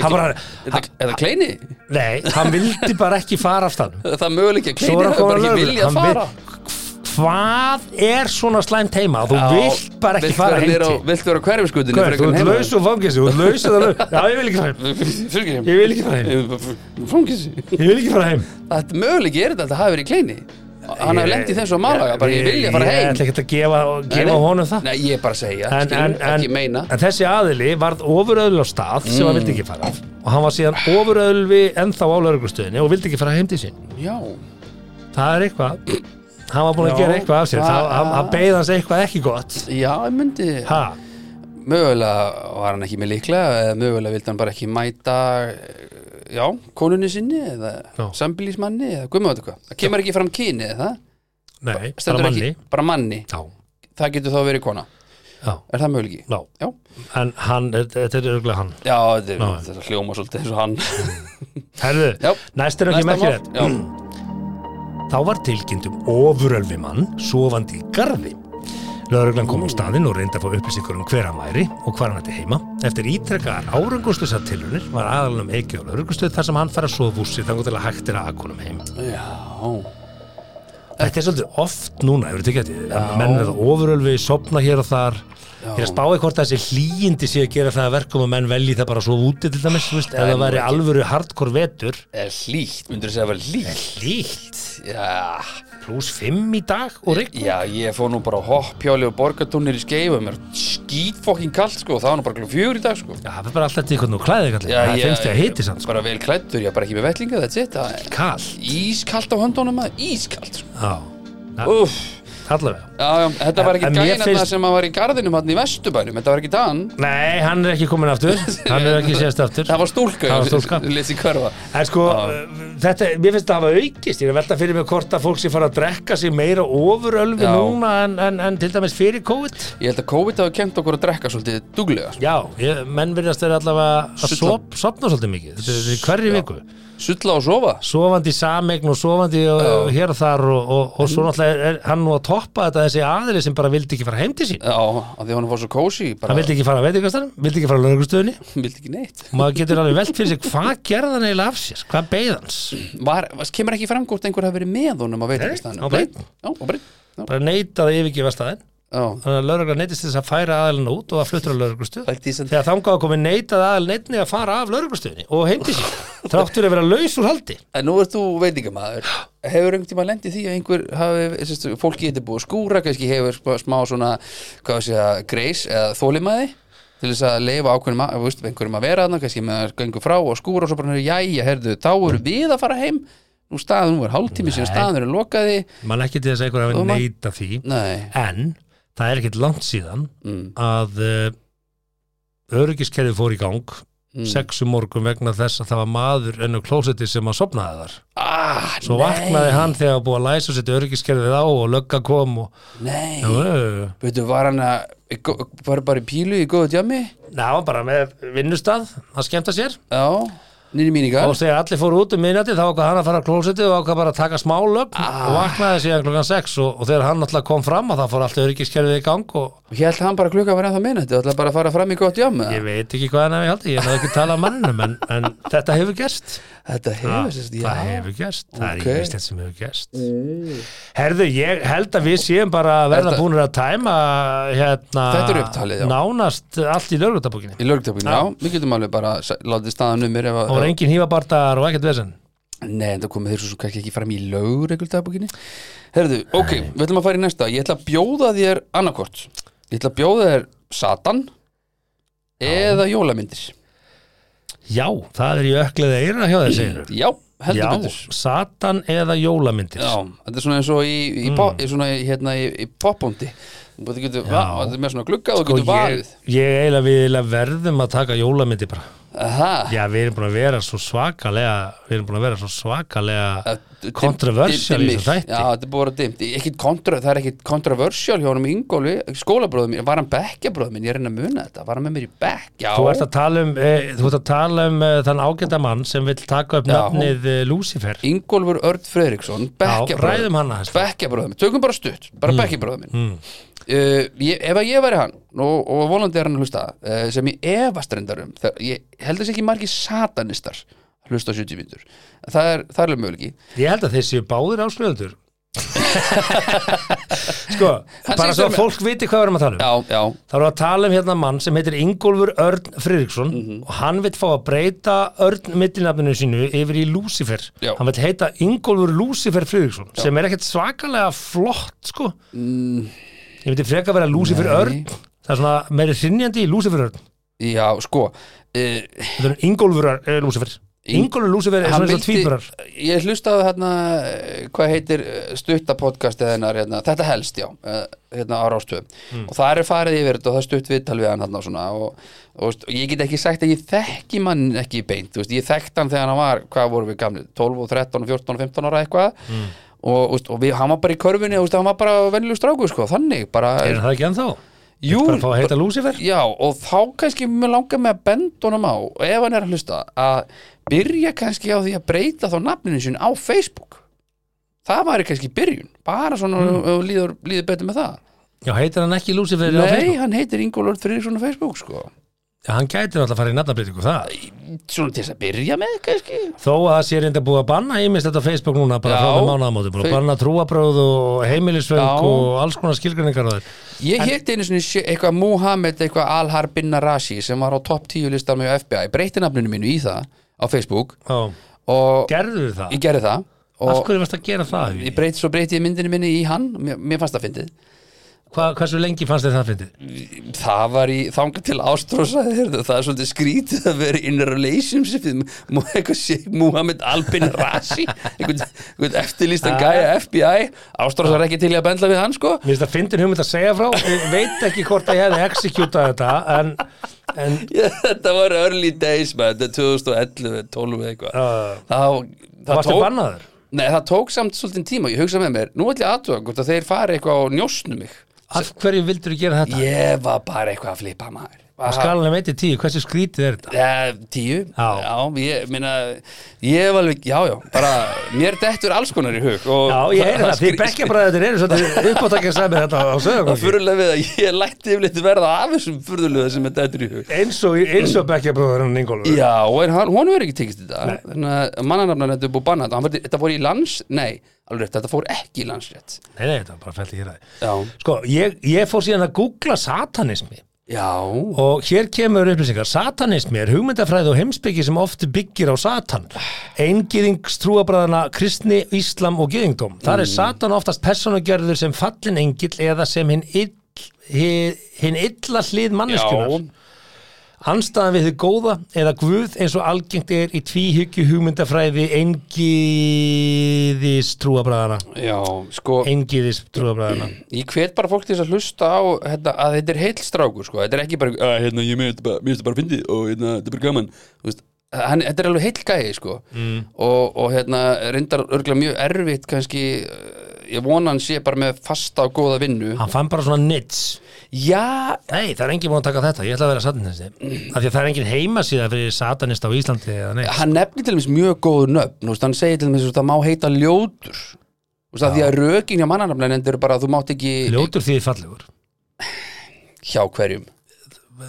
Speaker 4: hann bara,
Speaker 3: eða, eða kleini,
Speaker 4: nei, hann vildi bara ekki fara af staðnum.
Speaker 3: það möguleik að
Speaker 4: Svo
Speaker 3: kleini
Speaker 4: er hann
Speaker 3: hefur
Speaker 4: komin
Speaker 3: bara
Speaker 4: að
Speaker 3: ekki
Speaker 4: lögreglu
Speaker 3: viljað
Speaker 4: Hann
Speaker 3: fara
Speaker 4: vil- Hvað er svona slæmt heima? Þú vilt bara ekki
Speaker 3: vilt vera
Speaker 4: fara heim
Speaker 3: niður á-
Speaker 4: til
Speaker 3: Vilt vera á hverfiskutinni
Speaker 4: Hver, Þú ert laus og fangis Þú ert laus og laus Já, ég vil ekki fara heim
Speaker 3: Fyrir
Speaker 4: Ég vil ekki fara heim
Speaker 3: ekki Fungis
Speaker 4: Ég vil ekki fara heim
Speaker 3: Þetta möguleik er þetta að það hafi verið í kleini Hann hafi lent í þessu að málaga Bara ég vilja fara
Speaker 4: Ég
Speaker 3: heim
Speaker 4: ætla ekki að gefa,
Speaker 3: Nei,
Speaker 4: gefa
Speaker 3: nei.
Speaker 4: honum það
Speaker 3: Nei, ég er bara að segja
Speaker 4: en, en,
Speaker 3: skilurðu,
Speaker 4: en,
Speaker 3: Ekki meina Mm.
Speaker 4: en þessi aðili varð ofuröðl á stað sem hann vildi ekki fara af og hann var síðan ofuröðlvi ennþá á lauruglustöðinni og vildi ekki fara heim til sín
Speaker 3: Já
Speaker 4: það er eitthvað hann var búin að
Speaker 3: Já,
Speaker 4: gera eitthvað af sér
Speaker 3: það-
Speaker 4: það, hann, hann beigð hans eitthvað ekki gott
Speaker 3: Já, ég myndi
Speaker 4: ha,
Speaker 3: Mögulega var hann ekki með líkla Eða mögulega vildi hann bara ekki mæta eh, Já, konunni sinni Eða
Speaker 4: Já.
Speaker 3: sambílismanni Eða guðmjóð eitthvað Það kemur ekki fram kyni eða það
Speaker 4: nei, bara
Speaker 3: Stendur
Speaker 4: manni
Speaker 3: Ekki, bara manni
Speaker 4: Já,
Speaker 3: Það getur þá verið kona
Speaker 4: Já.
Speaker 3: er það möguleiki?
Speaker 4: Já.
Speaker 3: Já,
Speaker 4: En hann, þetta er örgulega hann
Speaker 3: já þetta er- þetta hljóma svolítið eins og hann
Speaker 4: Herðu,
Speaker 3: Já.
Speaker 4: næst er ekki
Speaker 3: Næsta
Speaker 4: merkir
Speaker 3: mál.
Speaker 4: þetta
Speaker 3: Já.
Speaker 4: Þá var tilkynnt um ofurölvimann sofandi í garði. Lögreglan kom á staðinn og reyndi að fá upplýsingar um hver hann væri og hvar hann ætti heima. Eftir ítrekkaðar árangustusar tilunir var aðalunum eikið á lögreglustöð þar sem hann fær að sofa úr sér þangur til að hægt er að akonum heim.
Speaker 3: já,
Speaker 4: Þetta er svolítið oft núna, hefur tekið þetta. að Menn er það ofurölvi, sopna hér og þar. Ég er að spá eitthvað hvort þessi hlýindi sé að gera það að verkum að menn velji það bara að sofa úti til dæmis, þú veist, ef
Speaker 3: er
Speaker 4: það
Speaker 3: nú
Speaker 4: væri
Speaker 3: ekki.
Speaker 4: alvöru hardcore vetur.
Speaker 3: er hlýtt, myndur þess að það var hlýtt
Speaker 4: Hlýtt,
Speaker 3: Já,
Speaker 4: pluss 5 í dag og rigning.
Speaker 3: já, ég fór nú bara á hoppjáli og borgartúnir í skeif og mér skýt fokkin kalt sko og það var nú bara klukkan fjögur í dag sko
Speaker 4: Já, það er bara alltaf til hvernig þú klæðir kallið.
Speaker 3: Já,
Speaker 4: Það
Speaker 3: ég-
Speaker 4: finnst þig að hiti sann, sko.
Speaker 3: Bara vel klættur, ég er bara ekki með vellinga, that's it Það er
Speaker 4: Kall.
Speaker 3: Ískalt á höndunum maður, ískalt sko.
Speaker 4: Já,
Speaker 3: Uff,
Speaker 4: allavega.
Speaker 3: já, já, þetta var ekki
Speaker 4: En- en mér
Speaker 3: gæna
Speaker 4: finnst-
Speaker 3: sem að var í garðinum hann í vestubænum, þetta var ekki dan
Speaker 4: Nei, hann er ekki komin aftur. hann er ekki sést aftur.
Speaker 3: Það var stúlka,
Speaker 4: Það var stúlka.
Speaker 3: lesi hverfa
Speaker 4: En sko, uh, þetta, mér finnst það hafa aukist. Ég er að velta fyrir mig hvort að fólk sé fara að drekka sig meira ofurölvi
Speaker 3: Já.
Speaker 4: núna en, en, en til dæmis fyrir COVID.
Speaker 3: Ég held að COVID hafi kent okkur að drekka svolítið duglega sko.
Speaker 4: Já, ég, menn virðast þeir allavega að
Speaker 3: Sulla.
Speaker 4: sop, sopna svolítið mikið. Þetta er- þetta er í hverri viku.
Speaker 3: Sulla og sofa
Speaker 4: Sofandi í sameign og sofandi og, og hér og þar og, og, og svo náttúrulega er, er hann nú að toppa þetta þessi aðili sem bara vildi ekki fara heim til sín.
Speaker 3: Já, að því að hann var svo kósi bara,
Speaker 4: Hann vildi ekki fara að veitingastanum, vildi ekki fara að lauruglustöðunni
Speaker 3: vildi ekki neitt
Speaker 4: og maður getur alveg velt fyrir sig hvað gerði hann eiginlega af sér, hvað beigð hans
Speaker 3: var, var- Kemur ekki fram hvort einhver hafi verið með honum að veit
Speaker 4: Nei,
Speaker 3: ekki staðan
Speaker 4: á breinn.
Speaker 3: Já, á breinn Já,
Speaker 4: bara neitaði að yfirgefa staðinn
Speaker 3: já,
Speaker 4: þannig að laurugla neitist til þess að færa aðalinn út og að fluttur á lauruglustöð
Speaker 3: Like decent.
Speaker 4: þegar þangað komið neitaði aðalinn einni að fara af lauruglustöðunni og heimdi sér þráttur að vera laus úr haldi
Speaker 3: En nú ert þú veitingamæður Hefur einhvern tíma lendið því að einhver hafi, sérst, fólki getur búið að skúra kannski hefur sp- smá svona, hvað sé að greis eða þólimaði til þess að leifa ákveðnum að, veist, einhverjum að vera þarna kannski með að gengur frá og skúra og svo bara, jæja, herðu, þá eru við að fara heim nú staðan, nú er hálftími síðan staðan er lokaði,
Speaker 4: mann ekki til þess að einhver hafi
Speaker 3: Og maður-
Speaker 4: neita því
Speaker 3: nei
Speaker 4: en það er ekkit langt síðan
Speaker 3: mm,
Speaker 4: að uh, öryggiskerfið fór í gang
Speaker 3: mm.
Speaker 4: sexu morgun vegna þess að það var maður enn á klósetti sem að sopnaði þar
Speaker 3: ah,
Speaker 4: Svo vaknaði hann þegar var búið að læsa og setja öryggiskerfið á og lögga kom og...
Speaker 3: nei,
Speaker 4: Jú, jú, jú.
Speaker 3: veitu, var hann að var bara í pílu í góðu djami
Speaker 4: Nei, hann var bara með vinnustað að skemmta sér
Speaker 3: já, nýri míningar
Speaker 4: og þegar allir fóru út um minnati þá ákvað hann að fara á klósitið og ákvað bara að taka smá lögg og vaknaði síðan klokkan 6 og, og þegar hann alltaf kom fram að það fór allt öryggiskerfið í gang og
Speaker 3: og ég held hann bara klukka að vera ennþá minnet og ætlaði bara að fara fram í gott jam eða?
Speaker 4: ég veit ekki hvað hann hefði haldið, ég hefði ekki talað um manninum en, en þetta hefur gerst
Speaker 3: þetta hefur sérst, já,
Speaker 4: Ah, það hefur gerst, það er
Speaker 3: Ok. Mm.
Speaker 4: ekki veist þetta sem hefur gerst Herðu, ég held að við séum bara að verða
Speaker 3: Þetta-
Speaker 4: búinir að tæma hérna,
Speaker 3: Þetta er upptalið, já.
Speaker 4: nánast allt í lögrutabókinni
Speaker 3: í lörgtöpun, já, við getum alveg bara s- látið staðan um mér ef
Speaker 4: Það
Speaker 3: að
Speaker 4: voru engin hífabartar og ekkert vesen
Speaker 3: nei, en það komið þeir svo sem kannski ekki fram í lögreglutabukinni herðu, ok, við ætlum að fara í næsta ég ætla að bjóða þér annarkort ég ætla að bjóða þér Satan eða jólamyndir
Speaker 4: Já, það er í öklið eira hjá þér, segir þú
Speaker 3: já, heldur
Speaker 4: Já,
Speaker 3: betur
Speaker 4: Satan eða jólamyndir
Speaker 3: Já, þetta er svona eins og í, í, mm. pop, í, svona, í- hérna, í, í popbóndi Þú getur, va, þetta er með svona glugga og þú
Speaker 4: Og
Speaker 3: getur
Speaker 4: Sko, ég,
Speaker 3: varið
Speaker 4: ég eiginlega við eiginlega verðum að taka jólamyndir bara
Speaker 3: Aha,
Speaker 4: Já, við erum búin að vera svo svakalega Við erum búin að vera svo svakalega
Speaker 3: Að-
Speaker 4: Kontroversial
Speaker 3: dim-
Speaker 4: í
Speaker 3: dimmir.
Speaker 4: þessu þætti.
Speaker 3: Já, þetta er bara dimmt Ekkit kontra, Það er ekkit kontroversial hjá honum Ingólfi Skólabróðum mín, var hann bekkjabróðum mín Ég er henni að muna þetta, var hann með mér í bekk Já,
Speaker 4: Þú ert að tala um, e, þú ert að tala um e, þann ágæta mann sem vill taka upp
Speaker 3: Já.
Speaker 4: nafnið e, Lúcifer
Speaker 3: Ingólfur Örn Fredriksson
Speaker 4: ræðum hann aðeins.
Speaker 3: Bekkjabróðum, tökum bara stutt Bara mm. bekkjabróðum mín Uh, ég, ef að ég væri hann og, og vonandi er hann að hlusta uh, sem ég efast reyndar um þegar, ég held þess ekki margir satanistar að hlusta á 70 vindur það er, það er alveg möguleiki
Speaker 4: Ég held að þeir séu báðir áslöðundur Sko, bara
Speaker 3: segist vera
Speaker 4: svo að
Speaker 3: með-
Speaker 4: fólk viti hvað við erum að tala um
Speaker 3: um- já, já,
Speaker 4: Það eru að tala um hérna mann sem heitir Ingólfur Örn Friðriksson
Speaker 3: Mhm.
Speaker 4: og hann vill fá að breyta Örn millinafninu sínu yfir í Lúcifer.
Speaker 3: Já.
Speaker 4: Hann vill heita Ingólfur Lúcifer Friðriksson sem er ekkert svakalega flott sko. Ég myndi freka vera Lúcifer
Speaker 3: Mm. Nei.
Speaker 4: Örn. Það er svona meiri hrinnjandi í Lúcifer Örn.
Speaker 3: já, sko uh,
Speaker 4: Þetta er Ingólfur Örn, eh, Lúcifer.
Speaker 3: Ing-
Speaker 4: Ingólfur Lúcifer er svona eins og tvíburar.
Speaker 3: ég hlustaði hérna eh, hvað heitir eh, stutta podcast eða hennar, hérna, þetta helst já eh, hérna á rástöðum
Speaker 4: Mm.
Speaker 3: og það er farið yfir þetta og það er stutt viðtal við hann hérna og svona og, og, veist, og ég get ekki sagt að ég þekki mann ekki beint, þú veist, ég þekkt hann þegar hann var hvað vorum við gamli, 12 og 13 og 14 og 15 ára eitthvað
Speaker 4: Mm.
Speaker 3: og, veist, og við, hann var bara í körfunni, þú veist, hann var bara venjulegur strákur sko, þannig bara
Speaker 4: Er það ekki ennþá?
Speaker 3: Jú,
Speaker 4: bara að fá að heita Lucifer
Speaker 3: já, og þá kannski mér langar með að benda honum á og ef hann er að hlusta að byrja kannski á því að breyta þá nafninu sín á Facebook það væri kannski byrjun bara svona mm. og líður, líður betur með það
Speaker 4: Já, heitir hann ekki Lucifer á
Speaker 3: Nei,
Speaker 4: Facebook?
Speaker 3: hann heitir Ingólfur Friðriksson á Facebook sko.
Speaker 4: Já, hann gæti náttúrulega að fara í nafnabreytingu það
Speaker 3: svona til þess að byrja með kannski
Speaker 4: Þó að það sé reynda búið að banna ímislegt á Facebook núna bara
Speaker 3: Já.
Speaker 4: frá með mánaðamóti búið að
Speaker 3: Fe-
Speaker 4: banna trúabröð og heimilisföng
Speaker 3: Já.
Speaker 4: og alls konar skilgreiningar á þér
Speaker 3: Ég hétt einu svona eitthvað Mohamed eitthvað Alhar Bin Narashi sem var á topp 10 listanum hjá FBI breytti nafninu mínu í það á Facebook
Speaker 4: Já,
Speaker 3: og
Speaker 4: gerður það?
Speaker 3: ég gerði það
Speaker 4: Af
Speaker 3: og
Speaker 4: hverju varst að gera það?
Speaker 3: ég
Speaker 4: Hugi?
Speaker 3: breyti, svo breyti ég myndinu minni í hann mér, mér fannst það fyndið
Speaker 4: Hva, hversu lengi fannst þið það fyndið?
Speaker 3: það var í þanga til ástrósaði heyrðu, það er svolítið skrítið að vera in a relationship við Mo- eitthvað Sheikh Mohammed Albin Rashi einhvern, einhvern eftirlýstan gæja FBI ástrósaði er ekki til í að bendla við hann sko
Speaker 4: Mér finnst að fyndin hugmynd að segja frá Ég veit ekki hvort að ég hefði executað þetta en, en
Speaker 3: Já, þetta var early days man, þetta er 2011, 12 eitthvað
Speaker 4: Já,
Speaker 3: þá,
Speaker 4: það varstu bannaður
Speaker 3: Nei, það tók samt svolítið tíma, ég hugsa með mér nú ætla ég aðtöga hvort að þeir fari eitthvað og njósnu mig
Speaker 4: Af hverju vildur þú gera þetta?
Speaker 3: ég var bara eitthvað að flippa maður
Speaker 4: Á skalanum 1-10, hversu skrítið er þetta?
Speaker 3: Ja, tíu,
Speaker 4: Já.
Speaker 3: ég minna ég var alveg, já, já, bara mér dettur alls konar í hug og
Speaker 4: Já, ég heyri það, þið
Speaker 3: skri-
Speaker 4: bekkjabræðir eru svolítið uppáttakja sæmi þetta á
Speaker 3: það
Speaker 4: sögum
Speaker 3: fyrirlega við að ég lætti yfirleitt verða af þessum fyrirlega sem mér dettur í hug
Speaker 4: eins og, eins og bekkjabræðurinn Ingólfur
Speaker 3: Já, en hann, honum er ekki tekist þetta þannig að mannanafnar þetta er búið bannað hann verði, þetta fór í lands, nei, alveg rétt þetta fór ekki í landsrétt
Speaker 4: Nei, nei, þetta var bara fælt í hér aðeins
Speaker 3: Já,
Speaker 4: Sko, ég, ég fór síðan að googla satanismi
Speaker 3: já,
Speaker 4: og hér kemur upplýsingar satanismi er hugmyndafræði og heimsbyggi sem oft byggir á satan eingiðings trúabræðana kristni, íslam og gyðingdóm þar
Speaker 3: Mm.
Speaker 4: er satan oftast personugjörður sem fallin engill eða sem hinn ill, hi- hin illa hlið manneskjunar
Speaker 3: já
Speaker 4: anstæðan við þið góða eða guð eins og algengt er í tvíhyggju hugmyndafræði engiðis trúabræðana
Speaker 3: Já, sko,
Speaker 4: engiðis trúabræðana
Speaker 3: ég hvet bara fólk til þess að hlusta á hérna, að þetta er heill strákur, sko þetta er ekki bara, að hérna, ég með þetta bara, mér finnst þetta bara fyndið og hérna, þetta er bara gaman, þú veist Hann, þetta er alveg heill gæði sko mm. og, og hérna reyndar örgulega mjög erfitt kannski, eh, ég vona hann sé bara með fasta og góða vinnu
Speaker 4: hann fann bara svona nits
Speaker 3: Já,
Speaker 4: Nei, það er enginn búin að taka þetta, ég ætla að vera satanisti af því að það er enginn heimasíða fyrir satanist á Íslandi eða neitt
Speaker 3: hann nefnir til dæmis mjög góð nöfn þú veist, hann segir til dæmis að það má heita ljótur Þú veist, að því að rökin hjá mannanafnlega nefndir bara að þú mátt ekki
Speaker 4: Ljótur því fallegur,
Speaker 3: hjá hverjum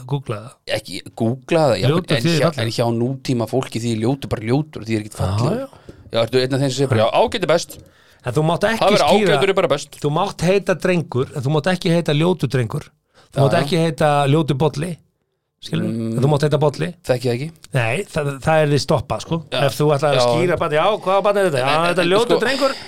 Speaker 4: googla það
Speaker 3: ekki googla það, já,
Speaker 4: Ljótur
Speaker 3: en,
Speaker 4: þýðir
Speaker 3: hjá,
Speaker 4: fallegur.
Speaker 3: en hjá nútíma fólki því er ljótur bara ljótur því er ekkit fallið
Speaker 4: Já,
Speaker 3: já, ertu einn af þeim sem segir bara, já, ágæti best
Speaker 4: En þú mátt
Speaker 3: það
Speaker 4: ekki
Speaker 3: verður ágætur
Speaker 4: skýra,
Speaker 3: er bara best
Speaker 4: þú mátt heita drengur en þú mátt ekki heita ljótur drengur þú mátt
Speaker 3: já. Mm.
Speaker 4: ekki heita ljótur bolli skilur, en þú mátt heita bolli
Speaker 3: þekki það ekki
Speaker 4: Nei, það, það er því stoppa, sko ef þú ætlar að
Speaker 3: Já.
Speaker 4: skýra bara, já, hvað bara er þetta? Já,
Speaker 3: en-
Speaker 4: þetta er
Speaker 3: en-
Speaker 4: ljótur
Speaker 3: sko-
Speaker 4: drengur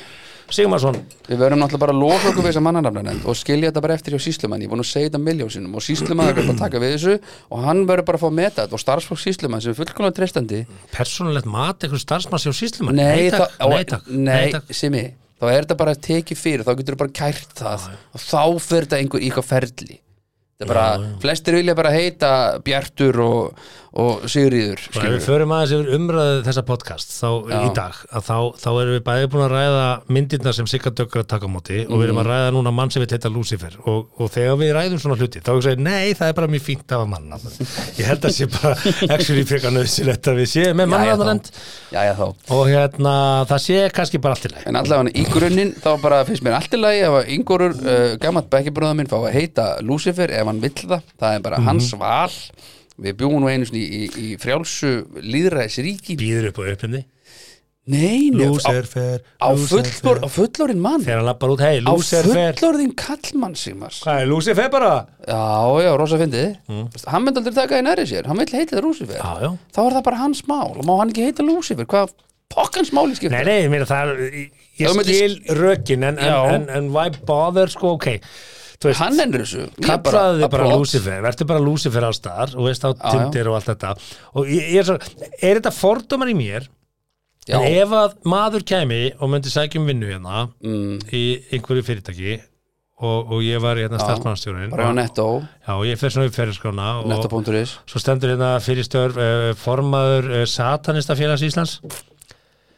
Speaker 4: Sigmarsson,
Speaker 3: Við verðum náttúrulega bara að loka okkur við þessa mannanafnanend og skilja þetta bara eftir hjá síslumann, ég vonu að segja þetta miljónsinnum og síslumann er bara að taka við þessu og hann verður bara að fá að meta þetta og starfsfólk síslumann sem er fullkomlega treystandi
Speaker 4: persónulegt mat eitthvað starfsmanns hjá síslumann
Speaker 3: Nei,
Speaker 4: takk,
Speaker 3: þá-
Speaker 4: nei, takk,
Speaker 3: nei,
Speaker 4: takk.
Speaker 3: Simi, þá er þetta bara tekið fyrir þá getur þú bara kært það og þá fyrir þetta einhver í eitthvað ferli þetta er bara, flestir vilja bara heita Bjartur og, og Sigriður
Speaker 4: Og ef við
Speaker 3: skilurðu.
Speaker 4: förum aðeins yfir umræðu þessa podcast þá í dag, að þá, þá erum við bæði búin að ræða myndirnar sem Sigga Dögg er að taka á móti og við erum að ræða núna mann sem við heita Lucifer og, og þegar við ræðum svona hluti þá hugsaði, nei, það er bara mjög fínt af að manna ég held að sé bara actually frekar nöðsilegt að við séum með
Speaker 3: Jæja þá.
Speaker 4: mannanand
Speaker 3: Jæja þá
Speaker 4: og hérna, það sé kannski bara allt í lagi
Speaker 3: En allavega í grunninn þá bara finnst mér allt í lagi ef að yngurur uh, gammalt bekkibróða minn fá að heita Lucifer ef hann vill það, það er bara hans
Speaker 4: Mhm.
Speaker 3: val Við bjúum nú einu sinni í, í, í frjálsu líðræðisríki
Speaker 4: býður upp á uppinni
Speaker 3: Nei, nei, á,
Speaker 4: Lucifer,
Speaker 3: á, fullor, á fullorinn mann
Speaker 4: þegar hann lappar út, hei,
Speaker 3: á
Speaker 4: Lucifer
Speaker 3: fullorðin kallmann Sigmar
Speaker 4: hvað er Lucifer bara?
Speaker 3: já, já, rosa fyndið hann myndi aldrei taka í næri sér, hann vil heita það Lucifer
Speaker 4: Mm. Já, já.
Speaker 3: þá er það bara hans mál, má hann ekki heita Lucifer hvað pokkans máli skiptir
Speaker 4: Nei, nei, mér það er,
Speaker 3: Ef
Speaker 4: ég
Speaker 3: þú myndir-
Speaker 4: skil rökin en, en,
Speaker 3: Já.
Speaker 4: en, en why bother, sko, ok þú veist,
Speaker 3: hann ennur þessu Ég er
Speaker 4: kallaðu þig bara
Speaker 3: applaud.
Speaker 4: Lucifer, verður bara Lucifer alls staðar og veist á
Speaker 3: já.
Speaker 4: Tinder og allt þetta og ég, ég er svo, er þetta fordómar í mér
Speaker 3: já,
Speaker 4: en ef að maður kæmi og myndi sækjum vinnu hérna
Speaker 3: Mm.
Speaker 4: í einhverju fyrirtæki og, og ég var hérna starfsmannstjórinn
Speaker 3: bara á
Speaker 4: og,
Speaker 3: netto,
Speaker 4: já, og ég fer svona upp ferðarskrána og
Speaker 3: netto.is
Speaker 4: svo stendur hérna fyrir störf uh, formaður uh, satanista félags Íslands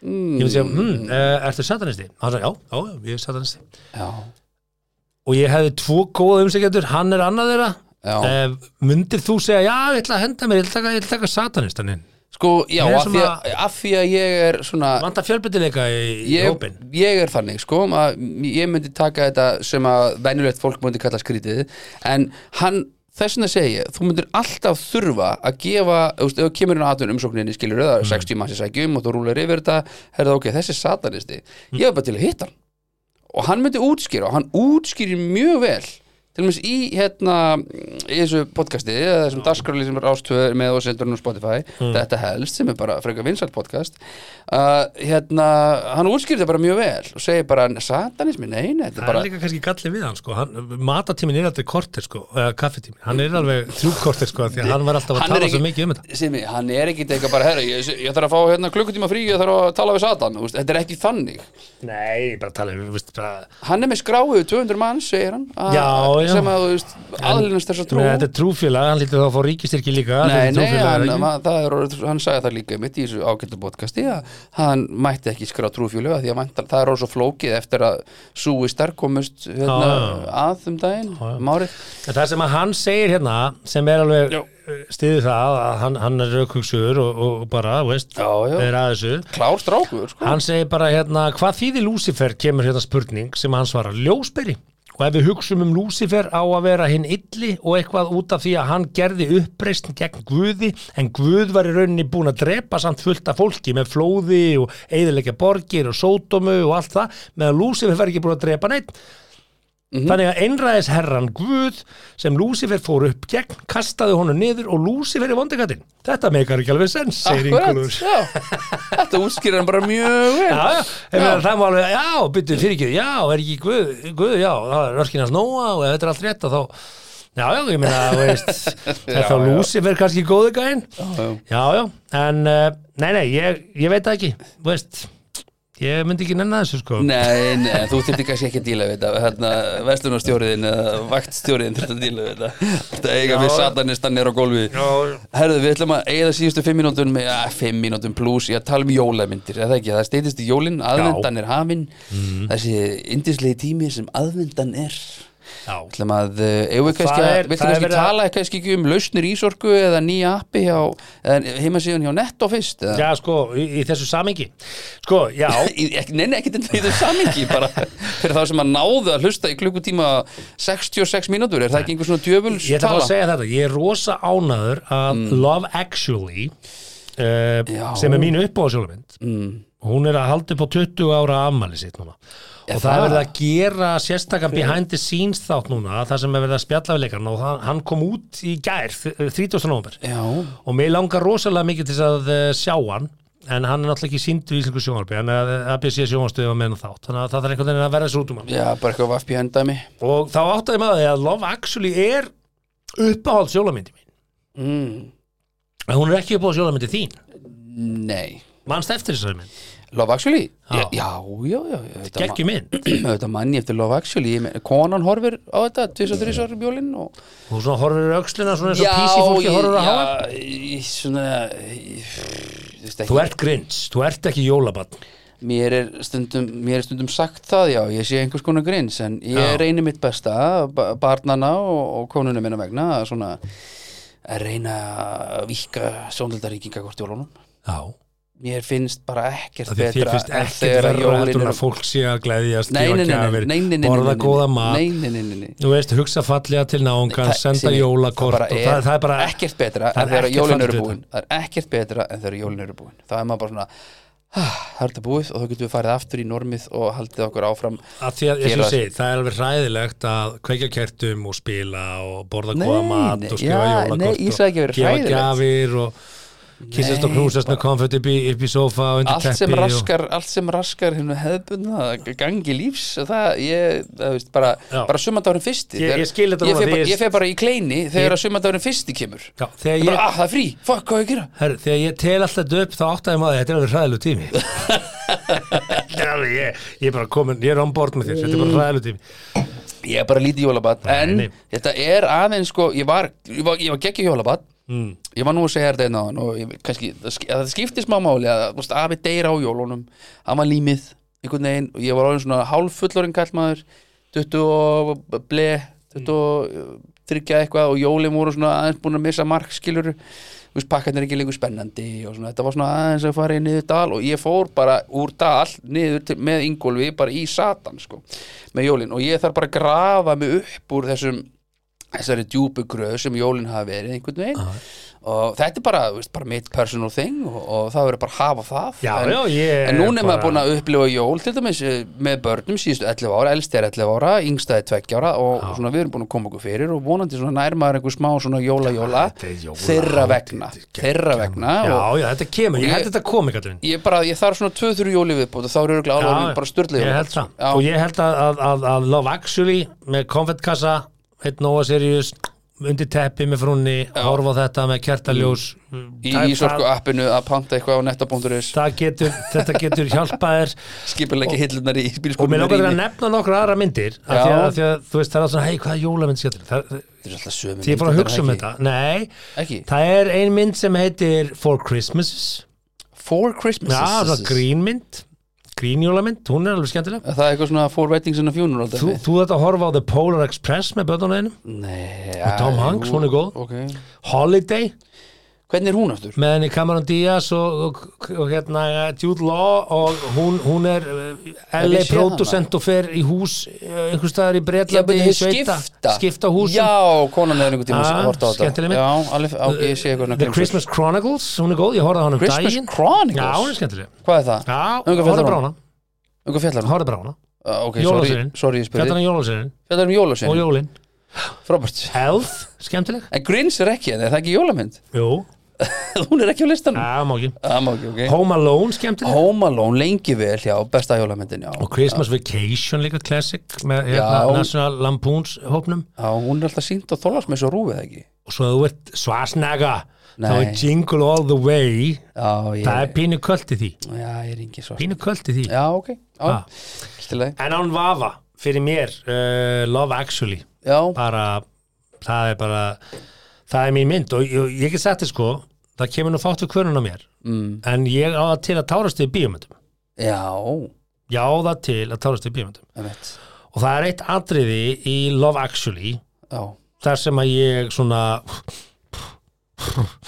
Speaker 3: Mm.
Speaker 4: eh, ég myndi segja, hmm, uh, ertu satanisti? hann sagði, já, já, já, ég er satanisti
Speaker 3: já,
Speaker 4: og ég hefði tvo góða umsækjandur hann er annað þeirra
Speaker 3: Já.
Speaker 4: eh, myndir þú segja, já, ég ætla að henda mér ég ætla að taka, ég ætla að taka satanistaninn
Speaker 3: Sko, já,
Speaker 4: Ég er
Speaker 3: af því, að,
Speaker 4: svona-
Speaker 3: af því að ég er svona
Speaker 4: vanda fjölbyttileika í, í
Speaker 3: ég,
Speaker 4: hópin
Speaker 3: ég er þannig, sko að ég myndi taka þetta sem að venjulegt fólk myndi kalla skrítið en hann, þess vegna segi ég þú myndir alltaf þurfa að gefa þú veist, ef þú kemur inn á atvinnum umsókninni skilur það er 60 manns í sækjum og þú rúlar yfir þetta herða ok, þessi er satanisti ég er bara til að hitta hann og hann myndi útskýra og hann útskýrir mjög vel til og meins í hérna í þessu podcasti, eða þessum dagskráli sem er ástöður með og sendur hún á Spotify
Speaker 4: Hmm.
Speaker 3: þetta helst sem er bara frekar vinsalt podcast uh, hérna, hann útskýrir það bara mjög vel og segir bara, satanismi, nei, nei þetta
Speaker 4: það
Speaker 3: er bara,
Speaker 4: er líka kannski galli við hann, sko hann, matatímin er aldrei kortir, sko, eða kaffitímin hann er alveg þrjú kortir, sko, af því að hann var alltaf að
Speaker 3: Hann er
Speaker 4: tala svo
Speaker 3: ekki-
Speaker 4: mikið um þetta
Speaker 3: Simi, hann er ekki eitthvað bara, herra, ég, ég þarf að fá hérna klukkutíma frí, ég þarf að tala við satan, þú veist, þetta er ekki þannig
Speaker 4: nei, bara tala um, veist, bara
Speaker 3: hann er með skráið 200 manns, segir hann að-
Speaker 4: Já, já.
Speaker 3: sem að, þú veist, aðlinnast þess að trú
Speaker 4: Nei, þetta er trúfélag, hann lítið þá að fá ríkistyrki líka
Speaker 3: Nei,
Speaker 4: þetta
Speaker 3: nei,
Speaker 4: er trúfélag,
Speaker 3: hann,
Speaker 4: ekki?
Speaker 3: ma- það er, orðið- hann sagði það líka mitt í þessu ágættu podcasti að hann mætti ekki skrá trúfjölu því að væntan, það er orðið svo flókið eftir að súistar komust hérna,
Speaker 4: Já,
Speaker 3: að um daginn,
Speaker 4: Ah,
Speaker 3: márið
Speaker 4: En það sem að hann segir hérna sem er alveg
Speaker 3: Já.
Speaker 4: stiðið það að hann, hann er raukvöksur og, og, og bara, þú veist,
Speaker 3: Já, já.
Speaker 4: er að þessu
Speaker 3: klár strákur sko.
Speaker 4: hann segir bara hérna, hvað þýðir Lúsifer kemur hérna spurning sem hann svarar ljósberi og ef við hugsum um Lúsifer á að vera hinn illi og eitthvað út af því að hann gerði uppreisn gegn Guði en Guð var í rauninni búin að drepa samt fullt af fólki með flóði og eðilegja borgir og sódómu og allt það meðan Lúsifer var ekki búin að drepa neitt Þannig að einræðis herran Guð sem Lúsifer fór upp gegn kastaði honum niður og Lúsifer í vondikattinn. Þetta meikar ekki alveg sens, segir
Speaker 3: Akkurat,
Speaker 4: Ingolfur.
Speaker 3: já. þetta útskýrir hann bara mjög vel
Speaker 4: Já, já, ég meina, það má alveg, já, byttu fyrir ekki, já, er ekki Guð, Guð, já, það er örkinans nóa og ef þetta er allt rétt og þá, já, já, ég meina, þú veist, er
Speaker 3: Já,
Speaker 4: þá
Speaker 3: já.
Speaker 4: Lúsifer kannski góðu gæinn?
Speaker 3: já.
Speaker 4: Já, já, en, eh, nei, nei, ég, ég veit það ekki, þú veist, ég myndi ekki nennan þessu,
Speaker 3: Mm.
Speaker 4: sko.
Speaker 3: Nei, nei, þú þurfti kannski ekki að díla við þetta hérna, Vestlunarstjóriðin eða vaktstjóriðin þurfti að díla við þetta Þetta eiga fyrir satanistan er á gólfi
Speaker 4: Já,
Speaker 3: Herðu, við ætlum að eigða síðustu fimm mínútum með, ja, fimm mínútum pluss, ég að tala um jólamyndir eða ekki, það steytist í jólin, aðvendan er hafin
Speaker 4: Mhm.
Speaker 3: þessi indislegi tími sem aðvendan er
Speaker 4: já,
Speaker 3: ætlum að, eh, eigum við kannski
Speaker 4: það
Speaker 3: að
Speaker 4: er-
Speaker 3: viltu
Speaker 4: það er
Speaker 3: kannski
Speaker 4: verið að-
Speaker 3: tala kannski ekki um lausnir ísorku eða nýja appi hjá, eða heimasíðan hjá Netto fyrst, eða?
Speaker 4: já, sko, í, í þessu samingi, sko, já,
Speaker 3: Í- ekki- Nei, nei, ekkert endur í þessu samingi bara fyrir þá sem að náðu að hlusta í klukkutíma 66 mínútur, er það ekki einhver svona djöfuls
Speaker 4: Ég ætla bara
Speaker 3: tala?
Speaker 4: að segja þetta, ég er rosa ánaður að Love Actually uh,
Speaker 3: Já.
Speaker 4: sem er mín uppáðsjólumynd mm. hún er að halda upp á 20 ára afmæli sitt núna og það er
Speaker 3: það?
Speaker 4: verið að gera sérstakann behind the scenes þátt núna það sem er verið að spjalla við leikarn og hann, hann kom út í gær, þ- 30. november
Speaker 3: Já,
Speaker 4: og mér langar rosalega mikið til þess að eh, sjá hann en hann er náttúrulega ekki síndur í Íslingu sjónvarpi hann er að eh, ABC sjónvarstöðu að menna þátt þannig að það þarf einhvern veginn að verða þessu út um hann
Speaker 3: já, bara eitthvað vafpjæn dæmi
Speaker 4: og þá áttaði maður því að Love Actually er uppáhald sjólamyndi mín mm. en hún er ekki uppáhald sjólamyndi þín
Speaker 3: Nei
Speaker 4: mannst eftir þessari mynd,
Speaker 3: Love Actually?
Speaker 4: Já.
Speaker 3: Já, já, já, já auðvitað ma-
Speaker 4: geggjum mynd
Speaker 3: Auðvitað manni eftir Love Actually Ég meina, Konan horfir á þetta,
Speaker 4: Mm.
Speaker 3: tvisar þrísar bjólinn og...
Speaker 4: og svona horfir aukslina svona eins og písi fólki horfir að hafa
Speaker 3: Já, ég, svona ég, þú veist
Speaker 4: þú
Speaker 3: ekki,
Speaker 4: ert grins, þú ert ekki jólabann
Speaker 3: mér, er stundum, mér er stundum sagt það, já, ég sé einhvers konar grins en ég
Speaker 4: Já.
Speaker 3: reyni mitt besta ba- barnana og, og konunum minna vegna að svona að reyna að víka sjónlöldaríkinga hvort jólunum
Speaker 4: já,
Speaker 3: Mér finnst bara ekkert
Speaker 4: það því þér
Speaker 3: betra
Speaker 4: finnst
Speaker 3: en
Speaker 4: ekkert
Speaker 3: þegar
Speaker 4: verður
Speaker 3: jólin
Speaker 4: heldur en
Speaker 3: eru-
Speaker 4: að fólk sé að gleðjast
Speaker 3: Nei,
Speaker 4: gefa
Speaker 3: nei, nei, nei,
Speaker 4: gjafir,
Speaker 3: nei, nei, nei,
Speaker 4: borða
Speaker 3: nei,
Speaker 4: góða mat
Speaker 3: Nei, nei, nei, nei, nei
Speaker 4: þú veist, hugsa fallega til náungan senda
Speaker 3: Simi,
Speaker 4: jólakort
Speaker 3: það,
Speaker 4: og
Speaker 3: bara
Speaker 4: það, það er bara
Speaker 3: ekkert betra
Speaker 4: það
Speaker 3: en
Speaker 4: er
Speaker 3: þegar
Speaker 4: ekkert
Speaker 3: jólin
Speaker 4: falleg
Speaker 3: eru
Speaker 4: við
Speaker 3: búin það er ekkert betra en þegar jólin eru búin það er maður bara svona "Ah, það er þetta búið og þá getum við farið aftur í normið og haldið okkur áfram
Speaker 4: að því að, eins og
Speaker 3: Gera-
Speaker 4: ég segi, það er alveg hræðilegt að kveikja kertum og spila og borða
Speaker 3: Nei,
Speaker 4: góða mat
Speaker 3: nei,
Speaker 4: og skrifa
Speaker 3: já,
Speaker 4: jólakort
Speaker 3: nei, ég
Speaker 4: og
Speaker 3: sagði ekki að vera hræðilegt.
Speaker 4: gjafir og kissast og
Speaker 3: Nei,
Speaker 4: knúsast með konfett upp í, upp í sofa og undir
Speaker 3: allt sem
Speaker 4: teppi og,
Speaker 3: raskar, allt sem raskar hérna hefðbunna, gangi lífs það, ég, það veist, bara,
Speaker 4: Já.
Speaker 3: bara sumandárin fyrsti
Speaker 4: Ég-
Speaker 3: Þegar-
Speaker 4: ég skil
Speaker 3: ég
Speaker 4: þetta núna,
Speaker 3: fer
Speaker 4: því
Speaker 3: bara-
Speaker 4: ég-
Speaker 3: ég fer bara í kleini þegar að sumandárin fyrsti kemur
Speaker 4: já, þegar,
Speaker 3: ég, bara,
Speaker 4: ég,
Speaker 3: ah, það er frí, fuck, hvað á ég að gera
Speaker 4: her, þegar ég tel alltaf þetta upp þá áttaði maður að þetta er alveg hræðilegu tími Þetta er alveg, ég, ég er bara komin, ég er on board með þér þetta er bara hræðilegu tími
Speaker 3: Ég er bara lítið jólabat En
Speaker 4: nei.
Speaker 3: þetta er aðeins sko Ég var, ég var, ég var geggja jólabat
Speaker 4: Mm.
Speaker 3: Ég var nú að segja þetta einn á hann og ég, kannski, það sk- að það skipti smá máli að þú veist, afi deyr á jólunum, hann var límið einhvern veginn og ég var orðin svona hálf fullorinn kallmaður 20 og ble 20 og tryggja eitthvað og jólin voru svona aðeins búin að missa mark skilur þú veist pakkarnir er ekki lengur spennandi og svona þetta var svona aðeins að fara í niður dal og ég fór bara úr dal niður til, með Ingólfi bara í Satan sko með jólin og ég þarf bara að grafa mig upp úr þessum þessari djúpu gröð sem jólin hafa verið einhvern veginn og þetta er bara, þú veist, bara mitt personal thing og, og það verður bara að hafa það
Speaker 4: Já,
Speaker 3: en,
Speaker 4: já, ég
Speaker 3: en núna er maður
Speaker 4: bara-
Speaker 3: búin að upplifa jól til dæmis eh, með börnum síðustu 11 ára, elst er 11 ára, yngsta er 2 ára og svona við erum búin að koma okkur fyrir og vonandi svona nær maður einhver smá svona jóla-jóla
Speaker 4: þetta er jóla-
Speaker 3: þeirra vegna, þeirra vegna
Speaker 4: Já,
Speaker 3: og
Speaker 4: já, þetta kemur, ég
Speaker 3: og
Speaker 4: held
Speaker 3: ég-
Speaker 4: þetta komi kallurinn
Speaker 3: ég bara, ég þarf svona 2-3 jóli viðbútt og þá eru örugglega alveg bara styrlega
Speaker 4: Ég held það,
Speaker 3: sko.
Speaker 4: og ég held að, að, að, að Love Actually með konfettkassa eitt Nóa Sirius, undir teppi með frunni, horfa á þetta með kertaljós
Speaker 3: í,
Speaker 4: Það-
Speaker 3: í sorku appinu að panta eitthvað á netta.is
Speaker 4: það getur, þetta getur hjálpað þér
Speaker 3: skipilegi hillunar í
Speaker 4: og mér langar til að
Speaker 3: bílskóðum
Speaker 4: nefna nokkra aðra myndir af
Speaker 3: Já.
Speaker 4: því að, af því að þú veist það er alltaf svona, hei, hvað er jólamynd skemmtileg Það-
Speaker 3: Þetta er alltaf sömu
Speaker 4: því ég fór að
Speaker 3: myndirnar,
Speaker 4: hugsa um
Speaker 3: ekki?
Speaker 4: þetta, nei
Speaker 3: Ekki?
Speaker 4: það er ein mynd sem heitir For Christmases
Speaker 3: Four Christmases
Speaker 4: já, það er grínmynd grínjólamynd, hún er alveg skemmtileg
Speaker 3: Það er eitthvað svona Four Weddings and a Funeral
Speaker 4: þú,
Speaker 3: dæmi.
Speaker 4: þú þetta horfa á The Polar Express með bötunum
Speaker 3: Nei
Speaker 4: Og Tom
Speaker 3: já,
Speaker 4: Hanks,
Speaker 3: jú,
Speaker 4: hún er góð.
Speaker 3: okay.
Speaker 4: Holiday
Speaker 3: Hvernig er hún aftur?
Speaker 4: með henni Cameron Diaz og, og, og hérna Jude Law og hún, hún er eh,
Speaker 3: ég
Speaker 4: LA
Speaker 3: séð
Speaker 4: producent og fer í hús eh, einhvers staðar í Bretlandi
Speaker 3: Ég-
Speaker 4: sveita,
Speaker 3: skipta
Speaker 4: skipta húsum
Speaker 3: Já, konan er einhvern tíma
Speaker 4: Ah,
Speaker 3: að horta á þetta
Speaker 4: skemmtileg mynd.
Speaker 3: Já, alveg, á, ég sé eitthvað
Speaker 4: The Christmas Chronicles, hún er góð, ég horfði á hann um
Speaker 3: Christmas
Speaker 4: daginn
Speaker 3: Chronicles?
Speaker 4: Já, hún er skemmtileg
Speaker 3: Hvað er það?
Speaker 4: Já,
Speaker 3: Um hvað
Speaker 4: horfði
Speaker 3: fjallar
Speaker 4: bara á
Speaker 3: hún?
Speaker 4: hana
Speaker 3: Um hvað fjallar hún?
Speaker 4: Horfði bara á hana
Speaker 3: Ah, Ok, sorry,
Speaker 4: Jólasveinninn.
Speaker 3: sorry, ég
Speaker 4: Fjallar
Speaker 3: spurði
Speaker 4: hann jólasinn
Speaker 3: Fjallar um
Speaker 4: og
Speaker 3: jólasvein
Speaker 4: jólin
Speaker 3: Frábært
Speaker 4: Health, skemmtileg
Speaker 3: En Grins er ekki, en er það ekki jólamynd?
Speaker 4: Jú,
Speaker 3: hún er ekki á listanum
Speaker 4: já, má ekki
Speaker 3: Það má ekki, ok
Speaker 4: Home Alone, skemmtileg
Speaker 3: Home Alone lengi vel, já, besta jólamyndin, já
Speaker 4: Og Christmas Vacation líka classic með
Speaker 3: Já.
Speaker 4: hérna, National Lampoons hópnum
Speaker 3: Já, hún er alltaf sínt á þólasmess og rúfið ekki
Speaker 4: og svo að þú ert svasnega þá
Speaker 3: Nei.
Speaker 4: er Jingle All The Way
Speaker 3: Já, ég,
Speaker 4: það er pínu kvöld í því
Speaker 3: já, ég er ingi svo
Speaker 4: pínu kvöld í því
Speaker 3: Já, ok, já,
Speaker 4: Ah.
Speaker 3: allt í lagi
Speaker 4: en án vafa fyrir mér uh, Love Actually
Speaker 3: Já,
Speaker 4: bara, það er bara það er mín mynd og ég, ég get sagt þér sko það kemur nú fátt við kvörun á mér mm. en ég á það til að tárast við bíómyndum
Speaker 3: já,
Speaker 4: ég á það til að tárast við bíómyndum
Speaker 3: emitt
Speaker 4: og það er eitt atriði í Love Actually
Speaker 3: Já,
Speaker 4: þar sem að ég svona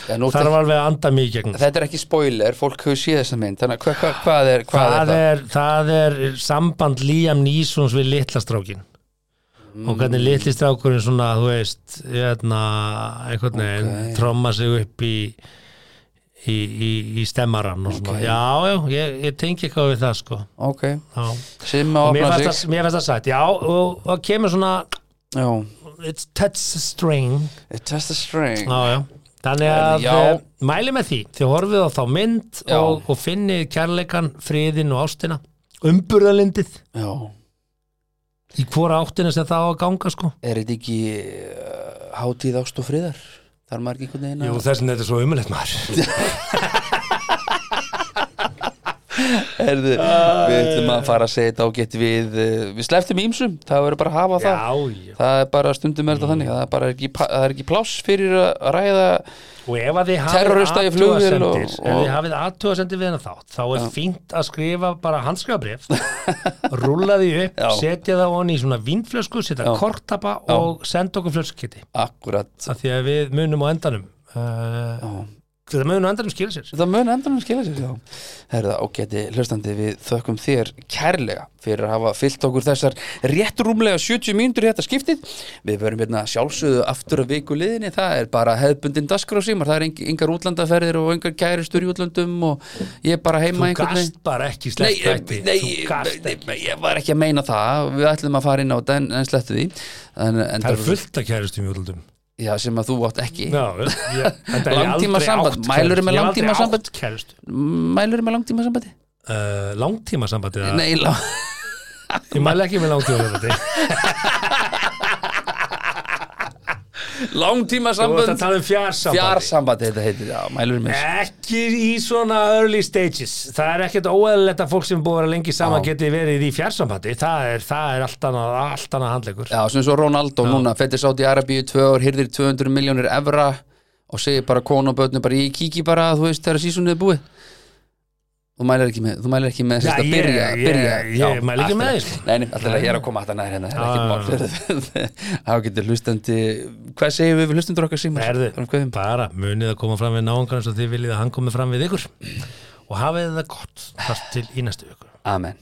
Speaker 3: já nú,
Speaker 4: þar var alveg að anda mig í gegnum
Speaker 3: þetta er ekki spoiler, fólk hefur séð þessa mynd Þannig, að hva, hva, hvað er, hvað
Speaker 4: það
Speaker 3: er það?
Speaker 4: er, það er samband Liam Neesons við litla strákin
Speaker 3: Mm.
Speaker 4: og hvernig litli strákurinn svona, þú veist hérna, einhvern veginn
Speaker 3: Ok.
Speaker 4: tromma sig upp í í, í, í stemmaran og svona,
Speaker 3: Ok.
Speaker 4: já, já, ég, ég tengi eitthvað við það sko,
Speaker 3: Ok,
Speaker 4: já
Speaker 3: sem að
Speaker 4: og mér
Speaker 3: opna
Speaker 4: fannst
Speaker 3: sig
Speaker 4: það- mér fannst það sætt, já, og það kemur svona
Speaker 3: Já,
Speaker 4: it's touch the string
Speaker 3: it has the string
Speaker 4: já, já Þannig að
Speaker 3: Já.
Speaker 4: eh, mæli með því, þið horfið á þá mynd
Speaker 3: Já.
Speaker 4: og, og finnið kærleikan, friðin og ástina, umburðalindið
Speaker 3: Já,
Speaker 4: í hvora áttina sem það á að ganga sko
Speaker 3: er þetta ekki uh, hátíð ást og friðar? Þar maður ekki einhvern veginn að
Speaker 4: þessin þetta er svo umulegt maður
Speaker 3: Herðu, Við ætlum að fara að segja þetta á get við eh, Við sleftum ímsum, það verður bara að hafa það
Speaker 4: Já, Mm. já.
Speaker 3: Það er bara stundum er þetta þannig Það er bara ekki, pa- það er ekki pláss fyrir að ræða
Speaker 4: og ef að þið
Speaker 3: Terrorista í
Speaker 4: hafið
Speaker 3: flugvél
Speaker 4: athugasendir
Speaker 3: og-
Speaker 4: ef
Speaker 3: og-
Speaker 4: þið hafið athugasendir við hennar þátt þá er fínt að skrifa bara handskrifabrif rúlla því upp,
Speaker 3: Já.
Speaker 4: setja það onni í svona vínflösku, setja kortapa og senda okkur flöskukitti
Speaker 3: akkurat
Speaker 4: af því að við munum á endanum uh, það munum á endanum skilja sér
Speaker 3: Það mun endanum skilja sér já. Herða, ágæti hlustandi, við þökkum þér kærlega fyrir að hafa fyllt okkur þessar rétt rúmlega 70 mínútur í þetta skiptið. Við verum hérna sjálfsögðu aftur að viku liðinni, það er bara hefðbundin dasgrásímar, það er eng- engar útlandaferðir og engar kæristur í útlandum og ég er bara heima
Speaker 4: þú
Speaker 3: einhvern veginn.
Speaker 4: gast bara ekki
Speaker 3: Nei, nei,
Speaker 4: sleppt þætti
Speaker 3: nei, eh,
Speaker 4: þú gast
Speaker 3: nei,
Speaker 4: ekki
Speaker 3: nei, ég var ekki að meina það við ætlum að fara inn á þetta en, en slettu því en, en
Speaker 4: það er fullt að kæristum í útlöndum
Speaker 3: já, sem að þú átt ekki
Speaker 4: Já, ég, enda hef ég
Speaker 3: Langtíma
Speaker 4: aldrei
Speaker 3: samband.
Speaker 4: átt
Speaker 3: Mælirðu með
Speaker 4: kærustu. Ég hef
Speaker 3: langtíma
Speaker 4: aldrei
Speaker 3: samband?
Speaker 4: átt kærustu.
Speaker 3: mælur með langtíma sambandi?
Speaker 4: uh, Langtíma sambandi eða?
Speaker 3: Nei, lá,
Speaker 4: Ég mæli ekki með langtíma sambandi
Speaker 3: langtíma
Speaker 4: Þú ert að
Speaker 3: samband
Speaker 4: tala um fjarsambandi
Speaker 3: fjarsambandi þetta heitir, já, mælur með
Speaker 4: Ekki í svona early stages Það er ekkert óeðlilegt að fólk sem er búið að vera lengi saman
Speaker 3: Já.
Speaker 4: geti verið í fjarsambandi Það er, það er allt annað, allt annað handleikur
Speaker 3: já, sem svo Ronaldo núna, fætti sátt í Arabíu tvö ár, hyrðir 200 miljónir evra og segir bara konu og börnum bara, ég kíki bara, þú veist, þegar sísunni er búið Þú mælir ekki með, þú mælir ekki með
Speaker 4: Já,
Speaker 3: sérst að
Speaker 4: ég-
Speaker 3: byrja,
Speaker 4: ég-
Speaker 3: byrja
Speaker 4: ég mæli ekki með Ah. því, sko.
Speaker 3: Nei, nei, alltaf ég er að koma að það nær hérna, það er ekki mál Þá getur hlustandi, hvað segjum við við hlustandur okkar símur?
Speaker 4: Erðu,
Speaker 3: Hvað
Speaker 4: bara munið að koma fram við náungan eins og þið viljið að hann komi fram við ykkur og hafið það gott þar til í næstu ykkur
Speaker 3: Amen